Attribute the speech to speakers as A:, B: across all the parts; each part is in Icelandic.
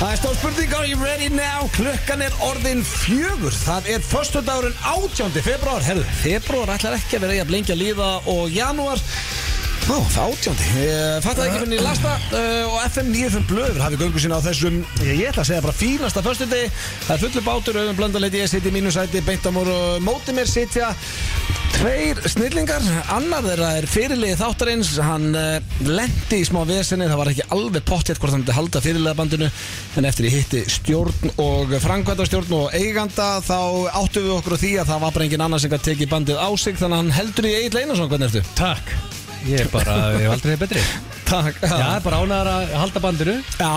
A: Það er stór spurning, are you ready now? Klukkan er orðin fjögur Það er föstudagurinn 18. februar Herðu, februar ætlar ekki að vera í að blengja líða og janúar Ó, það er 18. Ég fattaði ekki fyrir lasta uh, og FM 95 blöður hafi göngu sína á þessum, ég, ég ætla að segja bara fínasta föstudegi, það er fullu bátur auðvun blöndarleiti, ég siti í mínu sæti, beintamór og móti mér sitja Tveir snillingar, annar þeirra er fyrirlið þáttarins, hann uh, lendi í smá vesinni, það var ekki alveg pottétt hvort hann myndi halda fyrirlega bandinu en eftir ég hitti stjórn og frangvæntastjórn og eiganda þá áttu við okkur á því að það var bara engin annars sem gæti tekið bandið á sig þannig að hann heldur í Egil Einarsson, hvernig ertu?
B: Takk Ég er bara, ég hef aldrei verið betri
A: Takk
B: Já, ég er bara ánæður að halda bandinu
A: Já,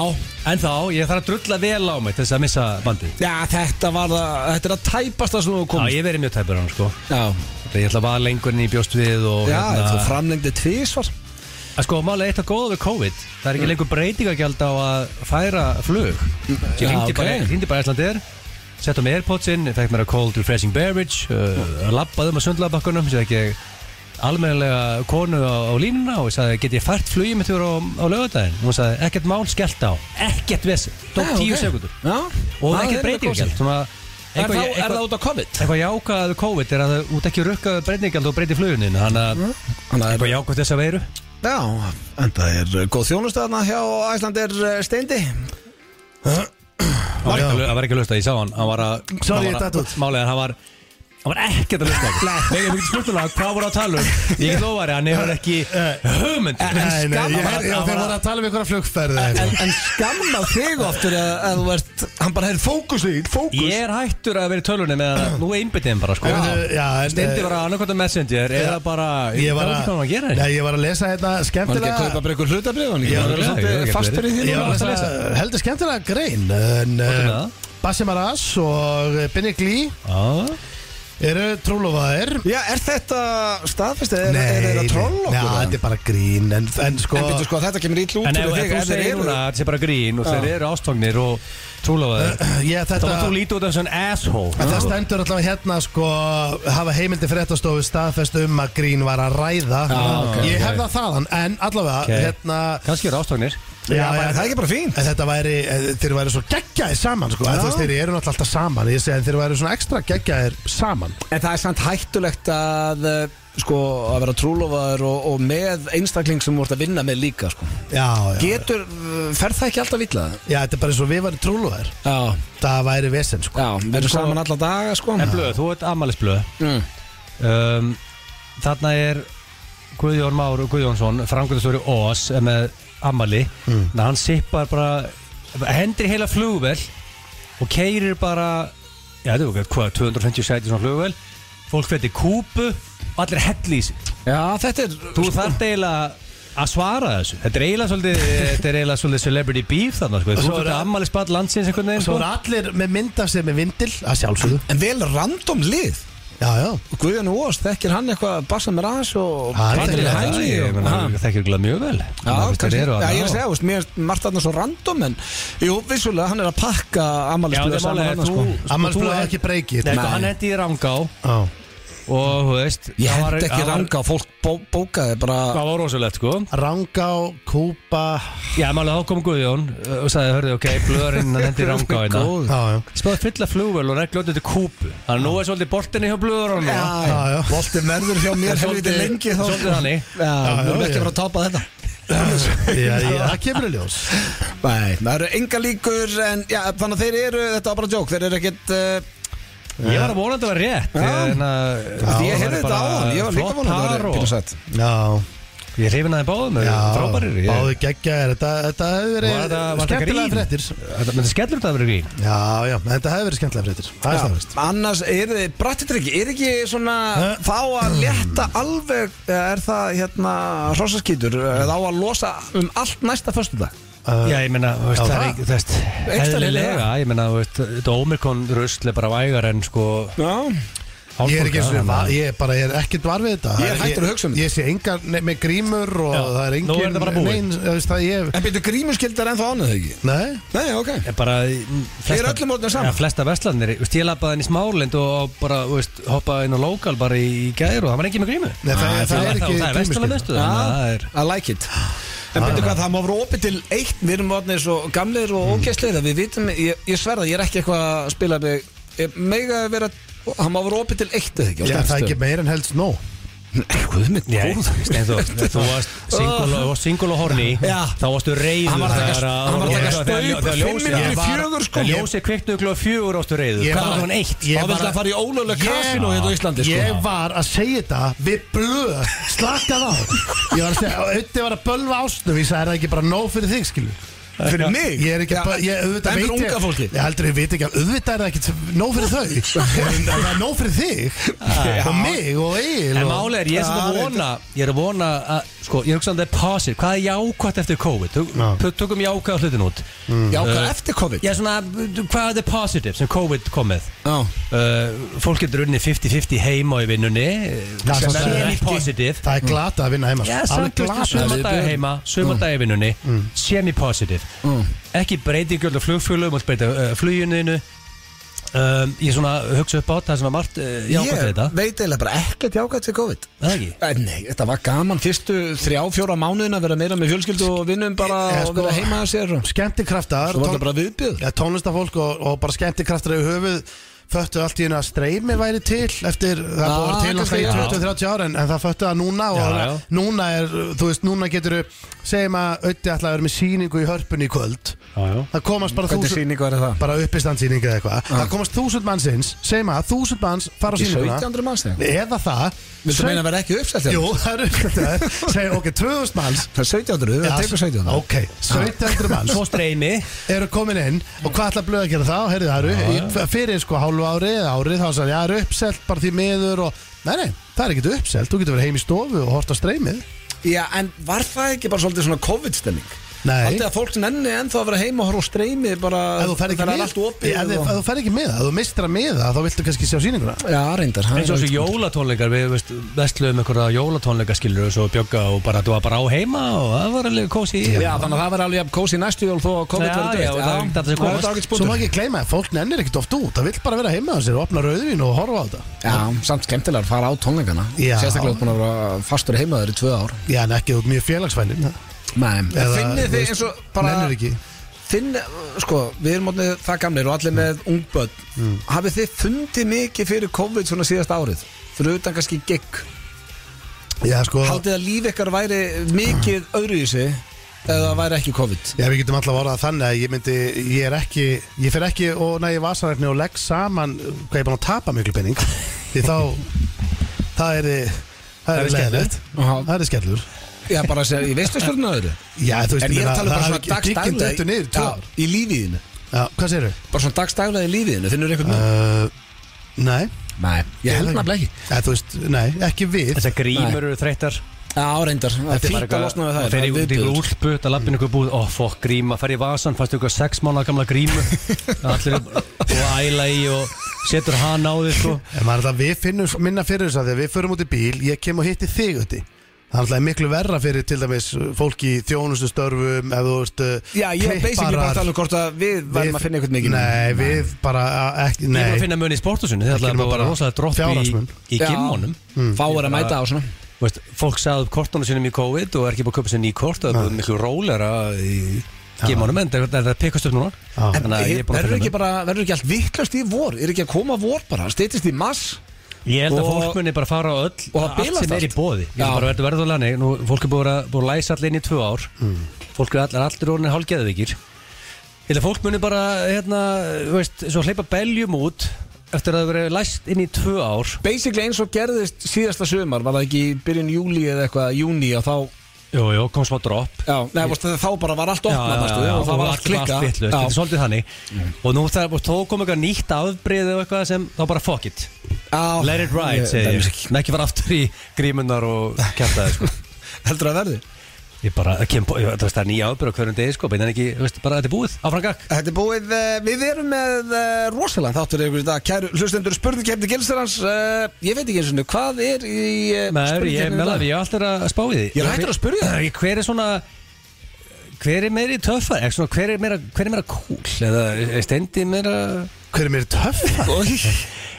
B: En þá, ég þarf að drulla vel á mig til þess að missa bandið
A: já þetta var það, þetta er að tæpast það sem þú
B: Já,
A: komst
B: ég hef verið mjög tæpur á hann, sko
A: Já,
B: Ég ætla að vaða lengur en ég bjóst við og
A: já þú
B: hérna,
A: framlengdi tvísvar
B: að Sko, málega eitt að góða við COVID Það er ekki lengur breytingagjald á að færa flug Ég
A: Já,
B: hringdi
A: ok.
B: bara, hringdi bara Íslandir Sett á mig Airpodsin, fekk mér að cold refreshing beverage uh, Lappaðum að sundlabakkunum Sér ekki almennilega konu á, á línuna og ég sagði, get ég fært flugið mitt fyrir á, á lögadaginn og hún sagði, ekkert mál skellt á ekkert vesen, tók
A: Já,
B: tíu
A: ok.
B: sekundur
A: Já,
B: og
A: það
B: ekkert
A: er
B: breytingagjald
A: kósí.
B: svona
A: Er
B: eitthvað,
A: það
B: eitthvað,
A: er það út á COVID?
B: eitthvað jákað COVID er að það út ekki rukkaðu breytingagjald og breyti flugunin þannig að
A: Mm. Þannig að-
B: eitthvað jákað þessa veiru
A: Já, en það er uh, góð þjónustöðna hjá Æslandir uh, Steindi
B: það var ekki að lu- það var ekki að lusta, ég sá hann hann var að
C: Sorry,
B: hann var
C: datt
B: að-
C: út.
B: málið er, hann var hann var ekkert að lusta ekki ég ekki spurtuna hvað voru að tala um ég get lofa þér, hann hefur ekki hugmynd
C: Nei, nei,
A: skammar
C: ég
A: að- að
C: heyrði að þeir
A: vara-
C: voru að tala um einhverja flugferði
A: En, en skammað þig oftur að, að þú ert, hann bara hefur fókus í, fókus
B: ég er hættur að vera í tölunni með að nú er einbyttiðin bara sko
C: Já, já, en- eh,
B: Steindi var að annarkvæmta messenger eða bara
C: Ég var
B: veit ekki hvað hann var að gera
C: Nei, ég var að lesa hérna
A: Hann ekki að
C: skemmtilega
A: kaupa bara einhver hlutabrið, hann ekki
C: Já,
A: að
B: já,
A: vera
B: já,
A: svolítið
B: já,
A: fastur í því
C: Ég var
A: núna?
C: að lesa heldur skemmtilega grein en,
B: er
C: eh,
B: það?
C: Bassi Maras og eh, Binni Glí
B: Já.
C: eru trúlofaðir
A: Já, er þetta staðfest eða er, er, er það troll okkur?
C: já,
A: eða?
C: þetta er bara grín En, en sko,
A: En betur sko, þetta kemur ítl út
B: En
A: fyrir
B: ef, ef
A: þig
B: þú
A: ef þeir
B: segir
A: eru-
B: núna að þetta sé bara grín og þeir eru ástofnir og trúlafaðir
C: ég,
B: þá
C: þetta
B: var þú lítið út af svona asshole
C: En það stendur allavega hérna sko hafa heimildi fréttastofu staðfest um að grín var að ræða
B: ok,
C: Ég
B: ok.
C: hef það þaðan, en allavega
B: Ok.
C: hérna,
B: Kanski eru ástofnir
C: já,
A: Já, bara,
C: já,
A: það er ekki bara fín
C: En þetta væri, eh, þeir væri svo geggjaðir saman sko, en
A: Já.
C: þú veist þeir eru náttúrulega alltaf saman ég segi en þeir væri svona ekstra geggjaðir saman
A: En það er samt hættulegt að eh, sko, að vera trúlofaður og, og með einstakling sem þú ert að vinna með líka sko.
C: Já, já,
A: Getur, fer það ekki alltaf illa?
C: já, þetta er bara eins og við varum trúluðar
A: Já,
C: það væri vesen sko
A: já, við erum
B: sko-
A: saman alla daga sko
B: En blöð, þú ert amalisblöð
A: Mm.
B: um, Þarna er Guðjón Már Guðjónsson framkvæmstjóri Ós er með amali mm. hann sippar bara hendir í heila flugvel og keirir bara já, þú veit hvað, 250 sæti svona flugvel fólk fyrir kúpu og allir helli í sig
A: Já, þetta er
B: Þú þarft eiginlega að svara þessu Þetta er eiginlega svolítið, þetta er eiginlega svolítið celebrity beef þarna sko. Þú
C: svo
B: ert
C: er-
B: ammali spatt landsins einhvern veginn
C: Svo
B: sko.
C: eru allir með mynda sem er vindil að sjálfsögðu
A: En vel random lið
C: Já, já,
A: Guðjón Ós, þekkir hann eitthvað Barsa með aðeins og
C: Hann
A: Patrik
C: þekkir
A: Hæli
B: Það ég
A: og-
B: meina,
A: Ha?
B: þekkir ekki mjög vel
A: Já, kannski,
B: er
A: já, ég er að segja, þú veist, mér er margt aðna svo random en, jú, vissulega, hann er að pakka
B: Já, það
A: ammælisblöð
B: er málið
A: saman
B: er
A: hann,
B: þú
A: sko
B: sko, þú
C: ammalsblöð
B: er-
C: er ekki breykið
B: Nei, sko, hann hendi í rangá
C: Já,
B: Og, þú veist
A: Ég
B: það var-
A: hend ekki
B: það var-
A: ranga, fólk bó, bókaði bara
B: Það var rosalegt, sko
C: Rangá, Kúpa
B: Já, málið þá kom Guðjón uh, og sagði, hörðu, ok, blöðurinn hann hendi í rangá hérna
A: Góð.
C: Já, já,
B: Spáði fylla flugvel og regla öllu til kúpu Þannig að nú er svolítið boltinni hjá blöðurinn
A: Já, já,
C: já.
A: Volti verður hjá mér helviti
B: Svolítið-
A: lengi sko. þá
B: svolítið þannig.
A: Já, við erum
C: já,
A: ekki
C: já.
A: að fara að tapa þetta
C: já, já, það kemur í ljós
A: Nei, það eru enga líkur en, já, þannig að þeir eru, þetta var bara djók þeir eru ekkit uh,
B: Ég var að vonandi að það var rétt
A: Já.
B: en,
A: Já,
B: uh,
A: ég heyrði þetta á hann, ég var líka vonað að það
B: var
A: væri
B: bara
A: pínu
B: flott par
A: sætt
C: Já,
B: og- Ég hrifin aðeins báðum,
C: já,
B: frábærir ég-
C: báðu geggjaðir Þetta, þetta hefur
B: Var þetta- var
C: verið
B: þetta
C: skemmtilega
B: grín?
C: fréttir
B: Þetta myndi skellur þetta að vera grín
C: Já, já, þetta hefur verið skemmtilega fréttir Það er staðfæst
A: Annars er þið, brattitryggi, er ekki svona
C: Hæ?
A: þá að létta alveg eða er það hérna hrósaskýtur þá að losa um allt næsta föstudag
B: Já, ég meina, þú veist,
C: Já,
B: það er
C: það?
B: ekki, þú veist Eðlilega, ég meina, þú veist, þetta Omikron rusl er bara vægar en sko
A: Já,
C: Ég er ekki eins
B: hálfbólka,
C: og
B: þannig að-
C: ég er bara, ég er ekkert var við þetta
A: Ég er hættur að hugsa um
C: þetta Ég sé engar ne- með grímur og
B: Já,
C: það er
B: nú
C: engin
B: er þetta bara búið.
C: Nein, þú veist það ég
A: en byrju grímuskildar ennþá ánað ekki
C: Nei,
A: Nei, ok
B: Ég bara
A: Ég er öllum orðnir saman.
B: Já, flesta vestlandir, þú veist, ég lappaði henni í smálend og bara, þú veist, hoppaði inn á lokal bara í gæður og það var ekki með grímu Ah,
C: Nei, það-
B: Það
C: það er ekki
B: er
C: grímuskylda.
A: Ah.
B: vestlandamestu, þannig að það er
A: I like it En veitu hvað, það má vera opið til eitt Við erum orðinir svo gamleir og
B: Mm.
A: ógæstleir að Við vitum, ég, ég sverða, ég er ekki eitthvað að spila mig Ég mega að vera Það má vera opið til eitt eða ekki á
C: Ég er það
A: skemmtistöðum.
C: ekki meir en helst nóg
A: Nei, Guð mitt
B: Nei,
A: góð
B: Steinþór, þú varst single, og- varst single og horny
A: Já.
B: Þá varstu reyður
A: Hann var að taka- hann var að taka staup, fimm mínútur í fjögur, sko.
B: Þegar ljósið kviktu ykkur fjögur áttu reyður
C: Ég
B: Hvað
C: var-
B: var hann eitt?
C: Ég
A: Þá
C: bara-
A: viltu að fara í ólega
C: Ég-
A: kasinu hérna á Íslandi sko.
C: Ég var að segja þetta við blöð, slakað á Ég var að segja, auðvitað var að bölva ástum Ég sagði, er það ekki bara nóg fyrir þig, skilju
A: Fyrir mig?
C: Ég er ekki að, böl- ég auðvitað
A: En fyrir
C: veit ég
A: unga fólki?
C: Ég heldur, ég veit ekki að, auðvitað er það ekki nóg fyrir þau En það er nóg fyrir þig Og mig og Egil
B: En
C: og-
B: máli er, ég Sko, er svona að
C: Já,
B: vona Ég er að vona að, sko, ég er hugsaðan það er pasir Hvað er jákvæmt eftir COVID?
C: Já. Mm.
B: Þú tökum jákvæða hlutin út
A: Já, hvað
B: Eh,
A: eftir COVID?
B: Ég er svona, hvað er the positive sem COVID kom með?
A: Já,
B: Uh, fólk getur unni 50-50 heima í vinnunni
C: Það er
B: sem
C: samt
B: er
C: ekki-
B: ekki positive
C: Það er glata að vinna heima
B: Já,
C: sko.
B: samt
C: Alveg Mm.
B: veist,
C: glatað.
B: suma
A: Við-
B: dagar
A: við-
B: heima, suma dagar í vinnunni semi-positive ekki breytingjöld og flugfjölum og breyta uh, flugjunninu um, ég svona hugsa upp á það sem var margt uh, jákvæmt við
A: Ég
B: þetta,
A: veit eiginlega bara ekkert jákvæmt til COVID
B: er það ekki?
A: Eh, Nei, þetta var gaman fyrstu þrjá, fjóra mánuðin að vera meira með fjölskyldu og vinnum bara
C: Eh,
A: og
C: sko-
A: vera heima að sér og-
C: Skemmtikraftar
A: Svo var
C: tón-
A: þetta bara viðbjöður
C: ja, tónlistafólk og, og bara skemmtikraftar yfir höfuð föttu allt í einu að streymi væri til eftir, það
A: Já,
C: ah, búið til
A: kannski,
C: alltaf í
A: já.
C: 20-30 ár en, en það föttu það núna og
B: Já, já.
C: núna er, þú veist, núna getur segjum að auðvitað ætla að vera með síningu í hörpunni í kvöld
B: jájá
C: það komast bara
A: Hvernig
C: þúsund
A: sýning var það?
C: bara uppistandsýningu eða eitthvað það komast þúsund mannsins, segjum að þúsund manns fara á
A: Í
C: síninguna
A: 1700 manns þegar
C: eða það
A: Viltu
C: sau-
A: meina að vera ekki uppsett
C: Jú, það er uppstættar segjum ok, 2000 manns
A: Það er 1700, við tekur 1700
C: ok, 1700 manns
B: svo streymi
C: eru komin inn og hvað ætla blöð að gera þá heyrðu það eru, í- fyrir sko hálfu ári eða ári þá sagði ég, það eru uppselt bara því miður og, nei nei, það er ekkert uppselt þú getur verið heim í stofu og horta streymið
A: Já, en var það ekki bara svolítið svona COVID-stemming?
C: Nei.
A: Haldið að fólk nenni ennþá að vera heima og horfa á streymi bara
C: ef þú fer ekki
A: það er
C: með,
A: allt opið
C: ef, ef, ef þú fer ekki með það, ef þú mistir að með það þá viltu kannski sjá sýninguna
A: Já, reyndar það
B: eins og
A: er-
B: þessu jólatónleikar við veist, vestluðum einhverja jólatónleika skilur og svo bjögga og bara, þú var bara á heima og það var alveg kósi
A: Já, þannig að það var alveg jafn kósi næstu jól þó að COVID
B: Já,
A: verið
B: já, og það er ekkert að þessi komast.
A: ágætt
C: svo má
A: spúndur
C: ekki gleyma að fólk nennir ekkert oft út það vil bara vera heima á sér og opna rauðvin og horfa á þetta
A: Já, samt skemmtilega að fara á tónleikana
C: Já.
A: Sérstaklega búin að vera fastur heimaður í tvö ár
C: já, en ekki þú ert mjög félagsfænir
A: Nei,
C: Eða,
A: finnið
C: þú
A: þið
C: veist,
A: eins og bara
C: nennir ekki
A: Finn, sko, við erum orðnið það gamlir og allir með ungböld mm. Hafið þið fundið mikið fyrir COVID svona síðast árið? Fyrir utan kannski gig
C: já, sko,
A: Haldið að líf ykkar væri mikið öðru í sig eða væri ekki COVID
C: Já, við getum alltaf orðað þannig að ég myndi, ég er ekki, ég fer ekki og næ í vasarækni og legg saman hvað ég er búin að tapa miklu penning því þá, það er, það
B: Það
C: er
B: er
C: skellur,
A: Aha.
C: það er skellur.
A: Já, bara að segja, ég veist stjórna öðru
C: Já, þú veist,
A: En ég er að tala um bara
C: það
A: svona
C: hafi ekki- gigginn dettur niður, í tvö
A: dagstæðlega
C: ár.
A: Í lífiðinu
C: Já, hvað segir þau?
A: Bara svona dagstæðlega í lífiðinu, finnur einhvern uh,
C: Uh, nei,
A: Nei, ég held
C: það
A: nafnilega ekki
C: Já, þú veist, nei, ekki við.
B: þessar grímur eru þreyttar
A: Já, reyndar, það er fínt að losna við það
B: fer
A: það
B: í
A: er
B: út í
A: viðbjöður.
B: úlpu, það lappin ykkur búð oh fokk gríma, fer í vasan, fannst ykkur sex mánuða gamla grímu allir og æla í og setur hann á því sko
C: En maður er alltaf, við finnum s- minna fyrir þess að þegar við förum út í bíl, ég kem og hitti þig ötti. Það er alltaf miklu verra fyrir til dæmis fólk í þjónustustörfum, ef þú veist, uh,
A: Já, ég er basically bara
C: klipparar.
A: að tala um hvort að við verðum að finna einhvern mikið
C: Nei, við bara a- ekki,
B: Ég var að
C: nei
B: finna mun í sporthúsinu Þið ætlaði
C: Ekki
B: að
C: nema
B: vera
C: bara
B: rosalega dropp í,
C: fjárhagsmun.
B: í gimmunum
A: Fáir að mæta á svona
B: Veist, Fólk sagði upp kortunum sínum í COVID og er ekki búið að köpa sér ný kort og það er miklu rólera í gimmunum en það er það pekast upp núna
A: En
C: Já.
A: eh,
B: Þannig að ég er búin að
A: verður
B: finna
A: ekki
B: mun
A: bara, verður ekki allt vittlast í vor Er ekki að koma vor bara, steytist í mass
B: Ég held að
A: og-
B: fólk muni bara fara á öll
A: Og það
B: allt
A: bilast
B: sem er í
A: allt.
B: bóði Ég
A: Já.
B: held bara verður verður lani Nú, Fólk er búið að, búið að læsa allir inn í tvö ár Fólk er allir, allir orðinir hálfgeðavíkir Ég held að fólk muni bara hérna, þú veist, svo hleypa beljum út eftir að það verið læst inn í tvö ár
A: Basically eins og gerðist síðasta sömar Var það ekki í byrjun júli eða eitthvað Júni og þá
B: Jú, jú, kom smá dropp
A: Já, nei, veist, þá bara var allt opnað
B: já,
A: manstu,
B: já,
A: og það var allt klikka
B: allt vitlaust, þetta er
A: Já.
B: svolítið þannig og nú það og þó kom eitthvað nýtt afbrið og eitthvað sem þá bara fuck it
A: Já.
B: let it ride
A: Ég-
B: segi
A: dæmis
B: ég
A: ekki.
B: en ekki fara aftur í grímunnar og kjartaði sko
A: Heldur það verði?
B: ég bara það kem, ég, það er nýja afbrið á hverjum degi sko en ekki veist, bara þetta er búið áfram gakk
A: Þetta er búið, eh, við erum með eh, rosalega þáttur ykkur í dag Kæru hlustendur, spurðu kemdi gilsarans uh, Ég veit ekki eins og nú, hvað er í uh,
B: Maður, ég meðla við ég er alltaf að spá í því
A: Ég er hættur að spyrja
B: Ég- hver er svona hver er meiri töffar Eða svona, hver er meira hver er meira cool eða er stendi meira
C: Hver er mér töff?
A: Oj,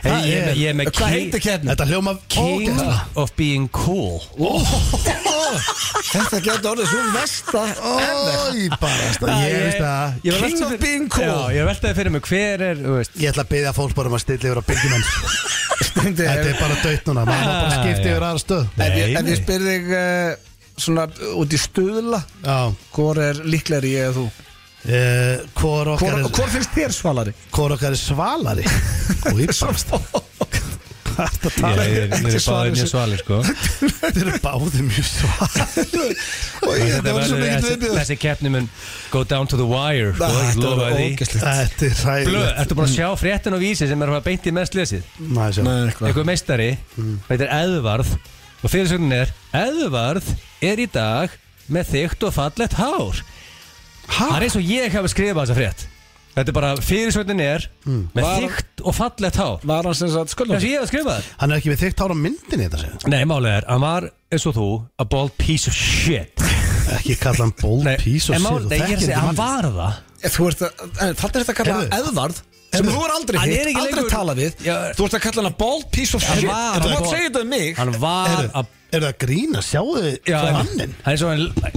B: Hey, ég, er með- ég er með
A: Hvað
B: ki-
A: heitir keppnin?
C: Þetta hljóma
B: King
C: ógeðslega.
B: of being cool
A: Þetta getur orðið svo vest að
C: Ói, barasta, ég veist það
B: ég var
A: King
B: veltað
A: of
B: fyrir-
A: being cool.
B: Já, Ég veltaði fyrir mig hver er þú veist,
C: Ég ætla að byggja fólk bara um að stilla yfir á byggjum
A: Steindi,
C: Þetta
A: ef,
C: er bara dött núna, maður má bara skipta yfir aðra stöð
A: ef,
B: Nei,
A: ég- ef
B: nei.
A: ég spyr þig uh, svona út í stuðla
C: Já,
A: Hvor er líklegri ég eða þú?
C: Eh, hvor
A: Hvor,
C: okkar er
A: hvor finnst þér svalari?
C: Hvor okkar er svalari Úi, barasta
B: Ég ég- ég er
A: svarið
B: báðið mjög
A: sem-
B: svali sko.
C: Þetta eru báði mjög svalari Og ég
B: Þetta
C: þetta var svo
B: verður-
C: mikið
B: þessi-
C: viðbjöð
B: Þessi keppni mun go down to the wire sko,
A: Ah,
B: ég
A: þetta
B: lofa
A: var
B: því.
A: ógeðslegt.
C: Þetta er
B: Blöð,
C: ræðilegt
B: ertu búin að sjá fréttin og vísi sem er að fara beint í mest lesið
C: Næ, sjá
A: Nei, eitthvað.
B: einhver meistari, veitir Eðvarð og fyrirsögnin er Eðvarð er í dag með þygt og fallett hár það er eins og ég hafi skrifað þessa frétt þetta er bara fyrirsögnin er með
A: Var-
B: þygt og fallett hár
A: Var hann sem sagt
B: það
A: sköldum?
B: sem ég hafi skrifað það
C: Hann er ekki við þygt hár á myndinni þetta segja
B: Nei, málið er, hann var eins og þú a bald piece of shit
C: Ekki kalla hann bold
B: Nei,
C: piece og
B: en
C: shit
B: málið,
C: og
B: nei, ég er
C: þekkir
B: að segja,
C: ekki
B: hann
C: mann.
B: var það
A: Þú ert að, en þetta er þetta að kalla
C: Heyrðu.
A: Eðvarð sem
C: Heyrðu.
A: þú er aldrei
B: Hann er
A: hitt,
B: ekki
A: aldrei
B: lengur-
A: talað við
B: Já.
A: Þú ert að kalla hann að bald piece of
B: Hann
A: shit
B: var-
A: Þú
B: hann
A: mátt
B: var-
A: segja þetta um mig
B: hann var
C: Heyrðu,
B: a
C: Er það að grína, sjáu þið
B: Já,
C: mannin
B: hann er svo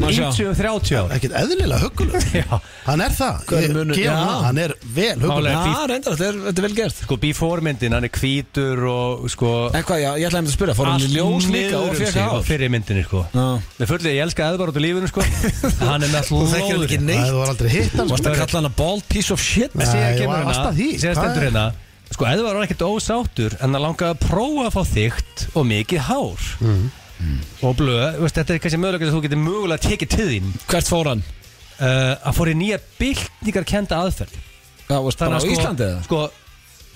A: Má sjá.
B: 90-30 ára
C: Ekkert eðlilega hugguleg
B: Já.
C: Hann er það,
A: Hvað er
C: Ég-
A: munur-
C: gefum
A: Já.
C: hann, hann er vel hugguleg
B: Málega.
A: Já, reyndar, þetta er, þetta er vel gert
B: Sko before myndin, hann er hvítur og sko um
A: En hvað, já, ég ætlaði einmitt að spyrja, fór hann í ljós líka og fekk
B: á
A: á
B: Fyrir myndinni sko
A: um Já.
B: Með fullið, ég elska aðvar út í lífinu sko Hann er með allt
A: Þú þekkir hann ekki
B: lóður
A: neitt.
C: Það var aldrei hitt hann
A: Þú
C: sko.
A: ert að kalla hann að bald piece of shit
C: Nei,
B: Síðan
C: ég
B: kemur
C: var
B: hérna,
C: alltaf því.
B: síðan
C: Hvað
B: stendur
C: er-
B: hérna Sko, Edvar var ekkert ósáttur en það langaði að prófa að fá þygt og mikið hár
C: Mm.
B: og blöð, þú veist, þetta er kannski mögulega að þú getur mögulega að tekið til þín
A: Hvert fór hann?
B: uh, að fóri nýja byltingar kenda aðferð
A: Já, varst bara á
B: að sko,
A: Íslandi eða?
B: sko,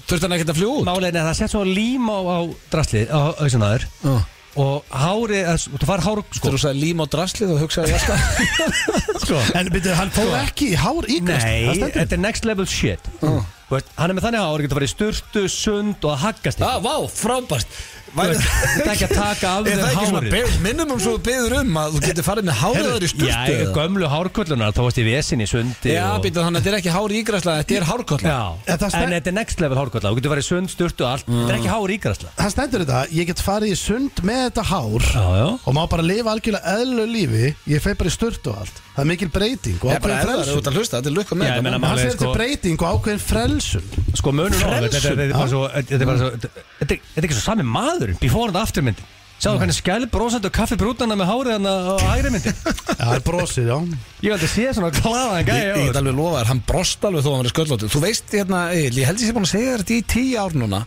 A: Þurfti hann ekkert að fljú út?
B: málegin er að það sett svo líma á, á draslið, á auðvitaður
A: Já.
B: og hári, að, þú far hár sko,
A: Þegar þú sagði lím á draslið og hugsaði ég alltaf
B: sko,
C: En byrju, hann fór ekki í hár íkast
B: Nei, þetta er next level shit
C: Mm.
B: Þú veist, Hann er með þannig hár, getur farið í sturtu, sund og að haggast
A: Já,
B: ykkur
A: vá, frábært
B: Þú
A: Væri-
B: veist, Þetta er ekki að taka
A: Er
B: af
A: það
B: þér
A: ekki svona
B: hárið
A: beð, minnum um svo þú beður um að þú getur farið með háriðar í
B: Já,
A: sturtu eða?
B: gömlu hárköllunar, þá varst ég vesin í sundi
A: Já,
B: og...
A: býta þannig að þetta er ekki hár ígræsla, þetta er hárkolla
B: Já,
C: En
B: en
C: það stend-
B: þetta er next level hárköllunar Þú getur farið í sund, sturtu og allt
A: Mm.
B: Þetta er ekki hár ígrasla
C: Hann stendur þetta, ég get farið í sund með þetta hár
B: Já, já
C: Og má bara lifa algjörlega eðlu lífi Ég fei bara í sturt og allt Það er mikil breyting og
A: Ég bara
C: ákveðin
A: eða þú
C: frelsun
A: ert að hlusta, þetta er lukka með
B: Já, ég meina,
A: þetta.
C: En Hann
B: Málega,
C: segir þetta
B: sko-
C: er breyting og ákveðin frelsun
B: Sko munur á þetta- þetta- þetta er bara
C: já.
B: svo- Þetta er bara svo Þetta þetta er þetta er ekki svo sami maður Before and after hérna myndin Sjáðu
A: Mm.
B: hvernig skæl brósandi og kaffi brúnana með hárið hann á hægri myndin
C: Já, það er brosið, já
B: Ég held að sé svona glaðan
A: Ég ég
B: gæja
A: get alveg lofa þér, hann brost alveg þó að hann verið sköllóttu Þú veist, hérna, Egil, ég held ég sé búin að segja þér þetta í tíu ár núna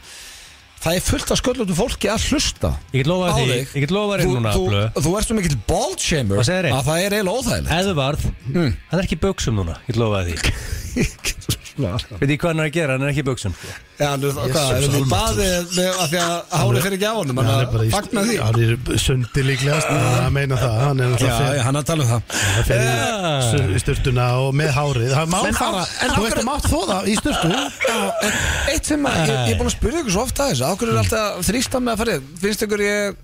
A: Það er fullt af sköllóttu fólki að hlusta
B: Ég get lofað
A: á
B: því,
A: þig.
B: ég get lofað þér
A: Þú-
B: núna,
A: þú-
B: Blöð.
A: Þú ert svo mikill ballshamer
B: Hvað
A: að
B: segir þér?
A: það er eiginlega óþægilegt
B: Edvard, hann er ekki í buksum núna, ég lofaði því Veit ég hvað hann er að gera, hann er ekki í buksum
A: Já, nú, hvað,
C: Jesus
A: er þetta í
C: almáttugur.
A: baði með að því að hárið fyrir ekki á honum
C: Hann er
A: Þannig
C: bara
A: að
C: í
A: fagna því
C: Hann er sundi líklegast Það meina það, hann er
A: Já,
C: náttúrulega
A: já, hann er að tala um það
C: Það fer í sur- í sturtuna og með hárið Það má
A: En á-
C: fara,
A: en
C: þú
A: af
C: veist
A: hverju-
C: að mátt þóða í sturtu
A: Já, en Eitt sem að, ég, ég er búin að spyrja ykkur svo ofta þessu Ákveður er alltaf þrýsta með að fara í- Finnst ykkur ég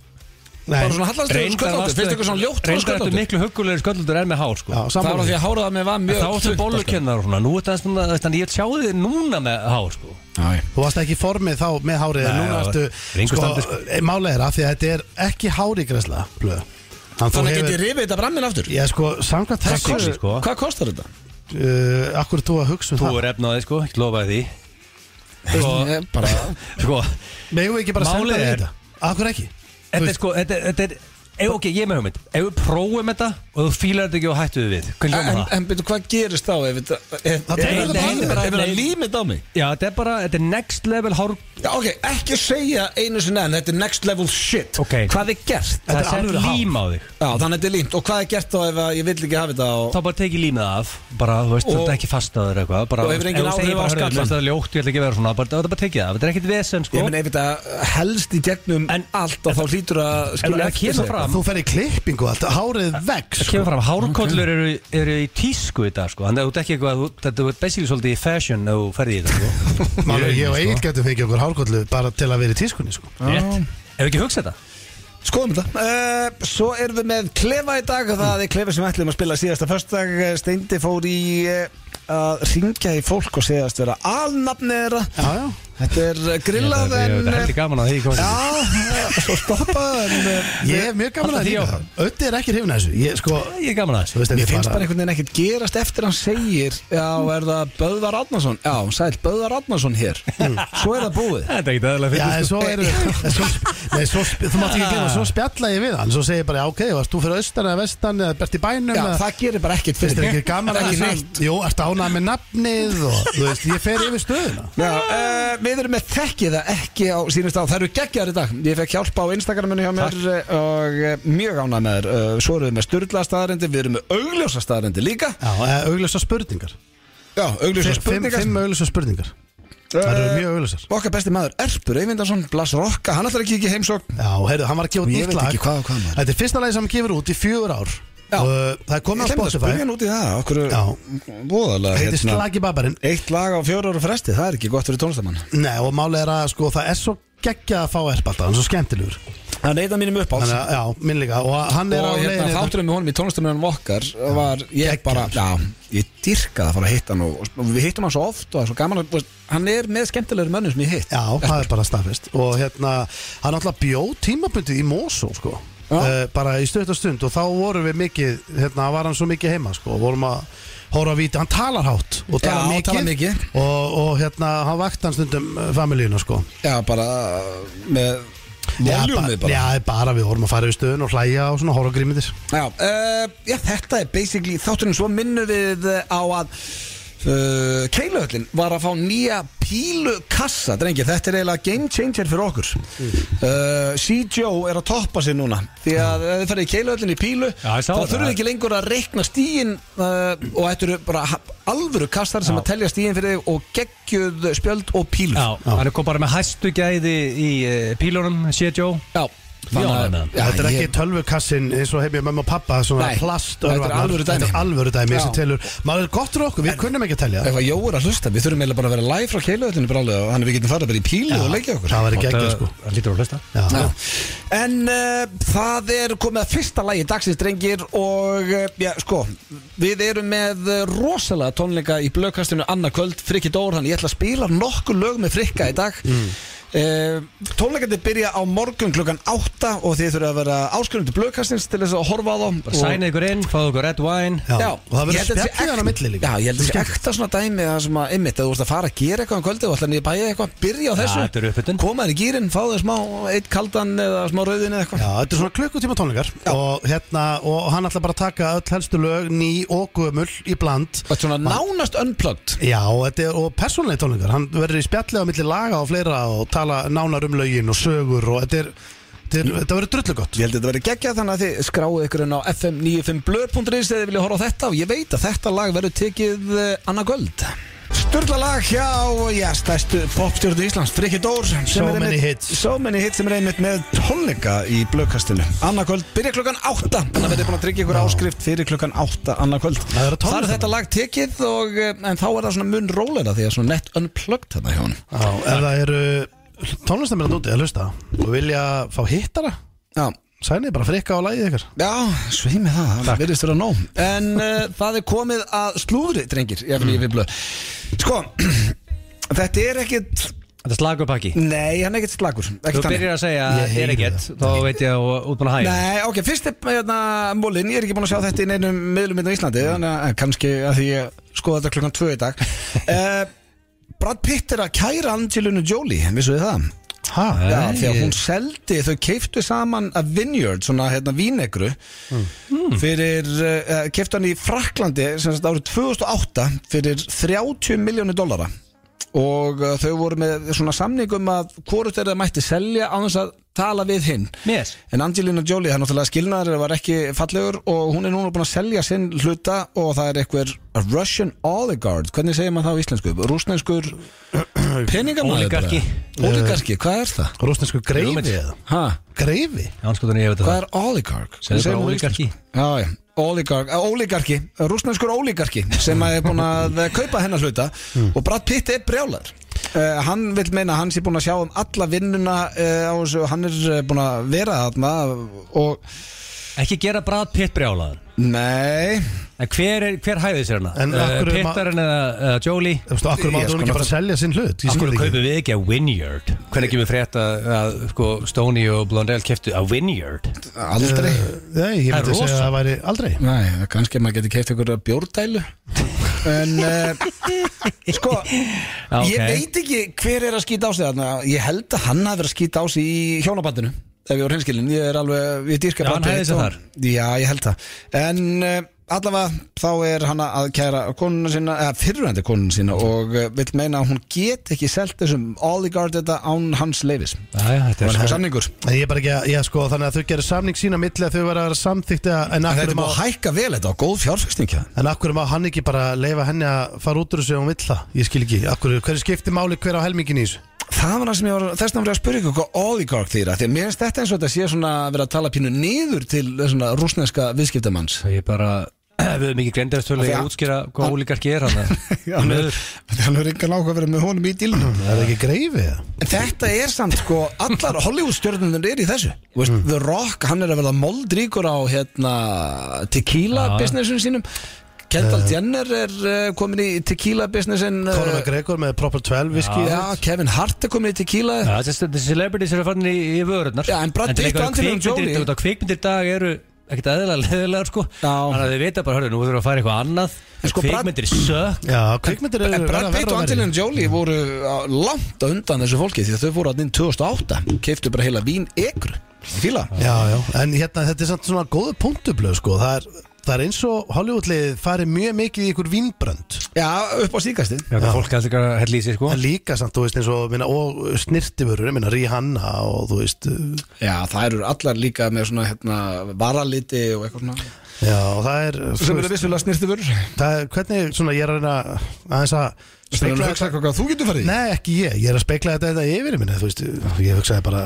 A: bara svona hallast ykkur sköldlóttu Finnst ykkur svona ljótt
B: reyndar ertu
A: sköldlóttu
B: miklu huggulegri sköldlóttur en með hár sko.
C: Já,
A: Það var
C: sammála
A: af því
C: því.
A: að hárið að mér var
B: En
A: mjög
B: Þá ertu
A: þunnt,
B: bólukennar og svona, nú ertu aðeins svona, þú veist, þannig ég tjáði þið núna með hár
A: sko.
B: sko.
A: Já, já.
C: Þú varst ekki í formið þá með hárið en
B: Nei,
C: Núna
B: já,
C: ertu,
B: Ringo
C: sko,
B: Standi, sko.
C: málega er að því að þetta er ekki hárigræsla Blöð
A: Þannig get ég rifið þetta brammin aftur
C: Já, sko, samkvæmt
A: Hvað
C: þessu
B: Pressing,
A: kost-
B: sko.
A: Hvað kostar þetta?
C: uh, Akkur þú að hugsa um
B: Þú
C: það
B: er efnaði, sko, ég lofaði því sko,
A: Ég bara-
B: sko,
C: Megum við ekki bara
B: Málið
C: senda þig
B: er-
C: þetta? Akkur ekki? Þú
B: Þetta er
C: veist,
B: sko, þetta þetta er Ef, ok, ég er með hugmynd, ef við prófum þetta og þú fílar þetta ekki og hættu við hvernig
A: En,
B: hljóma það?
A: en byrju, hvað gerist þá ef þetta ef-
C: Það
A: ef- ef- ef-
C: tekur þetta bannið.
A: ef- ef- ef-
B: Nei.
A: ef- límit á mig
B: Já, þetta er bara, þetta er next level hár
A: Já, ok, ekki segja einu sinni en þetta er next level shit
B: Ok.
A: Hvað er gert?
B: Það
C: er
B: er sett
C: alvöru hár.
B: lím á þig
A: Já, þannig að þetta er límt Og hvað er gert þá ef að ég vill ekki hafa þetta á
B: þá bara tekið límið af bara, þú veist,
A: Og-
B: þetta er ekki fastaður eitthvað bara,
A: Og hefur engin
B: ef þú
A: áhrif
B: segir
A: á
B: bara,
A: skallann.
B: "Hörðu, Þetta er ljótt, ég ætla ekki að vera svona bara, þetta er bara tekið af, þetta er ekkit vesen sko
A: Ég meina ef þetta helst í gegnum
B: En-
A: allt og þá hlýtur að
B: en
A: skilja
B: það
A: eftir
B: kemur
A: sig.
B: fram-
C: Þú fer í klippingu og allt, hárið vex sko.
B: það kemur fram, hárkollur eru, eru í tísku í dag sko, þannig að þú ert ekki eitthvað þú- þetta er basically svolítið í fashion ef þú ferði í þetta sko
C: Málega, ég og Egil getum fengið okkur hárkollu bara til að vera í tískunni sko.
B: Rétt. ef ekki hugsa þetta
A: Skoðum þetta uh, Svo erum við með klefa í dag og Það er klefa sem við ætlum að spila síðasta Eh, Föstdag eh, Steindi fór í uh, að ringja í fólk og segjast vera alnafni þeirra
C: Já, já
A: Þetta er eh, grillað
B: Ég
A: en
B: hef
A: eh,
B: heldur gaman að því komið
A: Já, eh, svo stoppað en eh,
C: Ég hef mjög gaman
B: Halda
C: að
B: því
C: því
B: áfram.
C: Ötti er ekki hrifin að þessu Ég sko
B: Ég er gaman að þessu
C: þú veist,
A: Mér
C: þetta er
A: finnst bara einhvern veginn ekkert gerast eftir hann segir Já, er það Böðvar Adnarsson? Já, sæl, Böðvar Adnarsson hér Svo er það búið
B: Þetta er ekkert aðeinslega
C: Já,
B: fyrir sko.
C: en svo eru en svo, nei, svo, sp- Þú mátt ekki glemma, svo spjalla ég við hann Svo segir ég bara, já, ok, varst þú fyrir austan eða vestan eða bert í bænum
A: Já,
C: eða-
A: það gerir bara ekkert
C: Finnst
A: fyrir
C: þér
A: mig.
C: Hérna- ekki gaman að
A: Ekki
C: þessu?
A: neitt
C: Jú, ertu ánað með nafnið og þú veist, ég fer yfir stöðuna
A: Já, uh, við erum með þekkið það ekki á sínust á, það eru geggjar í dag ég fekk hjálpa á Instagraminu hjá mér eh, og eh, mjög ánað með þér uh, svo erum við með styrla staðarendi, við erum með augljósa staðarendi líka,
C: Já,
A: eh,
C: eða auglösa spurningar
A: já, augljósa
C: Fimm-
A: spurningar Eh,
C: Fimm auglösa spurningar Það eru mjög auglösar
A: okkar besti maður Erpur Eyvindarsson, Blas Rokka, hann ætlar að kíkja í heimsókn
C: Já, heyrðu, hann var að gefa út
A: Ég
C: nýtt
A: veit
C: lag
A: ekki hvað og hvað, maður.
C: Þetta er fyrsta lagi sem hann gefur út í fjögur ár
A: Já.
C: Og eh, það er komið á
A: Ég glemdi að
C: Spotify
A: spyrja hann út í það, Hérna. okkur
C: Já.
A: voðalega
C: Heitir Slagi Babarinn
A: eitt lag á fjóru ára fresti, það er ekki gott fyrir tónlistamann
C: Nei, og málið er að sko, það er svo geggja að fá erp alltaf, hann er svo skemmtilegur
A: það er eitthvað mínum uppáls
C: Þannig að, já, minn líka Og hann er á
A: og hérna,
C: leiðinni
A: þátturinn með honum í tónlistamennum okkar var ég bara, já, ég dyrkaði að fara að hitta hann og, og við hittum hann svo oft og það er svo gaman að, þú veist, hann er með skemmtilegur mönnum sem ég hitt
C: Já, það er bara staðfest Og hérna, hann alltaf bjó tímabundið í Mosó sko.
A: Já.
C: uh, Bara í stöðt og stund Og þá vorum við mikið, hérna var hann svo mikið heima sko. og Vorum að hóra að víti, hann talar hátt Og
A: Já,
C: talar mikið,
A: talar mikið.
C: Og, og hérna, hann vakti hann stundum eh, familíuna sko.
A: já, bara uh, með voljúmið
C: bara
A: bara já,
C: Já, bara við vorum að fara í stöðun og hlæja og svona hóra grímitir
A: já, uh, já, þetta er basically þátturinn svo minnum við eh, á að uh, Keiluhöllin var að fá nýja pílukassa, drengir, þetta er eiginlega game changer fyrir okkur
B: Mm.
A: uh, C.J.O. er að toppa sér núna því að ef þið farið í Keiluhöllin í pílu
B: Já, ég sá
A: þá
B: það.
A: þurfum við ekki lengur að reikna stíin uh, og þetta eru bara ha- alvöru kassar sem
B: Já.
A: að telja stíin fyrir þig og geggjuð spjöld og pílur
B: Já, hann er kom bara með hæstu gæði í eh, pílunum, sé Joe
A: Já. Þannig
B: Já,
A: að-
B: nei, nei.
A: Já,
C: Þetta er
A: ég-
C: ekki tölvukassin eins og hef ég mömmu og pappa Svona
A: Nei,
C: plastörvarnar
A: þetta er alvöru dæmi.
C: Þetta er alvöru dæmi sem
A: Já.
C: telur Maður er gott fyrir okkur, við kunnum ekki að telja
A: Ef að Jó er að hlusta, við þurfum eiginlega bara að vera live frá keiluðallinu brálega og hann er við getum farið bara í pílu og leikja okkur
C: Það var ekki ekki sko
B: Hann lítur að hlusta
C: Já.
A: Já. En uh, það er komið að fyrsta lagi dagsins drengir og uh, já, sko, við erum með eh, rosalega tónleika í blökkastinu annað kvöld, Frikki Dór, hann ég ætla að spila nokkuð lög með Frikka í dag mm. Tónleikandi byrja á morgun klukkan 8 og þið þurfa að vera áskurum til blökkastins til þess að horfa á þá og-
B: Sæna ykkur inn, fáðu ykkur red wine
C: Já,
A: Já,
C: og það
A: ég
C: verður
A: held að þetta sé
C: spjallið þarna á
A: ekta-
C: milli líka.
A: Já, ég held að
C: Það
A: þetta
C: er
A: sé ekta svona dæmi það sem að, einmitt, að þú ert að fara að gera eitthvað um kvöldið og alltaf niður bæja eitthvað, byrja á þessu
B: þetta er uppbytun.
A: koma þér í gýrin, fá þér smá eitt kaldan eða smá rauðin eða eitthvað
C: Já, þetta er svona klukkutíma tónleikar og, hérna, og hann ætla bara að taka öll helstu lög ný og gömul í bland
A: Þetta er svona nánast unplugged
C: Já, og þetta er, og persónlega tónleikar hann verður í spjallið á milli laga og fleira og tala nánar um lögin og sögur og þetta er, þetta, er, þetta verður drullu gott
A: Ég held að þetta verið geggjað þannig að þið skráðu ykkur inn á fm95blöð.is eða þið vilja horfa á þetta og ég veit að þetta lag verður tekið eh, annað kvöld Sturla lag hjá, já, stærstu popstjórnu Íslands, Frikki Dór sem
C: So
A: er
C: many
A: einmitt-
C: hits.
A: So many hits sem er einmitt með tónleika í blöðkastinu Annað kvöld byrja klukkan 8 Þannig að verður búin að tryggja ykkur áskrift fyrir klukkan 8 annað kvöld
C: Það eru tónleikar.
A: Þar er þetta lag tekið og, eh, en þá er það svona mun róleira því að svona net unplugged þetta hjá hann
C: Já, ef það eru tónlistamennand úti að hlusta og vilja fá hittara
A: Já,
C: sæni bara frikka á lagið ykkar
A: Já, sveimi það, það virðist vera nóg En uh, það er komið að slúðri, drengir Ég vil ég við blöð Sko, þetta er ekkit
B: Þetta er slagupakki
A: Nei, hann er ekkit slagur
B: Þú
A: ekkit þannig.
B: byrjar að segja
C: Ég
B: er
C: heyri
B: ekkert Þá veit ég að útbúin að hægja
A: Nei, ok, fyrst er hérna, múlin Ég er ekki búin að sjá þetta í neinum miðlum hérna á Íslandi Þannig að en kannski að því ég skoða þetta klukkan tvö í dag uh, Brad Pitt er að kæra Angelina Jolie Vissu þið það?
C: Ha,
A: Já,
B: Nei.
A: því að hún seldi, þau keiftu saman að Vineyard, svona hérna vínegru
B: Mm.
A: fyrir, uh, keiftu hann í Fraklandi sem sagt árið 2008 fyrir 30 miljónu dollara og uh, þau voru með svona samningum að hvorut þeirra mætti selja á þess að tala við hinn
B: Mér
A: En Angelina Jolie, það er náttúrulega skilnaður var ekki fallegur og hún er núna búin að selja sinn hluta og það er einhver Russian oligarch, hvernig segir maður það á íslensku? Rúsnenskur peningamæður
B: Oligarki.
A: Oligarki, hvað er það?
C: rúsnesku greifi
B: Hugmynd.
C: eða?
A: Ha?
C: Greifi?
B: Anskotunni, ég veit
A: Hvað
B: það
A: er oligark?
B: Segðu bara
A: Segðu
B: oligarki.
A: mér á íslensku. Já, já, oligark, eh, oligarki, rúsnenskur oligarki sem að er búin að eh, kaupa hennar hluta
B: Hmm.
A: og Brad Pitt er brjálar Uh, hann vil meina að hann sé búin að sjá um alla vinnuna uh, á þessu, hann er uh, búin að vera þarna og
B: Ekki gera Brad Pitt brjálaðan
A: Nei,
B: En hver, er, hver hæði sér hana?
C: En
B: Uh,
C: af hverju ma-
B: Pittarinn eða uh, Jolie?
C: Þú veist, akkur
A: Ég
C: máttu
A: sko
C: hún ekki bara selja sinn hlut Ég
B: Af
C: skil
B: hverju
C: ekki
B: kaupum við ekki að Winyard? Hvernig kemur frétt að, að sko, Stoney og Blondell keftu að Winyard?
A: Aldrei
B: Eh.
C: Nei, ég
B: Það er
C: myndi segja
B: rosa.
C: að það væri aldrei
A: Nei, kannski að maður getur keift ykkur bjórdælu En uh, Sko,
B: Ah, Ok.
A: ég veit ekki hver er að skýta á sig þarna Ég held að hann hafi verið að skýta á sig í hjónabandinu Ef ég voru hinskilin, ég er alveg Við dýrka
B: Já, hann
A: Baddi
B: hægði sig
A: og-
B: þar.
A: Já, ég held það En uh, allavega, þá er hann að kæra konuna sína Eða fyrrverandi konuna sína Og uh, vill meina að hún get ekki selt þessum Oligard þetta án hans leifis
B: Æja, þetta
A: Það
B: er
A: er
B: sko
A: samningur
C: En ég er bara ekki að, ég sko, þannig að þau gerir samning sína á milli að þau verða að vera samþykkt en
A: En
C: akkur
A: þetta má
C: má,
A: hækka vel þetta og góð fjárfæstingja
C: en akkur má hann ekki bara leifa henni að fara út úr þessu ef hún vill það Ég skil ekki, akkur, hverju skiptir máli hver á helmingin í þessu
A: Það var það sem ég var, þess vegna var ég að spyrja ykkur hvað oligark þýra, því að mér finnst þetta eins og þetta sé svona að vera að tala pínu niður til svona rúsneska viðskiptamanns
B: Ég bara, við höfum ekki greindarstölu
A: Af því
B: að
A: að-
B: útskýra hvað ólíkarki er hann
A: hann er, hann er engan áhuga að vera með honum í dílunum
C: Er það ekki greifið?
A: En þetta er samt sko, allar Hollywoodstjörnunum er í þessu Þú veist, The Rock, hann er að verða moldríkur á hérna, tequila
B: Já, já.
A: businessun sínum Kendall Jenner er uh, komin í tequila businessin eh,
C: Conor McGregor með Proper 12 viski
A: Já, Kevin Hart er komin í tequila
C: Eh.
B: Já, þessi þessi celebrities eru farin í, í vörunar
A: Já, en Brad Pitt og Angelina Jolie.
B: Þetta kvikmyndir í dag eru ekkert aðeinslega leðilegar sko
A: Já.
B: Þannig að þau vita bara, hörðu, nú þurfum við að fara í eitthvað annað
A: En sko, Brad-
B: Kvikmyndir sökk
C: Já, kvikmyndir
A: En
C: eru
A: Brad
C: verða
A: Pitt og
C: verða Mm. og verða
A: Angelina Jolie voru á- langt á undan þessu fólki því að þau voru aðninn 2008 keiftu bara heila vín ekru fíla
C: Já, já, en hérna þetta er samt svona góðu punktublöð sko Það er, það er eins og Hollywoodlið farið mjög mikið í ykkur vínbrönd
A: Já, upp á síkasti
B: Já, það fólk allir að hella í sig sko
C: En líka samt, þú veist, eins og, minna, og snirtifurur, minna, Rihanna og þú veist Já,
A: Já, það eru allar líka með svona hérna, varaliti og eitthvað svona
C: og það er, þú
A: sem
C: veist,
A: eru vissulega snirti vörur
C: það er hvernig, svona, ég er að reyna aðeins að
A: sem eru
C: spekla
A: hugsa hvað þú getur farið í
C: Nei, ekki ég, ég er að spekla þetta, þetta yfir, minna, þú veist Ég hugsaði bara,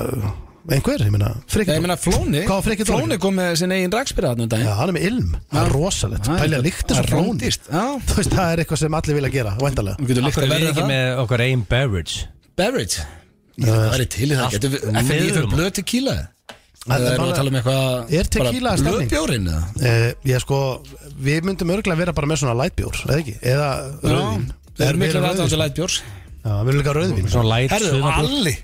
C: einhver, ég minna,
A: Já,
C: frikið
A: Ég meina Flóni,
C: Hvað var Frikki
A: Flóni
C: Dóri?
A: kom með sinn eigin rakspyrra þarna um
C: Já,
A: daginn
C: hann er með ilm, það er rosalegt
A: Það er-
C: Pælja líkti svo
A: það er
C: flóni
A: rándýrt, já.
C: Þú veist, það er eitthvað sem allir vilja gera, væntalega
A: Þú getur
B: Af
A: líkt
B: hverju
A: að
B: er við
A: verða
B: ekki
A: það
B: með okkar einn beverage
A: Barrett Það er til í það,
B: Allt
A: getur við
B: niður
A: FNI fyrir
B: um.
A: blöð tequila
C: Það
A: Það er nú
C: er
A: að
C: bara-
A: tala um eitthvað
C: Er tequila
A: bara
C: stemning?
A: Blöðbjórin eða?
C: Uh, ég sko, við myndum örgulega vera bara með svona lightbjór, eða ekki? Eða rauðvín
A: Já, Það er
C: meira
A: miklu
C: rauðvín.
A: aðdáðan til lætbjórs
C: Já, við erum líka rauðvín
B: Svona light
A: Herðu, Mm.
B: sumarbrús.
A: Alli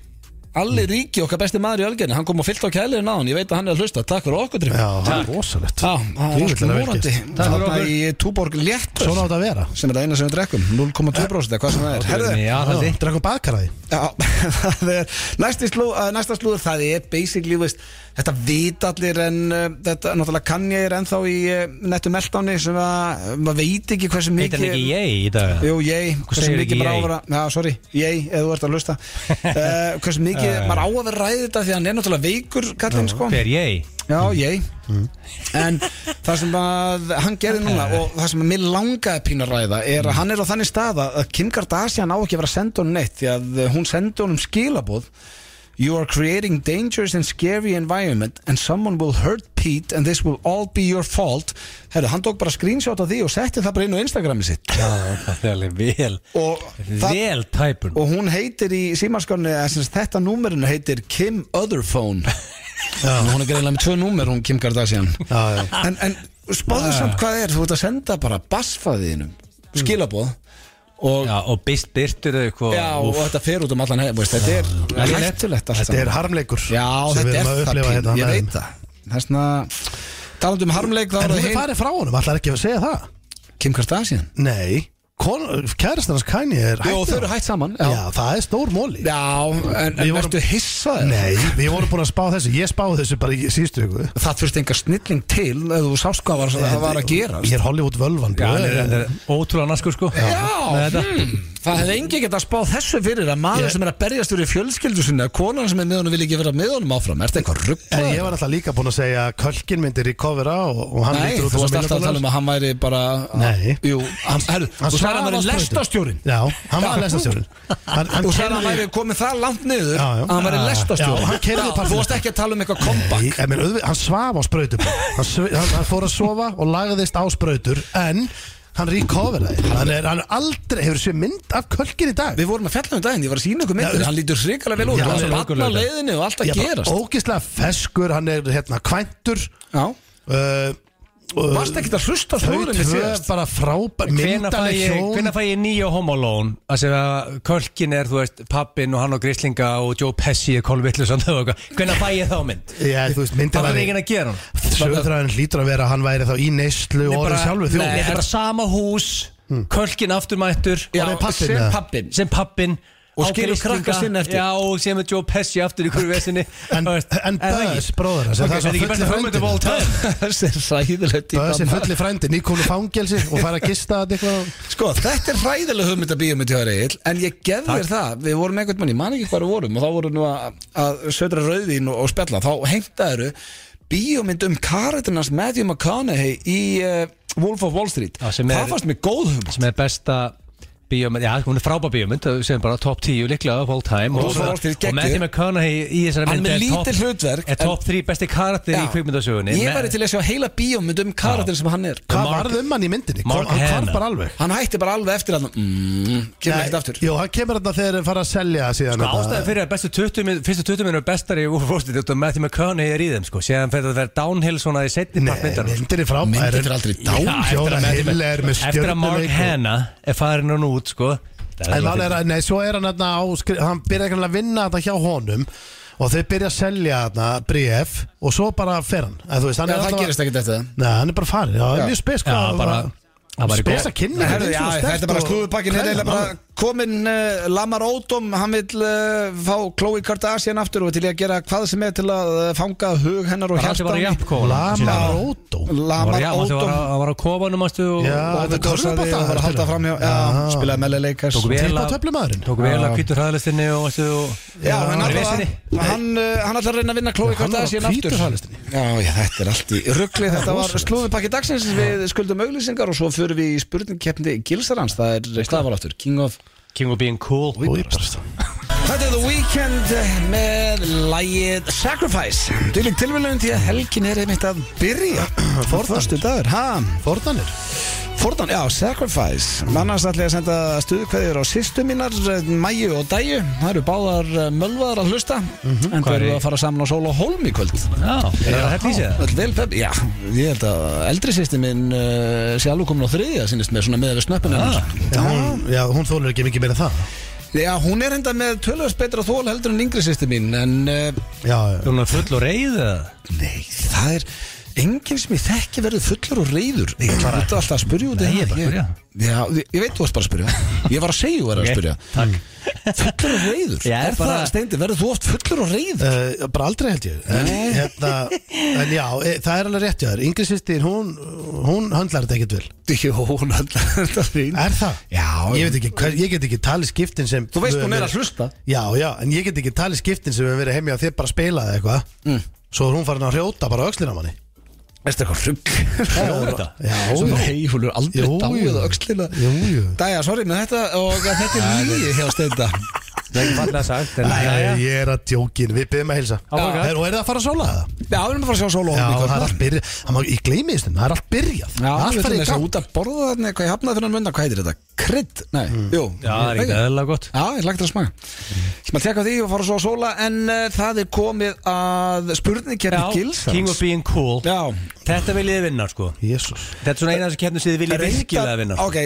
A: Alli Ríki, okkar besti maður í Ölgerni Hann kom og fyllt á kæliðin á hann Ég veit að hann er að hlusta, takk fyrir okkur drif
C: Já, það er rosalegt
A: Já, það er alltaf morandi
B: Takk fyrir
A: Þarna
B: okkur.
A: í Túborg létt
C: Svona átt að vera
A: Sem er það eina sem við drekkum 0,2% eða hvað sem það er Herðu,
B: Með aðhaldi.
C: Drakum bakaraði
A: já, það er næsti slú, að næsta slúður Það er basically, veist Þetta vit allir en uh, Þetta, náttúrulega kann ég er ennþá í uh, nettu meldáni Sem að, eh, maður veit ekki hversu mikið
B: Heitir hann ekki ég í dag
A: Jú, ég, hversu
B: segir
A: mikið
B: ekki
A: maður á að
B: ég?
A: vera Já, sorry, ég, eða þú ert að hlusta uh, Hversu mikið
B: Eh.
A: maður á að vera ræðið þetta Því að hann er náttúrulega veikur kallinn, sko
B: Hver ég?
A: Já, ég En það sem að hann gerði núna Og það sem að mér langaði pínu að ræða Er að hann er á þannig stað að að Kim Kardashian á ekki að vera að senda honum neitt Því að eh, hún sendi honum skilaboð You are creating dangerous and scary environment and someone will hurt Pete and this will all be your fault Herru, hann tók bara screenshot af því og setti það bara inn á Instagrami sitt
B: Já, það er alveg vel
A: og það,
B: Vel tæpun
A: og hún heitir í símaskarni þetta númerinu heitir Kim Otherphone Þannig hún er greinlega með tvö númer hún Kim Kardashian
C: Já, já.
A: en, en spáðu samt hvað er þú ert að senda bara basfaðinum skilaboð
C: Mm.
A: og, já,
B: Já, og byrst byrtur þau eitthvað
A: og
B: úff.
A: þetta fer út um allan hef veist, þetta er hættulegt allt
C: Þetta er
A: saman.
C: harmleikur
A: já
C: sem við
A: þetta
C: erum
A: er
C: að
A: það
C: upplifa
A: pín,
C: hérna
A: ég
C: með
A: veit
C: þeim.
A: það þessna talandi um harmleik þá
C: En
A: er
C: hún
A: það
C: er
A: hin
C: farið frá honum, allar ekki að segja það
A: Kim Kardashian
C: Nei, kærastan hans Kanye er
A: Jú,
C: hætt
A: þau eru hætt saman já,
C: Já, það er stór móli
A: já en,
C: Við
A: en
C: vorum-
A: ertu hissað
C: Nei, við vorum búin að spá þessu Ég spáði þessu bara í síðustu ykkur
A: það þurfti enga snilling til ef þú sást hvað var, það var að gera
C: Ég er Hollywood völvan
B: Já,
C: bróðir.
B: hann er- hann er ótrúlega naskur sko Með
A: Já,
B: þetta.
A: hmm, það hefði engi geta spáð þessu fyrir að maður
C: Ég-
A: sem er að berjast fyrir fjölskyldu sinni að konan sem er með honum vil ekki vera með honum áfram Er þetta eitthvað
C: En ég
A: rugglaður?
C: var alltaf líka búin að segja að Kölkin myndir í kofera og, og hann
A: Nei,
C: lítur út
A: þú
C: eins og
A: varst alltaf að tala um að hann væri bara
C: Nei.
A: Jú, hann, herru,
C: Hann
A: þú sagði að hann væri
C: svaraði
A: lestastjórin
C: Já, hann var lestastjórn Hann, hann
A: Þú sagði að hann
C: keyrði-
A: væri komið það langt niður
C: Já, já.
A: að hann væri
C: Já,
A: lestastjórin
C: já, hann keyrði bara-
A: Þú varst ekki að tala um eitthvað komba
C: Nei, en minn, auðvitað- hann svaf á sprautum hann, sv- hann, hann fór að sofa og lagðist á sprautur En hann recoveraði Hann er hann er aldrei, hefur sér mynd af kölkin í dag
A: Við vorum að fjalla um daginn, ég var að sína ykkur
C: Já,
A: myndir Hann lítur hrikalega vel út,
C: Já,
A: hann er
B: hann er
A: bara
B: ógurlegur.
A: alla leiðinni og allt að
C: Ég er bara
A: gerast
C: Ógislega feskur, hann er hérna kvæntur
A: Já,
C: uh,
A: Varst ekki að hlusta á
C: Þau
A: slúðurinn í
C: tvö
A: síðast?
C: bara frábær
B: Hvena fæ
C: Myndaleg
B: ég,
C: hjón
B: hvenær fæ ég nýja homolón að segja að kölkin er, þú veist, pappin og hann og grislinga og Joe Pesci er kolvillis og eitthvað, hvena fæ ég þá mynd?
C: Já, þú veist,
B: Það var
C: myndaleg
B: ekki að gera hann
C: Söðræðin hlýtur að vera að hann væri þá í neyslu og orðið sjálfur Hmm.
B: Nei, þetta er
C: þjóð
B: bara sama hús Kölkin afturmættur
A: Já,
C: Orðið pabbinn,
A: sem
C: eða?
A: pappin
B: sem pappin
A: Og skilur krakka sinna eftir.
B: Já, og sem er Joe Pesci aftur í hverju vesinni
C: En- en Buzz, bróðir hans, er það
B: Það
C: svo
B: er ekki
C: fullu
B: bætið hugmynd
C: höndin?
B: of all time
A: Þessi er ræðilegt í
C: Böðsinn
A: gamla.
C: fulli frændi, nýkólu fangelsi og fara að gista að eitthvað
A: Sko, þetta er hræðileg hugmynd að bíómynd hjá þér Egil En ég gef þér það, við vorum einhvern mann, ég man ekki hvað við vorum Og þá vorum nú að, að södra rauðin og, og spjalla Þá heimtaður bíómynd um karitinans Matthew McConaughey í uh, Wolf of Wall Street
B: Já, sem er-
A: Það fannst mér góð hugmynd
B: sem er besta bíómynd, já, hún er frábær bíómynd sem bara top 10 líklega of all time
A: Og
B: og,
A: svo
B: og,
A: allt í
B: og
A: geggju.
B: Matthew McConaughey í þessari
A: Hann er
B: mynd
A: með
B: top-
A: lítil hlutverk,
B: er top 3 besti karakter í
A: Já.
B: kvikmyndasögunni
A: Ég
B: Me-
A: væri til að sjá heila bíómynd um karitin sem hann er
C: Hvað
B: Mark-
C: varð um hann í myndinni? Kom-
B: Mark
C: Hann
B: Hanna.
C: hvarf bara alveg
A: Hann hætti bara alveg eftir að mm, Kemur ekkert aftur
C: Jó, hann kemur þarna þegar þeir fara að selja síðan
B: Sko,
C: þetta.
B: ástæðan fyrir að bestu 20 minn, fyrstu 20 minn er bestari úr fórstið út af Matthew McConaughey er í þeim sko, séðan fyrir að það er downhill svona í setni part sko.
C: Nei,
B: myndar
C: myndir er frábær
A: Myndin fer aldrei í dám.
C: Já, Fjóra hill er með
B: eftir að Mark
C: stjörnuleik og-
B: Hanna er farin hann út sko það
C: En
B: alveg
C: hann er að, nei, svo er hann þarna á skri- Hann byrja ekki að vinna þetta hjá honum Og þeir byrja að selja þarna bréf Og svo bara fer hann Eða, þú veist, hann
A: Já,
C: er
A: það
C: alltaf-
A: gerist ekkert eftir það
C: Nei, hann er bara farin Já, það
A: Já.
C: er mjög spes
B: fyndið. Já, bara það var í
C: Spes
B: góð-
C: að kynna
A: Nei,
C: þetta,
A: herru,
C: þetta
A: já,
C: er svo sterkt
A: þetta er bara
C: og-
A: slúðupakkin Þetta er
C: Kræla,
A: eiginlega bara komin uh, Lamar Odom, hann vil uh, fá Chloe Kardashian aftur og til í að gera hvað sem er til að uh, fanga hug hennar og
B: það
A: hjarta
B: var í Japkóla
C: Lama Rótó
A: Lamar Odom
B: hann var á kofanum ástu og
C: Já,
A: og
C: þetta
A: við
C: er
A: kosaði
C: körfubolta,
A: og var að halda
C: spila.
A: fram hjá já, spilaði meðlega leikars
B: Tók vel
C: Tipp á
B: að-
C: töflumadurinn
B: tók vel að kvítur hraðlistinni og ástu og
A: Já, en
B: Var í
A: allavega,
B: vesinni.
A: hann, uh, hann ætlar að reyna að vinna Chloe
C: Já, hann var á
A: Kardashian aftur
C: hvítuhraðlistinni.
A: Já, já, þetta er allt í ruggli Þetta var slúðupakki dagsins Við skuldum auglýsingar og svo förum við í spurningkeppni Gilsarans, það er stafaráttur King of
B: King of being cool
C: Újbarst
A: Þetta er The Weeknd með lægið Sacrifice Dýling tilvílun því að helgin er einmitt að byrja Forðastu dagur, ha?
C: Fordanir
A: Forðan, já, Sacrifice Mannars ætla ég að senda stuðkveðir á sýstu mínar Mæju og Dæju Það eru báðar eh, mölvaðar að hlusta En þau
B: Mhm, Hvað er
A: eru
B: í?
A: að fara saman á sól og hólm í kvöld
B: Já, er það hægt í sig það?
A: Öll vel pep, já, ég held að eldri sýsti minn uh, sé alveg komin á þriðja sínist með svona með við snöppinu
B: Ah.
A: hennar.
C: Já, hún, já, hún þólur ekki mikið meira en það
A: Já, hún er enda með tölvöðs betra þól heldur en yngri sýsti mín en uh,
C: Já, já
B: Þú erum full og reið eða?
A: Nei, það er enginn sem ég þekki verið fullur og reyður Ég er bara alltaf að spyrja út í
B: Nei, ég er
A: hana.
B: bara að spyrja.
A: Já, ég, ég veit þú varst bara að spyrja Ég var að segja þú verið
B: Ok,
A: að spyrja Fullur og reyður,
B: Já,
A: er
B: bara-
A: það steindi, verður þú oft fullur og reyður?
C: Uh, bara aldrei held ég en, hérna, en já, e, það er alveg rétt hjá þér Yngri sýstir, hún, hún höndlar þetta ekkert vel
A: Jó, hún alltaf þetta fín
C: Er það?
A: Já,
C: Ég, veit ekki, hver, ég get ekki talið skiptin sem
A: Þú veist
C: við höfum
A: hún er að
C: verið-
A: hlusta
C: Já, já, en ég get ekki talið skiptin sem við höfum verið heimja og þið bara spilaði eitthvað
A: Mm.
C: Svo er hún farin að hrjóta bara öxlina manni
A: Erstu eitthvað rugg?
B: Hljóta
C: Já,
A: Nei, hún er aldrei
C: Jú, jú.
A: dáið á öxlina
C: Jú, jú.
A: Dæja, sorry með þetta og þetta er líi hjá steinda
B: Það er ekki fallega sagt en
C: Nei,
B: jæja.
C: ég er að djókin, við byrjum að heilsa
B: Áfram,
C: Her, Og er það að fara að sóla það?
A: Já, við erum að fara að sjá sólu
C: Já, það er allt byrjað það má- Ég gleymi þessum, það er allt byrjað
A: Já, við
C: Allt farið í
A: ætlum þess að
C: gang.
A: út að borða þarna eitthvað í hafnað fyrir hann munna, hvað heitir þetta? Krydd? Nei,
C: Mm.
A: jú
B: Já, það er ekki eðla gott
A: Já, ég lagt það að smaka Ég maður tekka því og fara svo að sóla En uh, það er komið að spurningkerni gils
B: King of being cool
A: Já
B: Þetta vil ég vinna sko
C: Jésús
B: Þetta er svona eina af þessu keppnum sem þið viljið virkilega vinna Mm.
A: Ok,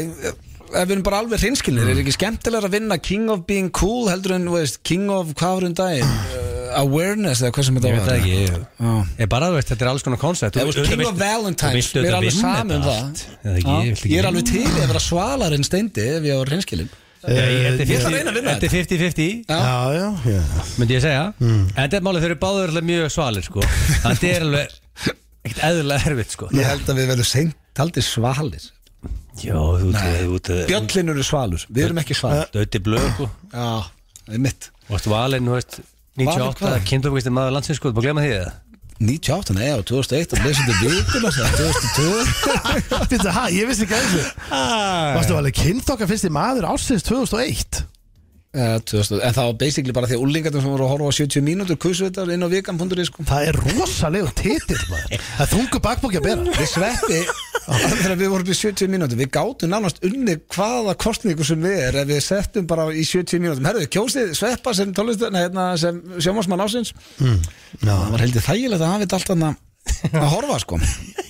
A: ef við erum bara alveg hreinskilnir Er ekki skemmtilega að vinna King of being cool heldur en, þú veist, King of hvað var um daginn? Uh, awareness eða hvað sem þetta
B: Ég veit
A: var
B: það ekki ég-
A: Já.
B: Ég bara þú veist, þetta er alls konar koncept
A: Eða, þú veist, King of Valentines,
B: Þú
A: við erum alveg
B: viltu auðvitað
A: saman um
B: vinna
A: það
B: allt Eða ekki,
A: Já.
B: ég viltu ekki
A: Ég er alveg til í að vera svalar en steindi ef ég var reynskilin
B: Ég
A: Ég ætla að reyna að vinna
B: Þetta er 50-50
A: Já.
C: Eh, Já, já, já
B: myndi ég segja en þetta er málið þeir eru báður alveg mjög svalir sko. þetta er alveg ekkert eðlulega erfitt sko.
A: Ég held að við verðum seint taldið svalir
B: já, þú ert
A: Bjöllin eru svalur, við erum ekki svalir
B: auðviti blöð sko.
A: Já, það er mitt
B: og þú valinn, þú veist
A: Valinn hvað?
B: 98, kindofvistir maður landsins sko, þú búið að glema því það
A: 98, nei, á 2001 Það leysum við vikuna, það 2002
C: Býttu, ha, ég vissi ekki að þessu Varstu alveg kynþokka fyrst í maður ársins 2001
A: Eh, 2000, En það var basically bara því að úlingarnir sem voru að horfa á 70 mínútur Kusu þetta inn á vikan.is sko.
C: Það er rosalegu titill maður Það er þungu bakbóki að bera
A: Við sveppi Þegar við vorum í 70 mínútur Við gátum nánast unni hvaða kostningu sem við er Ef við settum bara í 70 mínútur Herðu, kjósið sveppa sem, tónlist- nei, hérna, sem sjómasmann ásins
C: Já,
A: Það var heldur þægilegt að hann veit allt hann að horfa sko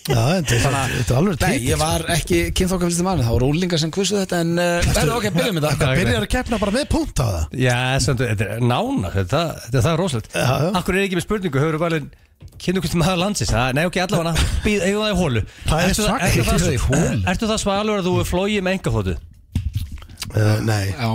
C: Já, þetta er- þetta er alveg
A: Nei, ég
C: típisk
A: var ekki kynþokkafylgstu maður Það voru úlingar sem kvissu þetta En uh, er, ok, byrjum við
C: Hvað
A: þetta
C: byrjar að keppna bara með punkt á það?
B: Já, samt, þetta er nána, þetta, þetta, það er rosalegt
C: Já, já.
B: Akkur er ekki með spurningu, hefur valin Kynnum hvort maður landsins, Það- nei ok, allavega Býð eigum það í hólu
C: Það er
B: Ertu það-
C: sagt-
B: ertu það-
A: Eigum það í hólu?
B: Ertu það svalur að þú er flóið með engafótu?
C: Uh, nei,
A: Já,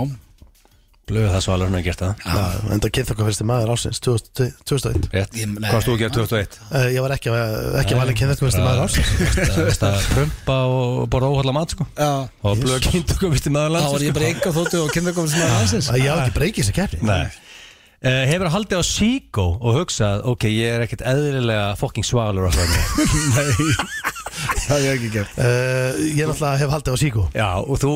B: Blöðu það svalur, hún hefur gert
A: Ah.
B: það
C: Já, en það kynnt okkur fyrst maður ásins 2001
B: Rétt,
A: Ég- nei.
B: hvað varst þú að gera 2001?
C: uh, Ég var ekki, ekki valin kynnt okkur fyrst maður ásins
B: ásins Það prumpa og borða óhalla mat sko
A: já
B: Og blöðu kynnt okkur visti
A: Þá
B: maður
A: var
B: landsins sko.
A: ég bara eitthvað þóttu og kynþokkafylgstu maður hansins
C: Eh, Ég á ekki breykið þess að keppni
B: Nei Uh, hefur haldið á síkó og hugsað ok, ég er ekkert eðlilega fokking svalur á það
A: Það hef ég ekki gert
C: Uh, ég náttúrulega hef haldið á síku
B: Já, og þú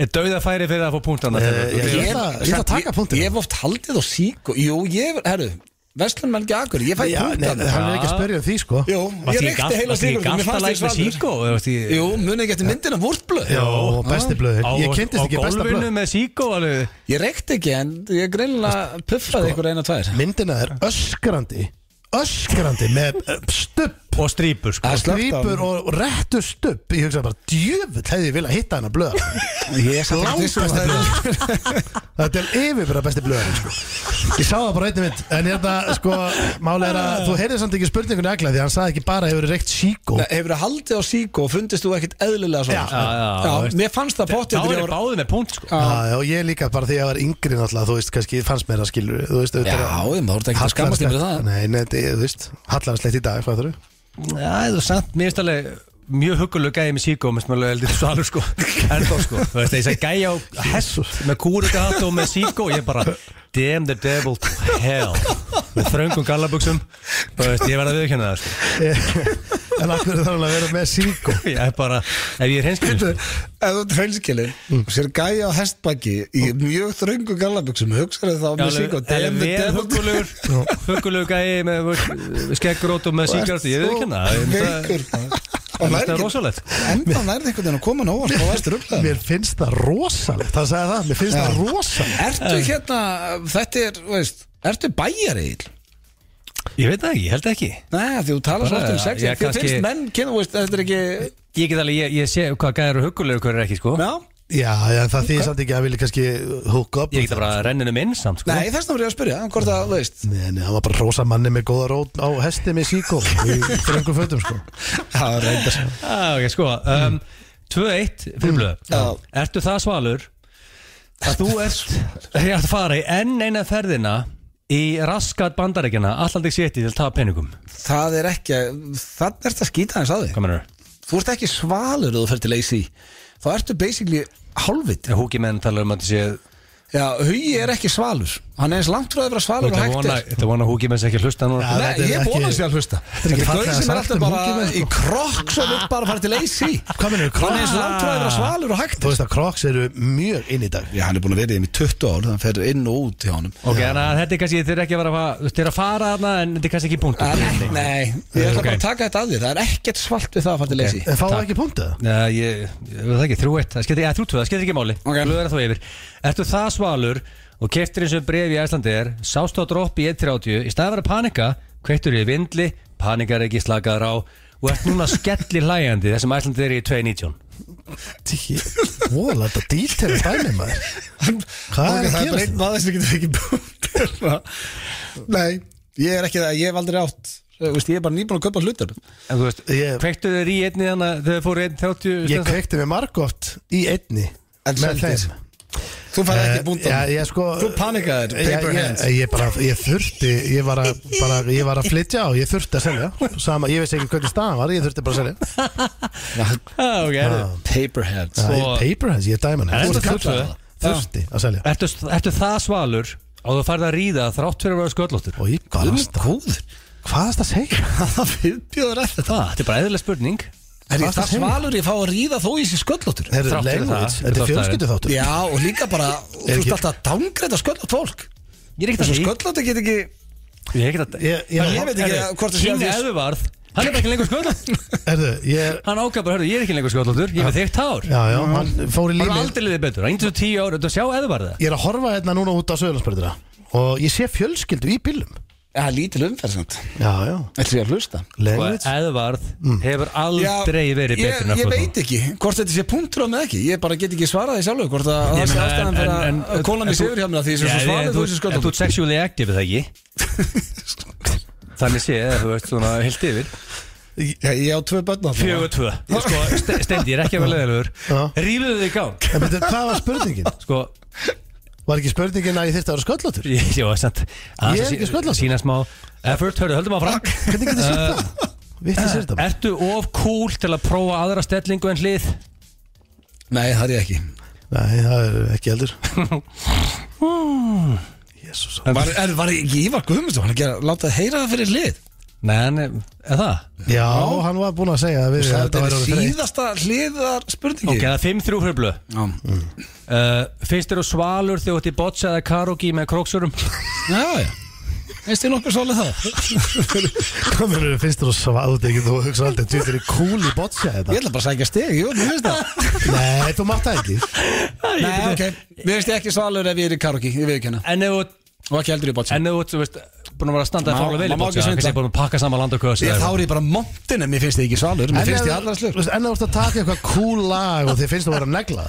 B: er dauðafæri fyrir að fá punktana
C: Eh,
B: Þegar þú-
C: Ég ætla- ég ætla að taka punktinn.
A: Ég hef oft haldið á sík og, Jú, ég, herru, Vestlun Melgi Akur Ég fæ
C: Já, nei,
A: punktan
C: hann er ekki að spurja um því sko
A: Jú, ég
B: Varstu
A: reykti heila
B: ekki
A: síkur
B: galt- varstu ekki galt að læk með síkó? eða varstu í-
A: Jú, munið ekki eftir myndina Vúrtblöð
C: Já, og besti blöður
B: Á,
C: Ég kynntist ekki
B: á
C: besta
B: gólfinu
C: blöð
B: með síkó alveg
A: Ég reykti ekki en ég greinlega
C: sko.
A: puffaði ykkur eina tvær
C: Myndina er öskrandi Öskrandi með eh, stubb
B: og strýpur sko.
A: Það er slökkt á
C: Grýpur og réttu stubb Ég hugsa bara, djöfull hefði ég viljað hitta hennar blöð
A: Ég er samt ekki viss um að
C: Langbesta
A: það er-
C: blöð Þetta er yfirfyrra besti blöð sko. Ég sá það bara einnig mynd En ég þetta, sko, máli er að Þú heyrðir samt ekki spurningunni agla Því að hann sagði ekki bara hefur reykt síkó
A: Nei, Hefur það haldið á sík og fundist þú ekkit eðlilega svona
C: Já,
B: já, já, veist.
A: Mér fannst það
B: Þá
A: pottið
B: er
A: þegar
B: ég
A: ég var
B: báði með punkt sko.
C: Já, og ég líka bara því að ég var yngri náttúrulega, þú veist, kannski fannst mér að skilur þú veist,
A: Já, um, þú ert ekki að skammast yfir það
C: Nei, nei, þetta, er, þú veist, hallarslegt í dag, hvað þurru?
B: Já, þú samt, mér finnst alveg mjög hugguleg gæði með síkó mér finnst alveg heldur svalur sko en þá sko, þú veist, þess að gæja á hest með kúrugahat og með síkó ég bara, damn the devil to hell með þröngum gallabuxum þú veist, ég verð að viðkjöna það sko.
C: en akkur þarf hann að vera með síkó
B: ég er bara, ef ég er hinskilin sko.
A: Ef þú ert hreinskilin
B: Mm.
A: og sér gæja á hestbæki í mjög þröngu gallaböksum hugsaðu þá
B: Já,
A: með
B: alveg-
A: sík og
B: alveg vel huggulegur huggulegur gæi með skeggrót og með síkart ég veit ekki hana ég myndi að-
A: Veikur maður. Og
B: ég myndi
A: nærði
B: að það er
A: ekki-
B: rosalegt
A: Enda nærði einhvern veginn að koma nóg og væst rugglað
C: Mér finnst það rosalegt, það sagði það, mér finnst það rosalegt
A: Ertu hérna, þetta er, veist Ertu bæjari ill?
B: ég veit það ekki, ég held ekki
A: Nei, því þú talar svo oft
B: Bara,
A: um sex
B: ég
A: Þið
B: kannski-
A: finnst menn, kynna, veist, þetta er ekki
B: ég get alveg, ég, ég sé hvað gæi eru huggulegur hver er ekki sko
A: Já,
C: Já, já, það þýðir samt ekki að vilja kannski hook up
B: ég get bara renninu minn samt sko
A: nei, þess vegna voru ég að spyrja Hvort að, þú veist
C: Nei, nei, hann var bara rosa manni með góða rót á hesti með síkó í þröngum fötum, sko
A: Já, reyndar
B: ah, ok, sko um, 2-1 fyrir blöð
A: Já.
B: ertu það svalur að þú ert ég ætti að fara í enn eina ferðina í raskat bandaríkjana allandik sétti til að tafa peningum
A: Það er ekki, þannig ert að skýta hans að þig
B: hvað mennur það?
A: Þú ert ekki svalur ef þú fer til AC Þá ertu basically hálfviti
B: húki menn tala um að það sé
A: Já, hugi er ekki svalur Hann er eins langt frá að vera svalur og
B: Þetta
A: hægt
B: vona,
A: er
B: þetta vona húkið með þess ekki að hlusta núna
C: Já,
A: Nei,
C: þetta er
A: ég vona
C: ekki-
A: sér að hlusta
C: er ekki
A: Þetta er gauð
C: fallega
A: sem er
C: sagt
A: alltaf
C: um
A: bara
C: húkið,
A: í
C: sko.
A: krokks og vil bara fara til AC
C: Hvað mennur,
A: Hann er eins
C: Crocs?
A: langt frá að vera svalur og hægt
C: Þú
A: er
C: veist að Crocs eru mjög inn í dag
A: Já, hann er búin að vera í þeim í 20 ár Þannig fer inn og út hjá honum
B: Ok, þannig að þetta er kannski, þeir eru ekki að vera að þeir eru að fara þarna en þetta er kannski ekki punktur
A: Það er
B: Nei,
A: ekki- Nei, ég ætla
B: Ok.
A: bara að taka þetta að þér Það er ekkert svalt við það að fara til AC
C: En fáðu ekki punktið?
B: Nei, ég, ég veit það ekki, þrjú eitt, það skiptir, ja, þrjú tvö, það skiptir ekki máli
A: Ok.
B: Blöð er þá yfir Ertu það svalur og keftir eins og bref í Æslandi er Sástu á dropp í 1.30 Í staðið að vera að panika, kveittur í vindli Panikar ekki slakaður á Og ert núna skellir hlægjandi þessum Æslandi er í 2.19
C: Vóla, þetta dílterið dæmi maður Hvað
A: Ok, það
C: er að
A: er bara
C: gera
A: einn maður sem getur ekki hérna. búið Nei, ég er ekki það, ég hef aldrei átt Þú veist, Ég er bara nýbúin að kaupa hlutar
B: En þú veist,
C: Ég-
B: kveittur þér í E einni þannig að þau fóru 1.30
C: Ég
B: stundum?
C: kveikti mig margótt í einni
A: En
C: með
A: seldist.
C: þeim
A: Þú fær ekki búndan
C: Já, ég sko
A: Þú panikaðir,
C: Já,
A: paper
C: ég,
A: hands
C: ég, bara, ég þurfti ég var, að, bara, ég var að flytja og ég þurfti að selja Sama, Ég veist ekki hvernig staðan var, ég þurfti bara að selja
B: Ah, ok,
C: Já.
B: heyrðu.
A: Paperheads
C: Það
B: Og-
C: er paper hands, ég dæma
B: En
C: hann
B: þetta
C: Þurfti-
B: kallaði það.
C: Þurfti að selja
B: Ertu ertu það svalur og þú færð að ríða þrátt fyrir að vera sköllóttur
C: Og ég bara,
A: góður
C: hvað er það að segja?
A: Það viðbjóður að þetta
B: Það, þetta er bara eðlilega spurning
A: Er
C: Hvað
A: ég
C: ertu að
A: það
C: segja?
A: svalur ég fá að ríða þó í sér sköllóttur
C: Heyrðu,
B: Þrátt fyrir það,
C: language, Þetta
B: þrátt
C: er
B: fyrir
C: fjölskyldu þáttur
A: Já, og líka bara, þú
C: Er
A: veist
C: ekki-
A: alltaf að dangreita sköllótt fólk
B: Ég er ekkert að
A: Þessu
B: því
A: sköllóttu get ekki
B: Ég er ekkert að
C: Ég- ég-
B: Hann-
A: ég veit ekki
B: Herðu,
A: hvort það sé að
B: Kíni
A: því-
B: Eðvarð Hann er bara ekki lengur sköllóttur
C: Heyrðu, ég
B: Hann ákvað bara, hörðu, ég er ekki lengur sköllóttur Ég er með þeitt hár
C: Já, já, hann fór í
B: Hann er
C: límið
B: aldrei liðið betur Hann er svo tíu ára Þú sjá Eðvarða
C: Ég er að horfa hérna núna út á Söðlandsbörðina og ég sé fjölskyldu í bílum
A: Það er lítil umferð samt
C: Já, já,
A: Þetta sé að hlusta
B: Og
C: legit
B: Edvard hefur aldrei
A: Mm.
B: verið
A: ég,
B: betur en að
A: ég
B: fótbolta.
A: veit ekki hvort þetta sé punktur á með ekki Ég bara get ekki svarað því sjálfur Hvort að
B: Ég
A: það sé
B: meina,
A: ástæðan
B: en-
A: fyrir að
B: en- en-
A: kóla mig
B: en þú-
A: sigur hjá mér af Því sem svo
B: Já, en
A: svarað
B: þú-
A: þú sem
B: En þú ert
A: sköldum
B: sexually active er það ekki Þannig sé, þú veist, svona heilt yfir
A: Ég ég á tvö börn þarna.
B: Fjögur tvö Sko, Ste- Steindi, ég er ekki að vera leðilegur
C: Já.
B: Rífuðu þig í gang
C: En betur, hvað var spurningin?
B: Sko,
C: Var ekki spurningin að ég þyrfti að vera sköllóttur?
B: ég ég var samt aðeins
C: Ég er
B: að sí-
C: ekki sköllóttur.
B: Sýna smá effort, hörðu, höldum áfram Uh,
C: Hvernig getur sér það? Vittu sér
A: Eh?
C: það?
B: Ertu of cool til að prófa aðra stellingu en hlið?
A: Nei, það er ég ekki
C: Nei, það er ekki heldur Jésús
A: Var, er, var ekki Ívar Guðmundsson hann er ekki að láta það heyra það fyrir hlið
B: Nei, en er það?
C: Já, hann var búinn að segja að við
A: Þetta
C: þetta
A: er
C: væri orðið þreytt.
A: síðasta hliðar spurningi
B: Ok, það er 5-3 fyrir blöð
A: Já.
B: uh, Fyrst eru svalur þegar þú ætti botsa eða karogi með króksurum
A: Já, já Veist þið nokkuð svolítið það?
C: Hvað verður þið finnst þér að sváta ekki Þú hugsa aldrei, þú er cool í botja
A: Ég
C: þetta
A: ætla bara að sækja steg, jú, mér finnst það
C: Nei, þú mátt það ekki
A: Nei, ok, mér finnst ég ekki svalur ef ég er í karaoke, ég viðurkenna
B: En ef þú
A: Og ekki heldur í botsi
B: En þú ert, þú veist, búin að vera að standa
A: Má-
B: að fála vel í
A: má- má
B: bótsi
A: ekki svindla.
B: Kanski búin að pakka saman land og kösi
A: Ég þá er ég bara montin en mér finnst ég ekki svalur Mér finnst ég allra slur
C: En þú ert að taka eitthvað cool lag og þið finnst þú að vera negla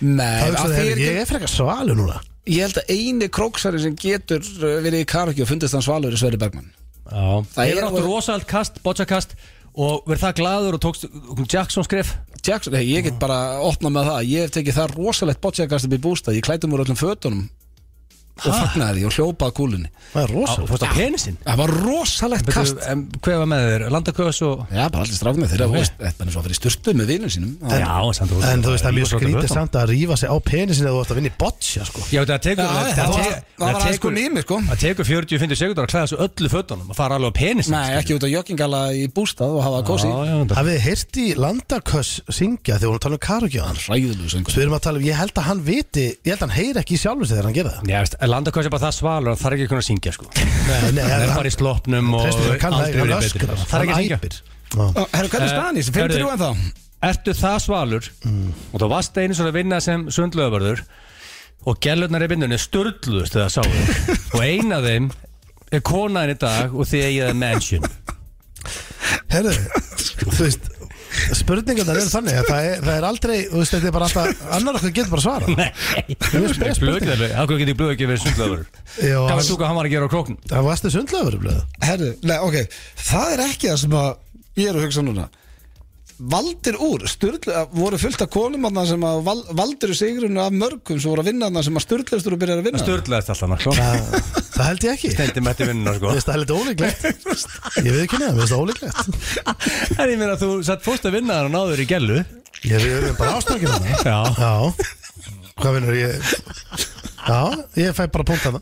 A: Nei,
C: Það
A: af
C: hugsaði
A: því
C: þér,
A: er
C: ég
A: ekki
C: er frekar svalu núna
A: Ég held að eini króksari sem getur uh, verið í karaoke og fundist hann svalur er Sverri Bergmann
B: Já,
A: Það
B: það
A: er
B: er áttu
A: alveg-
B: rosald kast, bótsakast Og verð það glaður og tókst um Jackson skref
A: Jackson, hey, ég get bara opnað með það Ég hef tekið það rosalegt bottsjakast upp í bústað Ég klætum úr öllum fötunum Og fagnaði því og hljópaði kúlunni
C: Það er
B: Á,
C: rosalega
B: Fórst á penisinn
A: Það var rosalegt
B: Betur,
A: kast
B: em, Hver var með þér? Landaköðs og
A: Já, bara allir strafnir þeirra þú veist, Þetta er bara svo að fyrir sturtu með vinum sínum Það-
B: Já, samt þú
C: En þú veist, það er mjög
B: Rosalegt
C: skrítið
B: fötum.
C: samt að rífa sig á penisin eða þú ert að vinna í botja sko.
B: Já, það tekur
A: Já, já, það var- það var aðeins komin í mig, sko.
B: Það tekur 40-50 sekundar að klæða svo öllu fötunum og fara alveg á penisinn sko.
A: Nei, ekki út á joggingala í bústað og hafa kósi
B: Já, já, það-
C: Hafið þið heyrt í Landaköss syngja þegar hún tala um karaoke á hann
A: Ræðilegu söngur
C: Svo erum að tala um, ég held að hann viti Ég held að hann heyri ekki í sjálfum sig þegar hann gera það
B: Já, veist, landaköðs er bara það svalur að það er ekki að kunna syngja sko.
C: Nei, nei,
B: Það er
C: hann-
B: bara í sloppnum og
C: Treystu þér að kanna
B: aldrei
C: það, hann
B: verið
C: öskrar,
B: betur Það er ekki að
C: hann
B: syngja
C: æpir. Já.
A: Herru, hvernig er staðan í þessu? 5-3
B: Herðu,
A: en þá?
B: Ertu það svalur og þú varst einu svona að vinna sem sundlöðabörður og gælurnar í vinnunni störluðust þegar sáu þig og eina af þeim er konaðin í dag og þið eigið að mansion
C: Herðu, þú veist Spurningarnar eru þannig að það er, það er aldrei Þú veist, þetta er bara alltaf, annar okkur getur bara svara
B: Nei, blökið alveg, af hverju getur blökið ekki verið sundlöðabörður? Hvað
C: Já, hann-
B: var þú hvað hann var að gera á króknum?
C: Það varstu sundlöfur blöð.
A: Herru, nei, ok, það er ekki það sem að ég er að hugsa núna Valdir úr, styrl, voru fullt af konum þarna sem að val, valdir sigrunu af mörgum sem voru að vinna þarna sem að styrlaustur og byrjar að vinna
B: Störluðast alltaf hann, klók
C: Það, það held ég ekki
B: Stendi mætti vinnuna sko
C: Mér finnst það er litið ólíklegt Ég veit ekki neða, mér finnst það ólíklegt
B: En ég meina þú satt fórst að vinna hann og náður í gælu
C: Ég við erum bara ástakir hana
B: Já.
C: Já Hvað vinnur ég Já, ég fæ bara punkt hana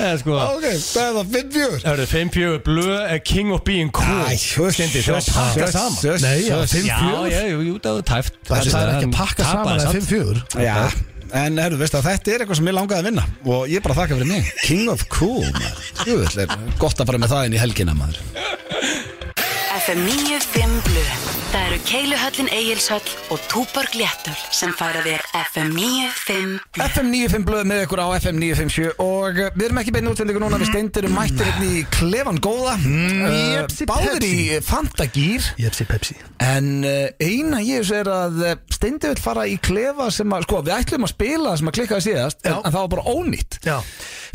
B: Eða sko
A: Ok, það er það 5-4
B: Hörðu, 5-4 blöð er eh, king of being cool Stendi, þú var að pakka saman
C: Nei, já, fimm-
B: Já,
C: fjögur?
B: já, jú, jú, það er tæft
C: Það er ekki að pakka
B: Tapaði
C: saman að
B: samt.
C: 5-4
A: Já, en herru, veist að þetta er eitthvað sem ég langaði að vinna og ég er bara að þakka fyrir mig King of Cool, maður Jú, er gott að fara með það inn í helgina, maður
D: FM 95 Blu Það eru Keiluhöllin Egilshöll og Túborg Léttul sem færa þér FM 95 Blu
A: FM 95 blöð með ykkur á FM 957 og uh, við erum ekki beinu útsendingu núna við steindir um mættir hérna í Klefan Góða uh,
C: Mm, jepsi,
A: báðir í
C: pepsi.
A: Fantagýr
C: Jepsi Pepsi
A: en uh, eina ég þessu er að uh, steindir vil fara í Klefa sem að sko við ætlum að spila sem að klikkaði síðast en,
C: Já.
A: en það var bara ónýtt
C: Já,